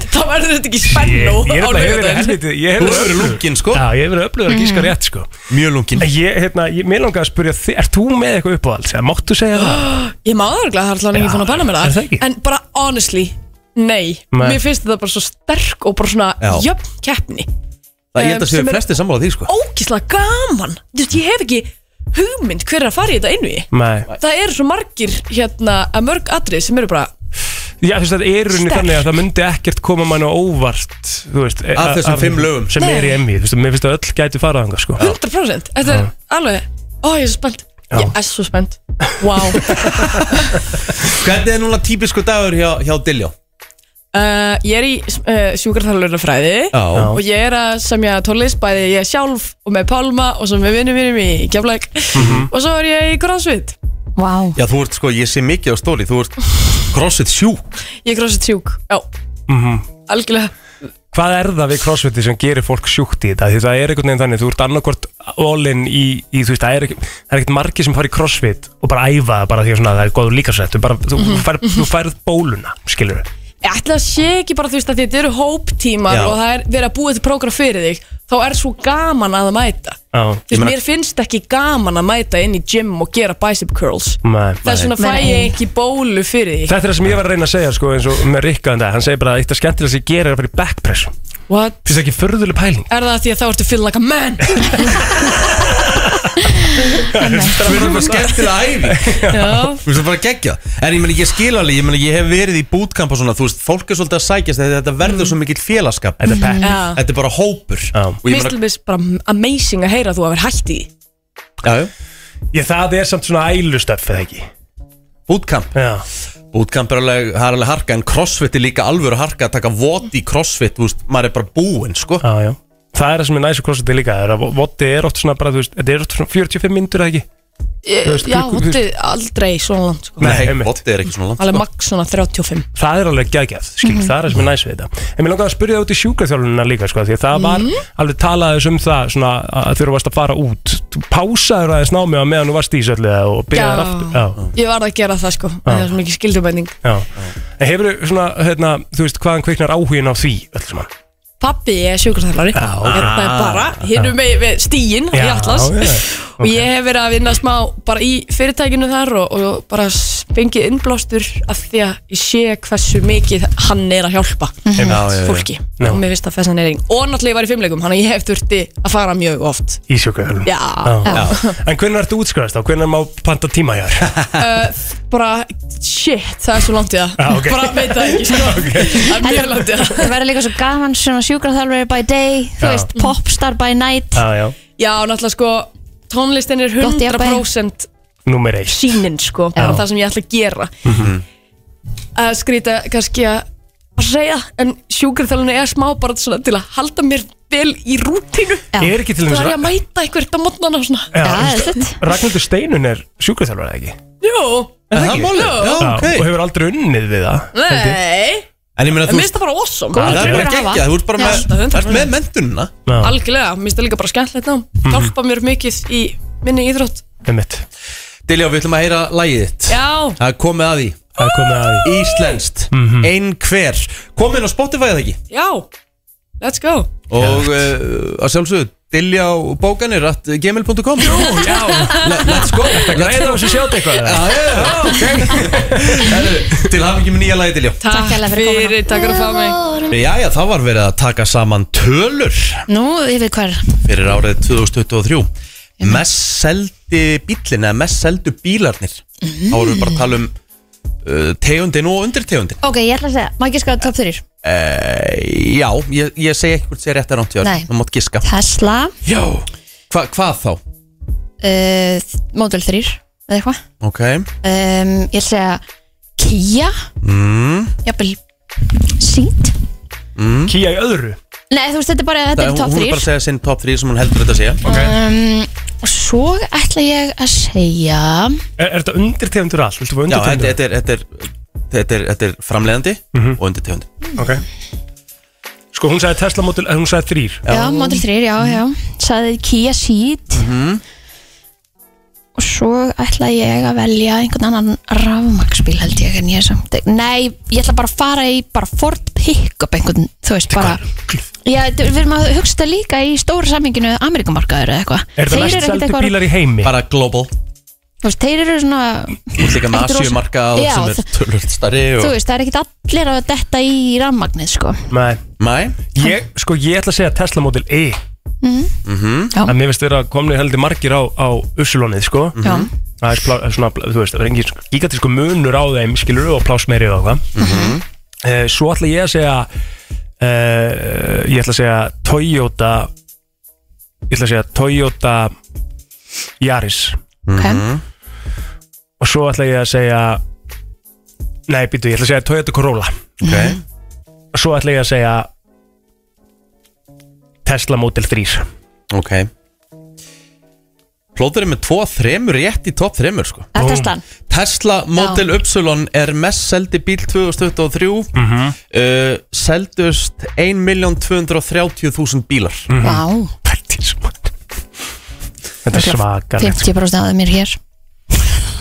Speaker 16: <laughs> þá verður þetta ekki spennu
Speaker 3: Ég er
Speaker 16: á
Speaker 3: þetta hefur verið
Speaker 16: laugardaginn.
Speaker 3: helviti ég hef
Speaker 1: Þú hefur verið lunginn, sko.
Speaker 3: Já, ég hefur verið öflugur að gíska
Speaker 16: Mhm.
Speaker 3: rétt sko
Speaker 1: Mjög lungin
Speaker 3: Ég, hérna, ég, mér langaði að spyrja þig, ert þú með eitthvað uppáhalds? Eða Máttu segja það?
Speaker 16: <gasps> Ég má það örglega, það er alltaf ekki fann að banna mér
Speaker 3: er það
Speaker 16: það En bara honestly, nei
Speaker 3: Nei.
Speaker 16: Mér finnst þetta bara svo sterk og bara svona
Speaker 1: Já.
Speaker 16: jöfn keppni
Speaker 1: Það ég held að
Speaker 16: Em,
Speaker 1: séu
Speaker 16: sem er-
Speaker 1: flestir sammála því, sko
Speaker 16: Ógislega gaman Þú veist, ég hef ekki hugmynd hver er að fara í þetta einu í
Speaker 3: Nei
Speaker 16: Það eru svo margir hérna að mörg atrið sem eru bara
Speaker 3: Já, þú veist, þetta er í rauninni
Speaker 16: Sterkt.
Speaker 3: þannig að það myndi ekkert koma mann á óvart Þú veist e-
Speaker 1: Af þessum fimm lögum.
Speaker 3: Sem er í emmi, þú veist, mér finnst að öll gæti farað þangað sko
Speaker 16: 100% Þetta er
Speaker 3: Já.
Speaker 16: alveg, ó ég er svo spennt Ég er svo spennt Wow
Speaker 3: <laughs>
Speaker 1: Hvernig er núna típisku dagur hjá, hjá Dilljó?
Speaker 16: uh, Ég er í uh, sjúkarþarlunafræði
Speaker 1: Já.
Speaker 16: Og ég er að semja tónlist Bæði ég sjálf og með Pálma Og svo með vinnum mínum í Gjaflæk
Speaker 3: Mhm.
Speaker 16: Og svo er ég í crossfit
Speaker 2: Wow
Speaker 1: Já, þú ert, sko, ég sé mikið á stóli Þú ert crossfit sjúk
Speaker 16: Ég er crossfit sjúk, já,
Speaker 3: Mhm.
Speaker 16: algjörlega
Speaker 3: Hvað er það við crossfiti sem gerir fólk sjúkt í þetta? Því það er einhvern veginn þannig, þú ert annarkvort all-in í, í, þú veist, það er ekki- það er ekkert margir sem fara í crossfit og bara æfa það bara því að svona, það er góður líkarsett, þú, bara, þú, mm
Speaker 16: Mhm.
Speaker 3: færð, þú færð bóluna, skilur við.
Speaker 16: Ég ætla að sé ekki bara þú veist að þetta eru hóptímar
Speaker 3: Já.
Speaker 16: og það er verið að búa þetta prógram fyrir þig þá er svo gaman að mæta
Speaker 3: Já.
Speaker 16: Þú veist, mér finnst ekki gaman að mæta inn í gym og gera bicep curls
Speaker 3: Nei.
Speaker 16: Það er svona fæ ég ekki bólu fyrir því
Speaker 3: Þetta er það sem ég var að reyna að segja, sko, eins og með Rikka en það, hann segir bara að eitt af skemmtilega sem ég gerir er að fara í backpress.
Speaker 16: What?
Speaker 3: Finnst það ekki förðuleg pæling?
Speaker 16: Er það því að þá ertu feel like a
Speaker 3: <laughs>
Speaker 16: man?
Speaker 1: Þú erum bara skemmtilega æfing
Speaker 16: Já.
Speaker 1: <laughs> Þú veist, það er bara geggja En ég meni, ég skil alveg, ég meni, ég hef verið í bootcamp og svona Þú veist, fólk er svolítið að sækjast Þetta, þetta verður svo mikill félagskap Þetta
Speaker 16: er pepp. Já.
Speaker 1: Þetta er bara hópur Já, og ég
Speaker 16: Mér
Speaker 1: meni,
Speaker 16: finnst bara amazing að heyra að þú að vera hætt í því.
Speaker 1: já, já.
Speaker 3: Ég, það er samt svona ælustöf, eða ekki?
Speaker 1: Bootcamp
Speaker 3: Já
Speaker 1: Bootcamp er alveg, það er alveg harka En crossfit er líka alvöru harka Að taka vot í crossfit, þú veist, maður er bara búinn, sko
Speaker 3: Já, já Það er það sem er næst og crossfiti líka, það er að voti er oft svona bara, þú veist, þetta er oft svona 45 myndur, eða ekki? Þú veist,
Speaker 16: Ég- Já,
Speaker 3: klukku- þú Sko. veist-
Speaker 16: hóttið aldrei svona langt sko.
Speaker 1: Nei, voti er ekki svona langt
Speaker 16: Alveg max svona 35
Speaker 3: það er alveg geggjað, skil,
Speaker 16: Mhm.
Speaker 3: það er það sem er næs við þetta en mér langaði að spyrja það út í sjúkraþjálfunina líka sko, því að það var
Speaker 16: Mhm.
Speaker 3: alveg talaðis um það svona, að þegar þú varst að fara út þú pásaður aðeins námið á meðan þú varst í svolítið og byrjaði
Speaker 16: Já.
Speaker 3: aftur já,
Speaker 16: Ég var að gera það sko, það er svo mikið skildumæning
Speaker 3: já. en hefur þú svona, hérna, þú veist hvaðan kveiknar áhugin á því öll saman
Speaker 16: Pappi er sjúkraþjálfari Þetta er bara, hinnum með, með stíin í
Speaker 3: Ah, Já,
Speaker 16: Atlas
Speaker 3: já,
Speaker 16: Og ég hef verið að vinna smá bara í fyrirtækinu þar og, og bara s- fengið innblástur af því að ég sé hversu mikið hann er að hjálpa
Speaker 3: Mhm. Já, já, já.
Speaker 16: fólki
Speaker 3: Já.
Speaker 16: og mér finnst það fessan er einn og náttúrulega ég var í fimmleikum þannig að ég hef þurfti að fara mjög oft
Speaker 3: í sjúkraþjálfun
Speaker 16: Já. Já.
Speaker 3: en hvernig ertu útskrast þá, hvernig má panta tíma hjá þér
Speaker 16: uh, bara shit, það er svo langt í það
Speaker 3: Já, Ah, ok.
Speaker 16: bara veit það ekki
Speaker 3: <laughs>
Speaker 16: sko. það er mjög langt í það
Speaker 2: Það verður líka svo gaman svona sjúkraþjálfur by day, þú
Speaker 16: Já.
Speaker 2: veist, popstar by night
Speaker 3: já, já,
Speaker 16: já, náttúrulega sko tónlistin er
Speaker 2: Gott jafnvægi.
Speaker 16: 100%
Speaker 3: nummer eitt
Speaker 16: sínin sko, bara það sem ég ætla að gera
Speaker 3: Mhm.
Speaker 16: að skrýta kannski að að segja, en sjúkarþjálfinu er smá bara svona til að halda mér vel í rútinu
Speaker 3: Ég er ekki til
Speaker 16: það
Speaker 3: dæmis-
Speaker 16: er ég að mæta einhvert á mótnana og svona
Speaker 3: Já, þú veist, Ragnhildur Steinun er sjúkraþjálfur eða ekki?
Speaker 16: Jú,
Speaker 3: Er ekki?
Speaker 16: Jú.
Speaker 3: og hefur aldrei unnið við það held ég.
Speaker 16: Nei,
Speaker 1: En ég meina,
Speaker 16: en
Speaker 1: þú
Speaker 16: mér finnst það bara awesome
Speaker 1: Það er bara geggja, þú ert bara
Speaker 16: Já.
Speaker 1: með, ert með mentunina
Speaker 16: Algjörlega, mér finnst það líka bara skemmtilegt nám
Speaker 3: Mhm.
Speaker 16: Hjálpa mér mikið í minni íþrótt
Speaker 3: Einmitt.
Speaker 1: Diljá, við ætlum að heyra lagið þitt
Speaker 16: Já,
Speaker 1: Það er komið að því
Speaker 3: Það er komið að
Speaker 1: því Íslenskt, einhver Komið inn á Spotify eða ekki
Speaker 16: já, let's go
Speaker 1: Og uh, að sjálfsögðu, Diljá bókanir at gmail.com Jú, <laughs>
Speaker 3: já
Speaker 1: Let's go
Speaker 3: Græða á þessu sjátt eitthvað eða?
Speaker 1: Já, já, <laughs> Til hafa ekki með nýja lagið Diljá
Speaker 16: Takk fyrir, takk fyrir að fá mig
Speaker 1: Jæja, þá var verið að taka saman tölur
Speaker 2: Nú, ég veit hvað er
Speaker 1: Fyrir árið 2023 Mest seldi bílinn eða mest seldu bílarnir Þá erum við bara að tala um uh, tegundin og undirtegundin
Speaker 2: Ok, ég ætla að segja, má ekki skoða top 3
Speaker 1: Uh, já, ég, ég segi ekki hvort sé rétt er rámt hjá
Speaker 2: Nei.
Speaker 1: Það mátt giska
Speaker 2: Tesla,
Speaker 1: Já Hva, Hvað þá?
Speaker 2: uh, Model 3 eða eitthvað
Speaker 1: Ok
Speaker 2: um, Ég ætla að segja Kia,
Speaker 1: mm,
Speaker 2: jafnvel Seat
Speaker 3: Kía í öðru
Speaker 2: Nei, þú veist, þetta er bara, þetta
Speaker 1: Það-
Speaker 2: er
Speaker 1: hún-
Speaker 2: top
Speaker 1: Hún er
Speaker 2: 3
Speaker 1: bara að segja sinn top 3 sem hún heldur þetta að segja
Speaker 2: um, og Svo ætla ég að segja
Speaker 3: Er, er þetta undirtegundur allt? Viltu fá
Speaker 1: Já, þetta
Speaker 3: undirtegundur?
Speaker 1: þetta er, þetta er, þetta er, þetta er framleiðandi og undirtegund
Speaker 3: Ok Sko, hún sagði Tesla Model, eh, hún sagði þrýr
Speaker 2: Já, Model 3, já, já Saði Kia Ceed
Speaker 1: Mhm.
Speaker 2: og svo ætla ég að velja einhvern annan rafmaksbíl held ég en ég er samt Nei, ég ætla bara að fara í bara Ford pick-up einhvern, þú veist, bara Já, þetta- við erum að hugsa þetta líka í stóra saminginu Amerikumarkaður eða eitthvað
Speaker 1: Er
Speaker 2: Þeir eru ekkert eitthvað-
Speaker 1: í heimi? Bara global
Speaker 2: Þú veist, þeir eru svona
Speaker 1: Þú ert líka með
Speaker 2: Ekkert rosa-
Speaker 1: asjumarka og
Speaker 2: Já,
Speaker 1: sem er
Speaker 2: það-
Speaker 1: tölvöld starri og...
Speaker 2: Þú veist, það er ekkert allir að detta í rafmagnið, sko
Speaker 3: Nei
Speaker 1: Nei
Speaker 3: Ég, sko, ég ætla að segja Tesla Model E
Speaker 2: mm.
Speaker 3: -hmm.
Speaker 2: Já.
Speaker 3: En mér finnst vera komni heldur margir á, á Ussulónið, sko
Speaker 2: Já.
Speaker 3: Það er plá, svona, þú veist, það er engin gigantísku munur á þeim, skilur og plásmeiri og eitthvað
Speaker 10: Mhm.
Speaker 3: Eh, Svo ætla ég að segja uh, Ég ætla að segja Toyota Ég ætla að segja Toyota Yaris
Speaker 1: Mhm.
Speaker 2: Ok.
Speaker 3: Og svo ætla ég að segja Nei, býtu, ég ætla að segja Toyota Corolla
Speaker 1: Ok
Speaker 2: Mhm.
Speaker 3: Og svo ætla ég að segja Tesla Model 3
Speaker 1: Ok Plóður er með 2-3 rétt í top 3 sko
Speaker 2: Það er Teslan
Speaker 1: Tesla Model Upsilon er mest seldi bíl 2023
Speaker 3: Mhm.
Speaker 1: uh, Seldust 1.230.000 bílar
Speaker 3: Mhm,
Speaker 2: Vá,
Speaker 3: Þetta er svakalegt
Speaker 2: 50% af þeim er hér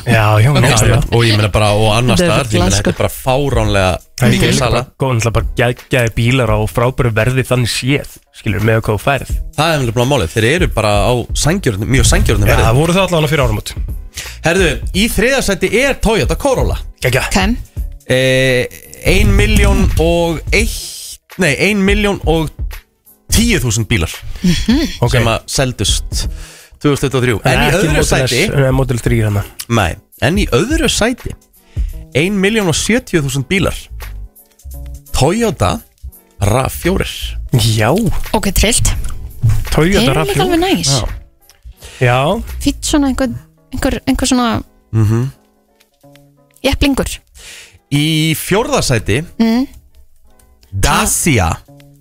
Speaker 3: Já, já,
Speaker 1: já,
Speaker 3: já.
Speaker 1: Og ég meina bara, og annars
Speaker 2: Þetta er
Speaker 1: staðar því ég meina,
Speaker 2: ruglað,
Speaker 1: Þetta er bara fáránlega
Speaker 3: Það er
Speaker 1: mikil
Speaker 3: líka
Speaker 1: sala
Speaker 3: bara góð, náttúrulega bara geggjaði bílar á frábæru verði þannig séð, skilur, með hvað þú færð.
Speaker 1: Það er nefnilega málið, þeir eru bara á sangjörnum, mjög sangjörnum
Speaker 3: Já, voru það allavega fyrir áramót
Speaker 1: Herðu, í þriðarsætti er Toyota Corolla
Speaker 3: Gægja
Speaker 2: Hvem?
Speaker 1: eh, 1 miljón og 1 Nei, 1 miljón og 10.000 bílar
Speaker 3: Ok.
Speaker 1: sem að seldust 2023 En í
Speaker 3: Ekki
Speaker 1: öðru
Speaker 3: Model S,
Speaker 1: sæti
Speaker 3: Nei, Model 3 hérna.
Speaker 1: Nei, en í öðru sæti 1 miljón og 70.000 bílar Toyota RAV4
Speaker 3: Já
Speaker 2: Ok, trillt
Speaker 3: Toyota
Speaker 2: Þeir eru líka alveg næs.
Speaker 3: Já
Speaker 2: Fýtt svona einhver, einhver, einhver svona
Speaker 1: mm
Speaker 2: jepplingur
Speaker 1: Í fjórðasæti
Speaker 2: mm.
Speaker 1: Dacia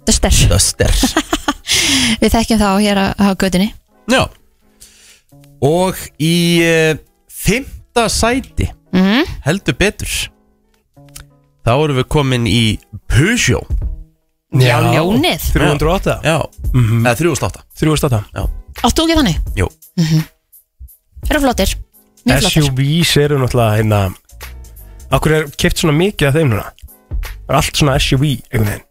Speaker 2: Duster
Speaker 1: Duster
Speaker 2: Við þekkjum þá hér á, á gödunni
Speaker 1: Já Og í uh, fymta sæti
Speaker 2: Mhm.
Speaker 1: Heldur betur Þá erum við komin í Peugeot
Speaker 2: Já, Já, ljónið.
Speaker 3: 308.
Speaker 1: Já, Mm-hmm. eða 308
Speaker 3: 308
Speaker 1: Já,
Speaker 2: Áttu ekki þannig? Mhm.
Speaker 1: jú
Speaker 2: Eru flottir Mjög flottir
Speaker 3: SUVs eru náttúrulega hérna Akkur er keft svona mikið af þeim núna Það er allt svona SUV einhvern veginn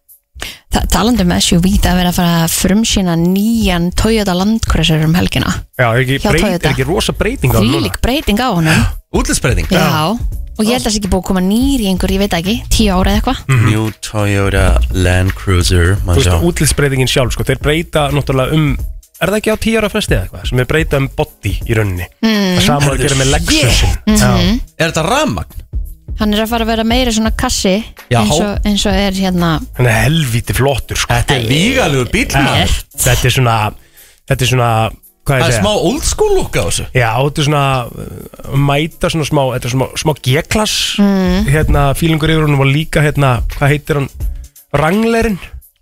Speaker 2: Þa, Talandi um SUV Það er verið að fara að frumsýna nýjan Toyota Land Cruiser um helgina
Speaker 3: Já, er ekki,
Speaker 2: Hjá
Speaker 3: breyt,
Speaker 2: Toyota.
Speaker 3: er ekki rosa breyting á þeim núna
Speaker 2: Þvílík breyting á honum
Speaker 1: Útlitsbreyting
Speaker 2: Já, Og ég held að það sé ekki búið að koma nýr í einhver Ég veit það ekki, tíu ára eða eitthvað
Speaker 1: New Toyota Land Cruiser
Speaker 3: Þú
Speaker 1: maður
Speaker 3: veist,
Speaker 1: sjá.
Speaker 3: útlitsbreytingin sjálf, sko, þeir breyta náttúrulega um Er það ekki á 10 ára fresti eða eitthvað sem er breyta um body í rauninni
Speaker 2: Mm.
Speaker 3: Það sama að
Speaker 1: Herðu,
Speaker 3: gera með Lexusin
Speaker 1: shit.
Speaker 2: Mhm.
Speaker 3: Já.
Speaker 1: Er þetta rammagn?
Speaker 2: Hann er að fara að vera meira svona kassi
Speaker 3: Já.
Speaker 2: eins og, eins og er hérna
Speaker 3: Hann er helvíti flottur sko.
Speaker 1: Þetta er vígalugur bíl maður.
Speaker 3: Þetta er svona Þetta er svona
Speaker 1: Það
Speaker 3: Hvað ég
Speaker 1: er
Speaker 3: segja
Speaker 1: smá old school look á þessu
Speaker 3: Já, þetta er svona uh, Mæta svona smá Þetta er smá, smá G-klass
Speaker 2: Mm.
Speaker 3: Hérna fílingur yfir honum og líka hérna Hvað heitir hann Ranglerinn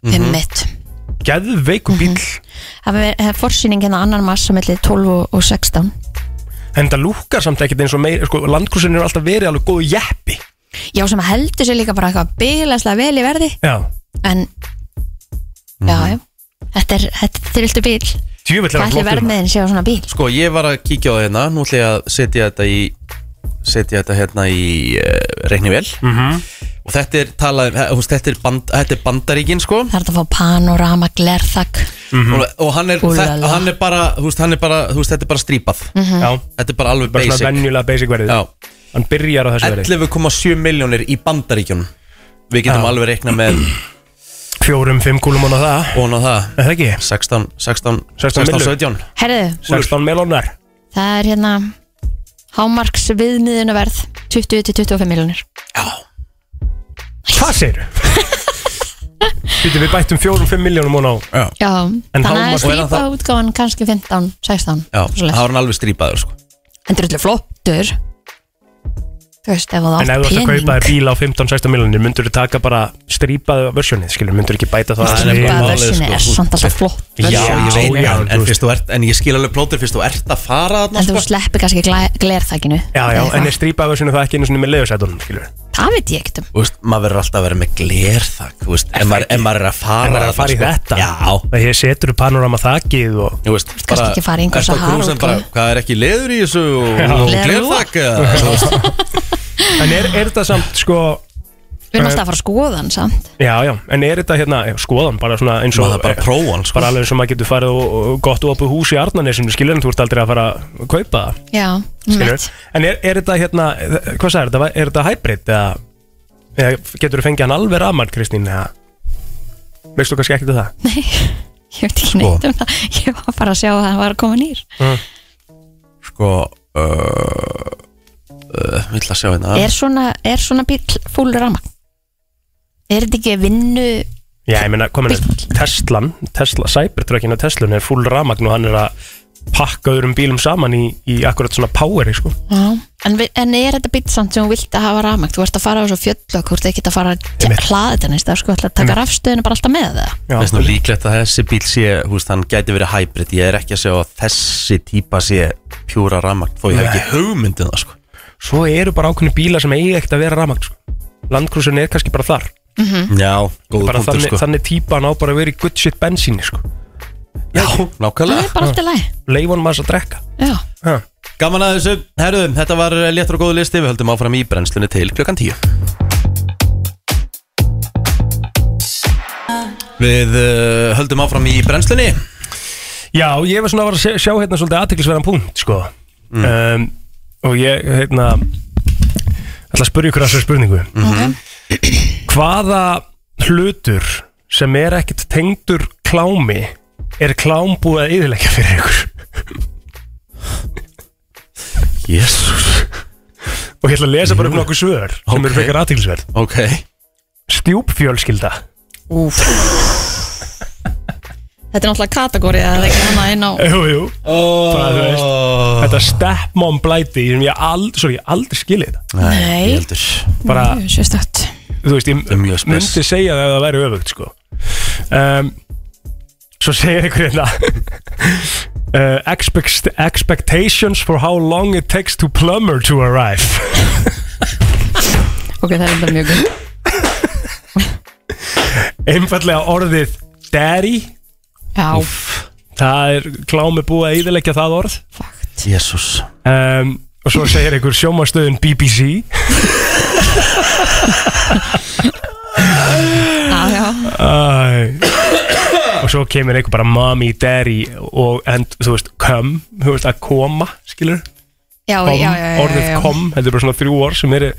Speaker 2: Einmitt. Mhm.
Speaker 3: Geðveiku bíl
Speaker 2: Það er- það er forsýning hérna annan massa mellið 12 og- og 16
Speaker 3: En þetta lúkar samt ekkert eins og meir sko, Landkursin er alltaf verið alveg góðu jeppi
Speaker 2: Já, sem heldur sér líka bara eitthvað bílaslega vel í verði
Speaker 3: Já
Speaker 2: En,
Speaker 3: Mhm.
Speaker 2: já, já Þetta er, þetta er þryldu bíl
Speaker 1: Djöfull er
Speaker 2: Hvað
Speaker 1: hann
Speaker 2: ætli
Speaker 1: flottur,
Speaker 2: verðmiðin sé á svona bíl?
Speaker 1: Sko, ég var að kíkja á það hérna Nú ætla ég að setja þetta í Setja þetta hérna í uh, reiknivél -hmm. Og þetta er talað um húst, þetta, er band, þetta er bandaríkin, sko
Speaker 2: Það er hægt að fá panorama, glerþak
Speaker 1: og, og hann, er,
Speaker 2: Úlala.
Speaker 1: þetta, hann er bara, húst, hann er bara húst, Þetta er bara strípað
Speaker 2: Mhm. Já.
Speaker 1: Þetta er bara alveg
Speaker 3: Bara svona
Speaker 1: basic
Speaker 3: venjulega basic verðið
Speaker 1: Já.
Speaker 3: Hann byrjar á þessu verði
Speaker 1: 11,7 miljónir í bandaríkjunum Við getum
Speaker 3: Já.
Speaker 1: alveg reiknað með
Speaker 3: Fjórum, fimm kúlum og það
Speaker 1: Og á það
Speaker 3: Er það ekki?
Speaker 1: 16, 16,
Speaker 3: 16
Speaker 1: 16,
Speaker 3: millur.
Speaker 1: 17
Speaker 2: Herðu,
Speaker 3: 16 melónar
Speaker 2: það er hérna Hámarks viðmiðunaverð 20-25 miljonir
Speaker 3: Hvað segir Býtu við bættum fjórum, fimm miljónum og ná
Speaker 1: Já
Speaker 2: Já,
Speaker 3: En
Speaker 2: þannig að
Speaker 3: hámark- Og er hann
Speaker 2: stýpa
Speaker 3: þá-
Speaker 2: útgáfan kannski 15-16
Speaker 1: Já, það var hann alveg strípaður, sko
Speaker 2: En drullu flottur þú veist, ef þú
Speaker 3: En ef
Speaker 2: átt
Speaker 3: þú ætti að
Speaker 2: pening
Speaker 3: kaupa þér bíl á 15-16 miljonir myndur þú taka bara strípaðu versjónið skilur, myndur ekki bæta það
Speaker 2: Strípaða versionið er
Speaker 3: sko.
Speaker 2: samt alltaf flott.
Speaker 3: Já, já,
Speaker 1: ég veit
Speaker 3: já,
Speaker 1: það,
Speaker 3: þú
Speaker 1: en,
Speaker 3: veist.
Speaker 1: fyrst þú ert, en ég skil alveg plótir fyrst þú ert að fara þarna sko.
Speaker 2: en þú sleppi kannski glæ- glerþakinu
Speaker 3: Já, já,
Speaker 2: Eða
Speaker 3: en
Speaker 2: eitthvað.
Speaker 3: er strípaðu versjónið það ekki einu svona með leiðursætunum skilur
Speaker 2: það veit ég ekkert um
Speaker 1: Þú veist, maður verður alltaf að vera með glerþak Þú veist, en maður, en maður er að fara
Speaker 3: En maður er að fara í
Speaker 1: þarna,
Speaker 3: þetta
Speaker 1: sko. Já,
Speaker 3: Það hér setur þú panorama þakið og
Speaker 1: Þú veist,
Speaker 2: kannski ekki fara í einhver
Speaker 1: ertu á
Speaker 2: Sahara
Speaker 1: krúsin
Speaker 2: útgáfu.
Speaker 1: bara, Hvað er ekki leður í þessu og,
Speaker 3: Já.
Speaker 1: og
Speaker 2: Glerþak.
Speaker 1: glerþak eða, þú
Speaker 3: <laughs>
Speaker 1: veist.
Speaker 3: En er, er þetta samt sko
Speaker 2: við erum alltaf að fara að skoða hann samt
Speaker 3: Já, já, en er þetta hérna, já, skoðan bara svona eins og
Speaker 1: Maður bara prófa hann, sko.
Speaker 3: Bara alveg eins og maður getur farið og, og gott og opið hús í Arnarnesinu skilur en þú ert aldrei að fara að kaupa það
Speaker 2: já,
Speaker 3: skilur
Speaker 2: mitt.
Speaker 3: En er, er þetta hérna, hvað sagði þetta, er þetta hybrid eða, eða getur þú fengið hann alveg rafmann Kristín eða Veist þú kannski ekkert um það?
Speaker 2: nei, ég veit ekki neitt um það <laughs> ég var bara að sjá að hann var að koma nýr
Speaker 1: Sko uh, uh, Vill að sjá hérna
Speaker 2: er svona, er svona bíl fúl rama er þetta ekki vinnu
Speaker 3: Já, ég meina, komin að Teslan, Tesla, Cybertruckin og Teslan er full rafmagn og hann er að pakka öðrum bílum saman í, í akkurat svona poweri sko
Speaker 2: Já, en, við- en er þetta bíll samt sem þú vilt að hafa rafmagn? Þú ert að fara á svo fjöll og þú ert ekki að fara að hlaða þetta næst sko, ætla að taka rafstöðinu bara alltaf með það
Speaker 1: Það er svona líklegt að þessi bíl sé þú veist, Hann gæti verið hybrid Ég er ekki að sjá að þessi típa sé Pjúra rammagn Þó ég hef ekki hugmyndið það sko
Speaker 3: Svo eru bara ákveðni bílar sem eigi ekkert að vera rafmagn sko. Landkrúsin er kannski bara þar
Speaker 1: Mm. Já, góð
Speaker 3: bara
Speaker 1: punktur
Speaker 3: þannig,
Speaker 1: sko
Speaker 3: þannig típa hann á bara að vera í good shit bensíni sko. Já,
Speaker 1: Mm.
Speaker 2: Það er bara
Speaker 1: Nákvæmlega
Speaker 2: alltaf læg
Speaker 3: leif honum aðeins að drekka
Speaker 2: Já,
Speaker 3: ha.
Speaker 1: Gaman að þessu, herruðum, þetta var eh, léttur og góðu listi Við höldum áfram í brennslunni til klukkan 10 Við uh, höldum áfram í brennslunni
Speaker 3: Já, ég var svona að, var að sjá, sjá hérna svolítið aðteklisverðan punkt sko. um, og ég hérna ætla að spyrja ykkur að þessu spurningu Mhm. Hvaða hlutur sem er ekkert tengdur klámi er klám búið að yfirleggja fyrir ykkur
Speaker 1: Jésús
Speaker 3: og ég ætla að lesa bara upp nokkuð svör sem eru frekar aðteklisverð
Speaker 1: Ok
Speaker 3: Stjúpfjölskylda
Speaker 2: Úf Þetta er náttúrulega kategórið að það er ekki hana inn á
Speaker 3: Jú, jú Bara, þú veist, Þetta stepmom blæti sem ég aldrei, sorry, ég aldrei skilið þetta
Speaker 2: Nei. ég
Speaker 1: heldur
Speaker 3: Bara,
Speaker 2: Mjög Sérstætt
Speaker 3: þú veist, ég
Speaker 1: mjög spes.
Speaker 3: myndi segja það ef það væri öfugt, sko um, Svo segir ykkur hérna <laughs> uh, expect, Expectations for how long it takes to plumber to arrive
Speaker 2: Ok, það er enda mjög gul
Speaker 3: Einfallega orðið Daddy
Speaker 2: Já,
Speaker 3: Það er klámi búið að yfirleggja það orð
Speaker 1: Jésús
Speaker 3: um, Og svo segir ykkur sjómastöðin BBC
Speaker 2: já, já
Speaker 3: Æ. og svo kemur einhver bara mommy, daddy og and, þú veist, come, þú veist, að koma skilur,
Speaker 2: Já,
Speaker 3: Kom,
Speaker 2: já, já, já,
Speaker 3: orðið
Speaker 2: já, já.
Speaker 3: kom þetta er bara svona þrjú orð sem eru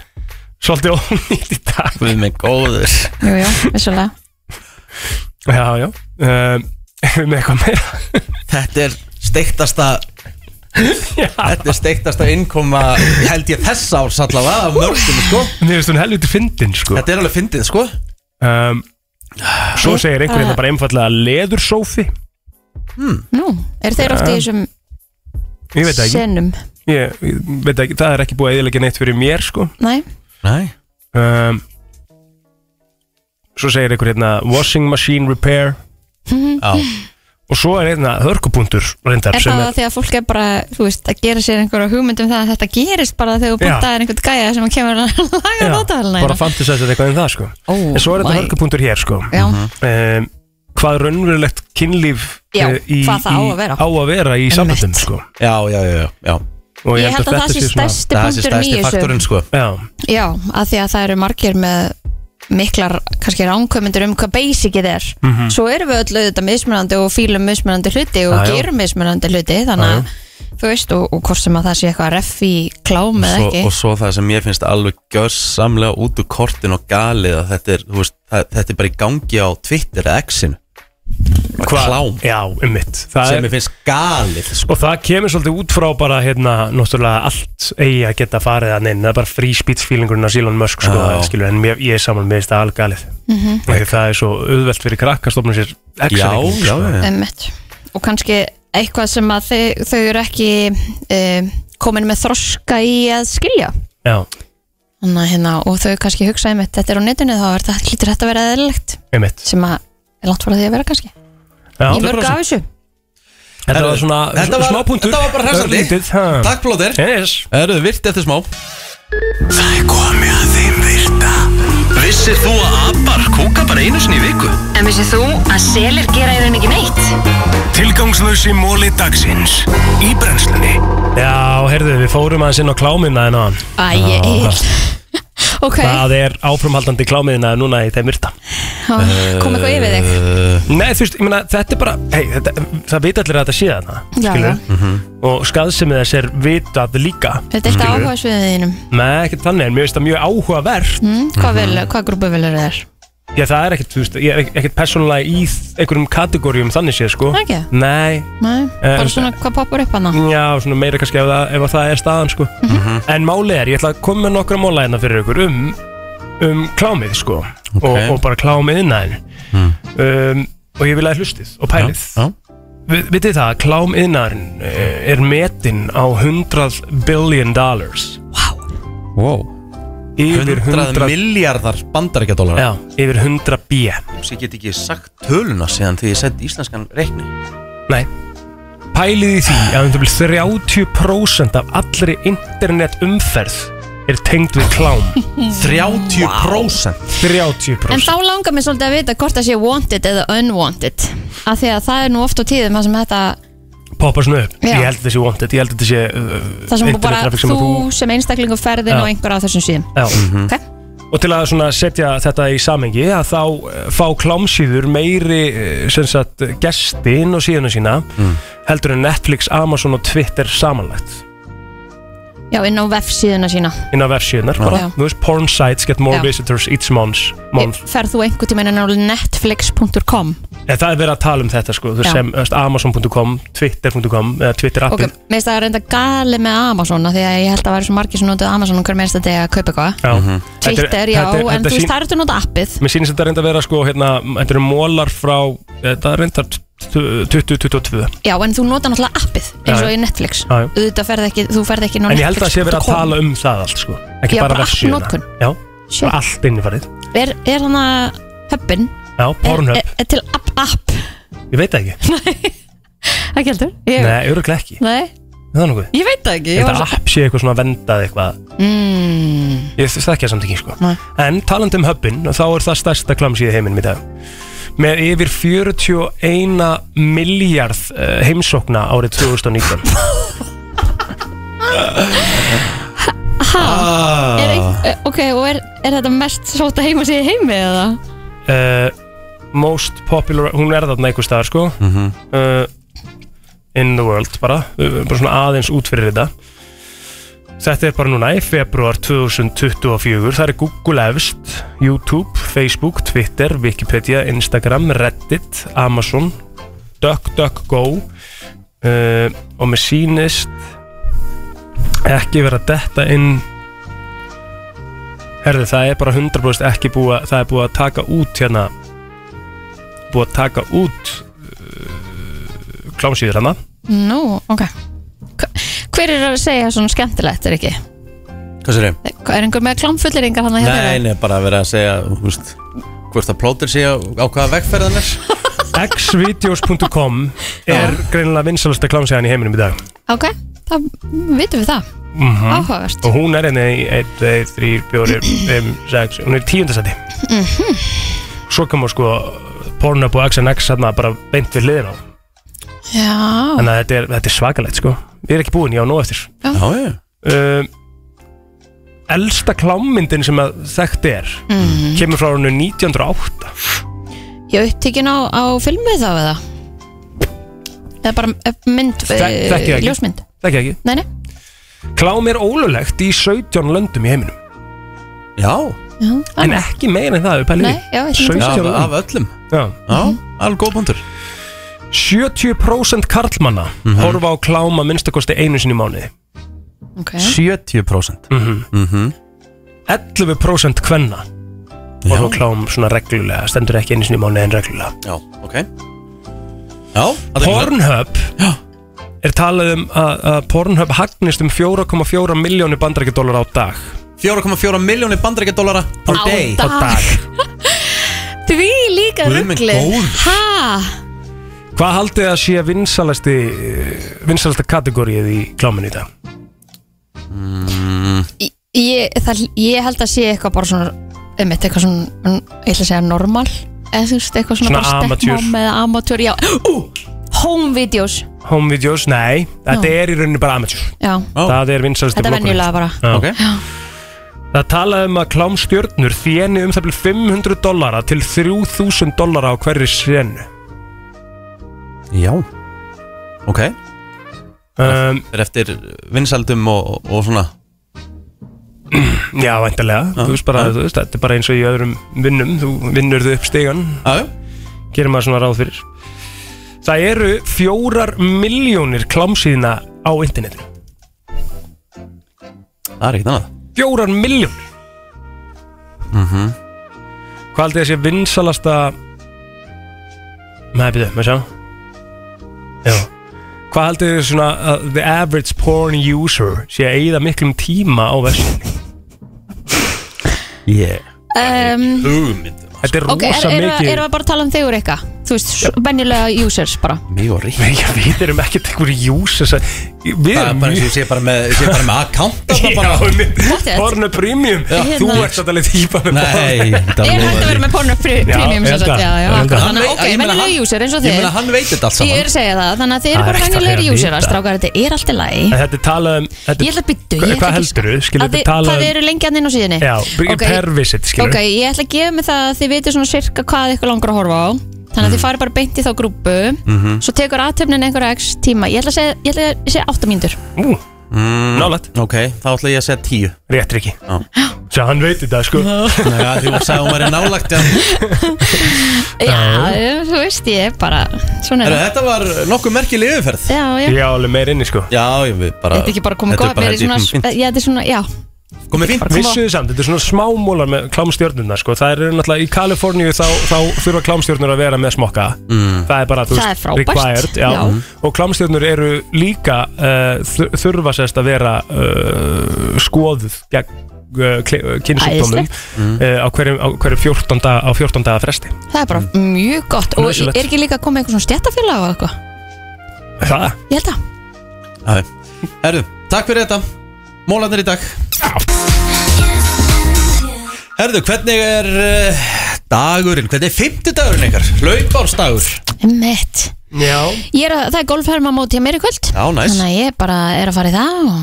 Speaker 3: svolítið ónýtt í dag
Speaker 1: Við með góður
Speaker 2: Jú, jú, vissulega
Speaker 3: já, já, <laughs> um, erum við eitthvað meira
Speaker 1: Þetta er steiktasta Þetta er steiktasta innkoma ég held ég þess árs allavega af mörgum sko
Speaker 3: mér finnst hún helviti fyndin, sko
Speaker 1: Þetta er alveg fyndið sko
Speaker 3: um, svo segir einhver hérna bara einfallega leðursófi,
Speaker 2: Nú, eru þeir ofta í þessum
Speaker 3: ég veit það ekki
Speaker 2: senum?
Speaker 3: ég, ég veit það ekki, það er ekki búið að eðilega neitt fyrir mér, sko
Speaker 2: Nei,
Speaker 1: Nei
Speaker 3: um, Svo segir einhver hérna Washing machine repair
Speaker 1: Já
Speaker 3: Og svo er hérna hörkupunktur reyndar,
Speaker 2: Mhm. er
Speaker 3: sem
Speaker 2: það að því að fólk er bara, þú veist, að gera sér einhverja hugmyndum það að þetta gerist bara þegar þú
Speaker 3: Já.
Speaker 2: bótaðir einhvern gæja sem að kemur að <laughs> laga
Speaker 3: Já,
Speaker 2: notavelina
Speaker 3: Bara fantasæsir eitthvað um það sko
Speaker 2: Oh
Speaker 3: En svo er þetta
Speaker 2: my-
Speaker 3: hörkupunktur hér sko
Speaker 2: Já.
Speaker 3: um, Hvað raunverulegt kynlíf
Speaker 2: Já,
Speaker 3: eh, í,
Speaker 2: hvað það á að
Speaker 3: í,
Speaker 2: vera.
Speaker 3: á að vera í sambandum sko
Speaker 1: Já, já, já, já, já.
Speaker 3: Og
Speaker 2: Ég held að það
Speaker 3: þetta
Speaker 2: sé
Speaker 3: sé svona-
Speaker 1: Það er
Speaker 2: stærsti punkturinn í
Speaker 1: stærsti
Speaker 2: þessu.
Speaker 1: faktorinn sko
Speaker 3: Já,
Speaker 2: Já, að því að það eru margir með miklar, kannski ránkömyndur um hvað basicið er
Speaker 3: Mhm.
Speaker 2: svo erum við öll auðvitað mismunandi og fílum mismunandi hluti og
Speaker 3: Já, já.
Speaker 2: gerum mismunandi hluti þannig að, þú veist, og, og hvort sem að það sé eitthvað ref í klám eða
Speaker 1: svo,
Speaker 2: ekki
Speaker 1: og svo það sem ég finnst alveg görsamlega út úr kortin og galið að þetta er, þú veist, það, þetta er bara í gangi á Twitter eða X-inu Bara
Speaker 3: Hvað-
Speaker 1: klám
Speaker 3: já, um mitt Það
Speaker 1: sem
Speaker 3: er
Speaker 1: ég finnst galið sko.
Speaker 3: Og það kemur svolítið út frá bara hérna, náttúrulega allt eigi að geta farið að neina, það er bara free speech feelingurinn að Sílon Musk sko,
Speaker 1: Já.
Speaker 3: skilur, en mér, ég er saman með þetta algalið.
Speaker 2: Mhm.
Speaker 3: Þegar það er svo auðvelt fyrir krakka að stofna sér
Speaker 1: já, já,
Speaker 3: x-reikning, sko.
Speaker 1: já, já.
Speaker 2: Einmitt. og kannski eitthvað sem að e, þau, þau eru ekki um, komin með þroska í að skilja
Speaker 3: já.
Speaker 2: Þannig að hérna, og þau kannski hugsa einmitt, þetta er á netinu þá er þetta hlýtur þetta að vera eðlilegt
Speaker 3: Einmitt.
Speaker 2: sem að er langt frá því að vera kannski
Speaker 3: Já.
Speaker 2: Í mörg af þessu
Speaker 3: Þetta var svona
Speaker 1: Þetta var,
Speaker 3: smá punktur
Speaker 1: þetta var bara hressandi
Speaker 3: Örlítið, ha.
Speaker 1: Takk Plóter
Speaker 3: yes.
Speaker 1: Eruðu virt eftir smá
Speaker 9: Það er komið að þeim virta Vissir þú að abar kúka bara einu sinni í viku?
Speaker 4: En vissið þú að selir gera í raun ekki neitt?
Speaker 9: Tilgangslösi móli dagsins Í brennslunni
Speaker 3: Já, heyrðu, við fórum aðeins inn á klámiðna en á hann
Speaker 2: Æ, ég er <laughs> Ok,
Speaker 3: Það er áframhaldandi klámiðna núna í þeim virta
Speaker 2: Já, kom eitthvað yfir þig
Speaker 3: eh, Nei, þú veist, ég meina, þetta er bara hey, þetta, Það vita allir að þetta sé þarna
Speaker 2: Já,
Speaker 3: skilurðu? Mm.
Speaker 2: já.
Speaker 3: Og skaðsemið þess er vitað líka
Speaker 2: Þetta er eitt
Speaker 3: skilurðu?
Speaker 2: áhuga sviðið þínum
Speaker 3: Nei, ekkert þannig, en mér finnst það mjög áhugavert
Speaker 2: mm,
Speaker 3: Mhm.
Speaker 2: Hvað, vel, hvað grúpa velur þér?
Speaker 3: Já, það er ekkert, þú veist, ég er ekk- ekkert persónulega í þ- einhverjum kategórium þannig séð, sko
Speaker 2: Ekki?
Speaker 3: Nei,
Speaker 2: Nei,
Speaker 3: Eh,
Speaker 2: bara svona hvað poppar upp hana
Speaker 3: Já, svona meira kannski ef það, ef það er staðan sko.
Speaker 1: Mhm.
Speaker 3: En málið er, ég ætla að koma með nokkra móla hérna fyrir ykkur um, um klámið sko. og, og bara klámið innæðin um, og ég vil að hlustið og pælið
Speaker 1: Hmm. Já, já.
Speaker 3: Vi, Vitið það, að klám innæðin er metin á 100 billion dollars
Speaker 1: Wow
Speaker 3: Yfir
Speaker 1: 100 miljardar bandaríkja dólar
Speaker 3: Já, yfir 100 b
Speaker 1: Ég get ekki sagt töluna síðan því ég sett íslenskan reikni
Speaker 3: Nei Pælið í því að um það vil 30% af allri internetumferð er tengd við
Speaker 1: <laughs>
Speaker 3: klám
Speaker 1: 30%?
Speaker 3: 30%
Speaker 2: En þá langar mér svolítið að vita hvort það sé wanted eða unwanted Af því að það er nú oft á tíðum það sem þetta
Speaker 3: poppa svona upp
Speaker 2: Já.
Speaker 3: ég held að þetta sé wanted, ég held að þetta sé uh,
Speaker 2: Það sem bara
Speaker 3: internettraffic
Speaker 2: þú
Speaker 3: að
Speaker 2: sem einstaklingu ferðin
Speaker 3: Já. Mm.
Speaker 2: og einhver á þessum síðum
Speaker 3: Já. og til að svona setja þetta í samengi að þá uh, fá klámsýður meiri uh, sem sagt uh, gesti inn á síðuna sína heldur en Netflix, Amazon og Twitter samanlagt
Speaker 2: Já, inn á vefsíðuna sína
Speaker 3: inn á vefsíðunar
Speaker 2: Já.
Speaker 3: bara, þú veist, porn sites get more
Speaker 2: Já.
Speaker 3: visitors each month, month.
Speaker 2: Ferð þú einhvern tímann inn á netflix.com
Speaker 3: En það er verið að tala um þetta sko,
Speaker 2: Já.
Speaker 3: þú veist, sem þú veist, amazon.com, twitter.com eða twitter
Speaker 2: Ok,
Speaker 3: appin
Speaker 2: mér finnst það reynda gali með Amazon af Því að ég held að það væri svo margir sem notuð Amazon um hver mennst að degi að kaupa eitthvað
Speaker 3: okay.
Speaker 2: Twitter, já, en þú veist, það er þetta nota appið
Speaker 3: Mér sýnist þetta reynda að vera sko, hérna, þetta eru mólar frá, þetta er reyndar 2022.
Speaker 2: Já, en þú nota náttúrulega appið eins og
Speaker 3: Já, já.
Speaker 2: í Netflix
Speaker 3: Já, já.
Speaker 2: Auðvitað ferð ekki, þú ferð ekki inn á
Speaker 3: En ég held að það sé verið að
Speaker 2: netflix.com.
Speaker 3: tala um það allt sko, ekki
Speaker 2: Já,
Speaker 3: bara
Speaker 2: bara
Speaker 3: vefsíðuna.
Speaker 2: allt notkun.
Speaker 3: Já,
Speaker 2: Shit.
Speaker 3: bara allt innifærið.
Speaker 2: Er, er hann að höppin
Speaker 3: Já,
Speaker 2: er,
Speaker 3: um- Pornhub,
Speaker 2: er til app, app
Speaker 3: ég veit það ekki.
Speaker 2: Ekki heldur? Ég,
Speaker 3: Nei, öruglega ekki,
Speaker 2: Nei,
Speaker 3: Er það er nokkuð.
Speaker 2: ég veit það ekki ég
Speaker 3: Þetta
Speaker 2: var svo-
Speaker 3: app sé eitthvað svona vendað eitthvað,
Speaker 2: mm,
Speaker 3: ég þekki það samt ekki sko.
Speaker 2: Nei.
Speaker 3: En talandi um höppin, þá er það stærsta klamsíði heiminn í dag. Með yfir 41 miljard uh, heimsókna árið 2019.
Speaker 2: Ha,
Speaker 1: Ah.
Speaker 3: Ah.
Speaker 2: er, ein- ok, og er, er þetta mest sóta heima sig í heimi eða?
Speaker 3: uh, most popular hún er þarna einhver staðar sko uh, in the world bara uh, bara svona aðeins út fyrir þetta þetta er bara núna í februar 2024 það er Google efst, YouTube, Facebook Twitter, Wikipedia, Instagram Reddit, Amazon DuckDuckGo uh, og mér sýnist ekki vera að detta inn Herðu, það er bara 100% ekki búið að, það er búið að taka út hérna búið að taka út uh, klámsýður hérna
Speaker 2: Nú, ok Hva- Hver er að segja svona skemmtilegt, er ekki?
Speaker 1: Hvað sér ég?
Speaker 2: Hva- Er einhver með klámfulleringar hann að
Speaker 1: Nei, nei, bara verið að segja þú veist, hvort að plóter sé á, á hvaða vegferðan er
Speaker 3: xvideos.com er greinilega vinsalasta klámsýðan í heiminum í dag
Speaker 2: Ok, það vitum við það
Speaker 3: mm
Speaker 2: Áhugavert.
Speaker 3: og hún er hérna í 1, 2, 3, 4, 5, 6 hún er í tíundasæti
Speaker 2: mm
Speaker 3: svo kemur sko Pornhub og XNX hérna bara beint við hliðin á
Speaker 2: Já,
Speaker 3: þannig að þetta er, þetta er svakalegt sko við erum ekki búin, ég á nóg eftir
Speaker 2: Já.
Speaker 1: já
Speaker 3: uh, elsta klámmyndin sem að þekkt er
Speaker 2: Mhm.
Speaker 3: kemur frá hannu 1908
Speaker 2: ég upptíkin á, á filmið þá eða? Eða bara eh, mynd,
Speaker 3: Þek-
Speaker 2: eh,
Speaker 3: þekki það ekki.
Speaker 2: ljósmynd
Speaker 3: þekki ekki
Speaker 2: Nei, nei,
Speaker 3: klám er ólulegt í 17 löndum í heiminum
Speaker 1: já,
Speaker 2: já,
Speaker 3: en
Speaker 2: annað.
Speaker 3: ekki meira en það við pælum
Speaker 2: Ah, Nei, já, ég
Speaker 3: Sautján
Speaker 2: held
Speaker 1: af,
Speaker 3: löndum.
Speaker 1: af öllum
Speaker 3: já.
Speaker 1: Já, alveg góð punktur
Speaker 3: 70% karlmanna horfa á klám að minnstakosti einu sinni í mánuði
Speaker 1: Eh?
Speaker 2: Ok.
Speaker 1: 70% mm -hmm.
Speaker 3: 11% kvenna horfa á klám svona reglulega stendur ekki einu sinni í mánuði en reglulega
Speaker 1: Já, ok Já,
Speaker 3: Pornhub er talað um að að Pornhub hagnist um 4,4 miljónir bandarækjadólar á dag
Speaker 1: 4,4 miljónir bandarækjadólara
Speaker 2: Á dag. Því líka
Speaker 3: Guð minn
Speaker 2: ruggli
Speaker 3: góður.
Speaker 2: Hæ?
Speaker 3: Hvað haldið að sé vinsalasti vinsalasta kategórið í kláminu í dag? Mm.
Speaker 2: Ég, það, ég held að sé eitthvað bara svona um eitthvað svona, mm, ég ætla að segja normal eða þú veist eitthvað svona,
Speaker 3: Svona
Speaker 2: bara
Speaker 3: amatör.
Speaker 2: stekkmám eða amatör já, ú, home videos
Speaker 3: Home videos, nei, þetta er í rauninni bara amatjúr
Speaker 2: já,
Speaker 3: Það er vinsalasti
Speaker 2: þetta er venjulega bara Já.
Speaker 3: Það talaði um að klámstjörnur þéni um það byrjum 500 dollara til 3000 dollara á hverri senu
Speaker 1: Já Ok
Speaker 3: um,
Speaker 1: Er eftir vinsaldum og, og svona
Speaker 3: Já, væntalega,
Speaker 1: Já.
Speaker 3: þú veist bara,
Speaker 1: Já.
Speaker 3: þú veist, þetta er bara eins og í öðrum vinnum, þú vinnur þau upp stegan
Speaker 1: Já,
Speaker 3: gerir maður svona ráð fyrir Það eru fjórar miljónir klámsýðina á internetinu
Speaker 1: Það er ekkert annað
Speaker 3: Fjórar miljónir
Speaker 1: mm -hmm.
Speaker 3: Hvað haldið þessi vinsalasta Nei, byrju, maður sjá Já Hvað haldið þessi svona uh, The average porn user sé að eyða miklum tíma á vessunni Yeah
Speaker 2: um,
Speaker 1: Hugmynd
Speaker 3: Þetta er
Speaker 2: ok,
Speaker 3: rosa
Speaker 2: erum
Speaker 3: mikið
Speaker 2: við bara að tala um þig og eitthvað þú veist, s- venjulega users bara
Speaker 1: Mjög og rík
Speaker 3: Nei, við erum ekkert einhverju users að-
Speaker 1: Það
Speaker 3: Við
Speaker 1: er
Speaker 3: erum
Speaker 1: bara eins og ég sé bara með, ég sé bara með account þarna bara.
Speaker 3: mjög
Speaker 2: Pottet.
Speaker 3: Porno premium
Speaker 1: Já.
Speaker 3: Þú
Speaker 1: Hérna.
Speaker 3: ert þetta leið típa með
Speaker 1: Nei, þetta
Speaker 2: er hægt að vera með porno pri-
Speaker 1: Já,
Speaker 2: premium
Speaker 1: ég
Speaker 2: sem
Speaker 1: held
Speaker 2: sagt,
Speaker 1: að-
Speaker 2: já,
Speaker 1: ég
Speaker 2: já,
Speaker 1: held
Speaker 2: akkurat.
Speaker 1: að-
Speaker 2: þannig að
Speaker 1: Hann veit-
Speaker 2: ok,
Speaker 1: ég meina,
Speaker 2: venjulega
Speaker 1: hann-
Speaker 2: user eins og
Speaker 1: ég
Speaker 2: þið
Speaker 1: meina, hann veit þetta allt saman.
Speaker 2: ég er að segja það, þannig að þið
Speaker 3: Það
Speaker 2: eru
Speaker 3: er
Speaker 2: bara
Speaker 3: ekkert að
Speaker 2: venjulegir
Speaker 3: vera að
Speaker 2: userar
Speaker 3: vita.
Speaker 2: strákar, þetta er allt í lagi
Speaker 3: En Þetta er talað um þetta-
Speaker 2: Ég ætla að byttu, ég
Speaker 3: Hvað-
Speaker 2: ætla
Speaker 3: Hvað
Speaker 2: ekki-
Speaker 3: heldurðu? Skilur
Speaker 2: Að
Speaker 3: þetta
Speaker 2: þið-
Speaker 3: talað
Speaker 2: Hvað
Speaker 3: um
Speaker 2: þið eru lengi að inn á síðunni
Speaker 3: Já,
Speaker 2: Ok.
Speaker 3: per visit, skilur
Speaker 2: Ok, ég ætla að gefa mig það að þið veitir svona sirka hvað ykkur langar að horfa á Þannig að þið farið bara beint í þá grúpu
Speaker 1: Mhm.
Speaker 2: Svo tekur aðtöfnin einhverja x tíma Ég ætla að segja, ég ætla að segja 8 mínútur
Speaker 3: Ú,
Speaker 1: mm,
Speaker 3: Nálægt
Speaker 1: Ok, þá ætla ég að segja
Speaker 2: <laughs>
Speaker 1: 10
Speaker 3: Réttir ekki
Speaker 1: Já
Speaker 3: Sjá, hann veit þetta, sko
Speaker 1: Nei, að því að sagði hún væri nálægt ja.
Speaker 2: <laughs> Já, þú veist ég er bara Svona er
Speaker 1: Heru,
Speaker 2: það
Speaker 1: Þetta var nokkuð merkileg yfirferð
Speaker 2: Já, já,
Speaker 3: Já, alveg meir inni, sko
Speaker 1: Já, ég við bara
Speaker 2: þetta er ekki bara komið
Speaker 1: Þetta
Speaker 2: góð
Speaker 1: er bara
Speaker 2: Mér er svona,
Speaker 1: held ég fínt.
Speaker 2: já, þetta er svona, já
Speaker 1: Komið fínt
Speaker 3: Vissu þið samt, þetta er svona smámólar með klámstjörnuna sko. Það eru náttúrulega í Kaliforníu þá, þá þurfa klámstjörnur að vera með smokka mm. Það er bara, þú
Speaker 2: Það
Speaker 3: veist,
Speaker 2: er frábært.
Speaker 3: required já.
Speaker 2: Já.
Speaker 3: Og klámstjörnur eru líka uh, þur- þurfa sérst að vera uh, skoðuð gegn uh, kynnsjúkdómum
Speaker 2: Æðislegt.
Speaker 3: uh, á hverju, á hverju 14 dag, á 14 daga fresti
Speaker 2: Það er bara mjög gott Og
Speaker 3: Nauðsynlegt.
Speaker 2: er ekki líka komið eitthvað svona stjættafélag og eitthvað
Speaker 3: Það?
Speaker 2: Ég held að
Speaker 1: Herru, takk fyrir þetta Mólarnir í dag Herru, hvernig er uh, dagurinn? Hvernig er fimmtudagurinn ykkar? Laupársdagur
Speaker 2: Mitt
Speaker 3: Já
Speaker 2: Ég er að, það er golfherma móti hjá mér í kvöld
Speaker 1: Já, næs.
Speaker 2: Þannig að ég bara er að fara í það og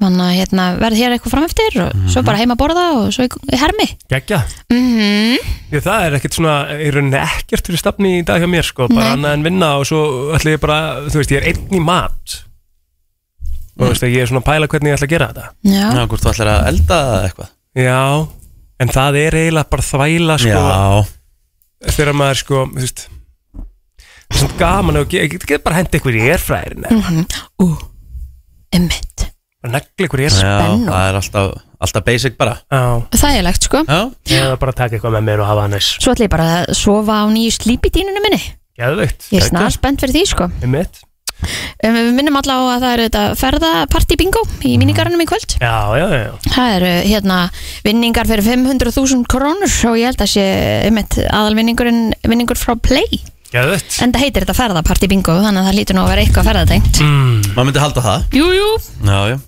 Speaker 2: þannig að hérna, verð hér eitthvað frameftir og svo bara heima að borða og svo í, í hermi
Speaker 3: Gekja
Speaker 2: mm
Speaker 3: Ég, það er ekkert svona, í rauninni ekkert fyrir stafni í dag hjá mér sko, bara
Speaker 2: Nei.
Speaker 3: annað en vinna og svo ætla ég bara, þú veist, ég er einn í mat og þú veist, ég er svona að pæla hvernig ég ætla að gera þetta
Speaker 2: Já.
Speaker 1: Já, hvort þú ætlar að elda eða eitthvað
Speaker 3: Já, en það er eiginlega bara þvæla sko, þegar maður sko, þú veist það er svona gaman og ég get bara hendi ykkur í erfræðin
Speaker 2: mm -hmm. Ú, emmitt
Speaker 3: bara negli ykkur í
Speaker 1: Já,
Speaker 3: erfræðin
Speaker 1: það er alltaf, alltaf basic bara
Speaker 3: Já,
Speaker 2: Þægilegt sko
Speaker 1: Mm.
Speaker 3: ég er bara að taka eitthvað með mér og hafa hann eins
Speaker 2: Svo ætla ég bara að sofa á nýju slípidínunum minni
Speaker 3: Geðveikt
Speaker 2: Ég er snar spennt fyrir því sko
Speaker 3: Einmitt.
Speaker 2: um, Við minnum alla á að það eru þetta ferðapartí bingo í minningaranum í kvöld
Speaker 3: Já, já, já, já
Speaker 2: Það eru hérna vinningar fyrir 500.000 krónur og ég held að sé einmitt aðalvinningurinn vinningur frá Play
Speaker 3: Geðveikt
Speaker 2: En það heitir þetta ferðapartí bingo þannig að það lítur nú að vera eitthvað ferðatengt
Speaker 3: mm.
Speaker 1: Maður myndi halda það
Speaker 2: Jú, jú
Speaker 1: Já, já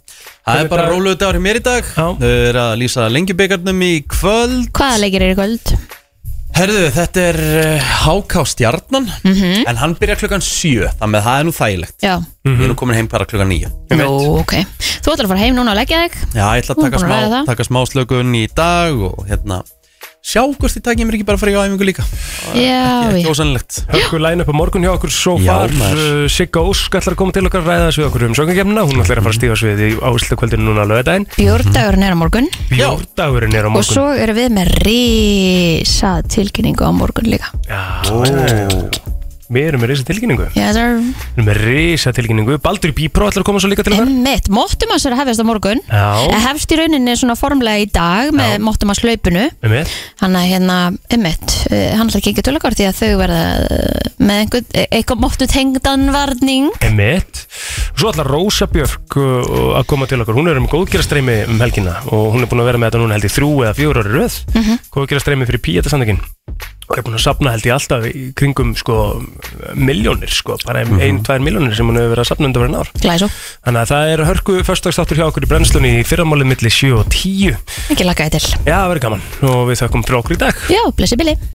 Speaker 1: Það er bara róluðu dagur hjá mér í dag Þau eru að lýsa lengjubikarnum í kvöld
Speaker 2: Hvaða leikir eru í kvöld?
Speaker 1: Herðu, þetta er uh, HK Stjarnan En hann byrjar klukkan 7 Þannig að það er nú þægilegt
Speaker 2: Já,
Speaker 1: Ég er nú komin heim bara klukkan 9
Speaker 2: nú, ok Þú ætlar að fara heim núna og leggja þig
Speaker 1: Já, ég ætla að
Speaker 2: Nú,
Speaker 1: taka
Speaker 2: búin að ræða
Speaker 1: smá,
Speaker 2: það.
Speaker 1: taka smá slökun í dag Og hérna Sjá hvort þið takið mér ekki bara að fara í áæfingu líka
Speaker 2: Já,
Speaker 1: Ekki
Speaker 2: já.
Speaker 1: ósannlegt
Speaker 3: Hörku læna upp á morgun hjá okkur svo
Speaker 1: Já,
Speaker 3: far
Speaker 1: maður.
Speaker 3: uh, Sigga Ósk ætlar að koma til okkar að ræða þessu okkur um söngarkemna Hún ætlar að fara að stífa sviði á Íslandakvöldinu núna á lögadaginn
Speaker 2: Bjórdagurinn er á morgun
Speaker 3: Bjórdagurinn er á
Speaker 2: Og
Speaker 3: morgun
Speaker 2: svo erum við með risa tilkynningu á morgun líka
Speaker 3: Já, Við erum með risa tilkynningu
Speaker 2: Já, það er
Speaker 3: Við erum með risa tilkynningu Baldur Bípró ætlar að koma svo líka til okkar
Speaker 2: Emmitt, móttum að sér að hefjast á morgun
Speaker 3: Já,
Speaker 2: Það hefst í rauninni svona formlega í dag með móttum að slaupinu
Speaker 3: með mér
Speaker 2: Þannig að hérna, emmitt, eh, hann ætla ekki ekki tölakort því að þau verða eh, með einhver, eh, eitthvað móttu tengdan varning
Speaker 3: Emmett Svo ætlar Rósa Björk uh, að koma til okkur Hún er um góðgerastreimi um helgina Og hún er búin að vera með þetta núna held í þrjú eða fjör ári röð mm -hmm. Góðgerastreimi fyrir Píeta sandökin Og er búin að sapna held í alltaf í kringum sko miljónir sko Bara ein, ein, tvær miljónir sem hún hefur verið að sapna undan verið nár
Speaker 2: Glæsó,
Speaker 3: Þannig að það er hörku förstagsdáttur hjá okkur í brennslunni í fyrramálið milli 7 og 10
Speaker 2: ekki lakaði til
Speaker 3: Já, það verður gaman og við þökkum fyrir okkur í dag
Speaker 2: Já, blessi Billy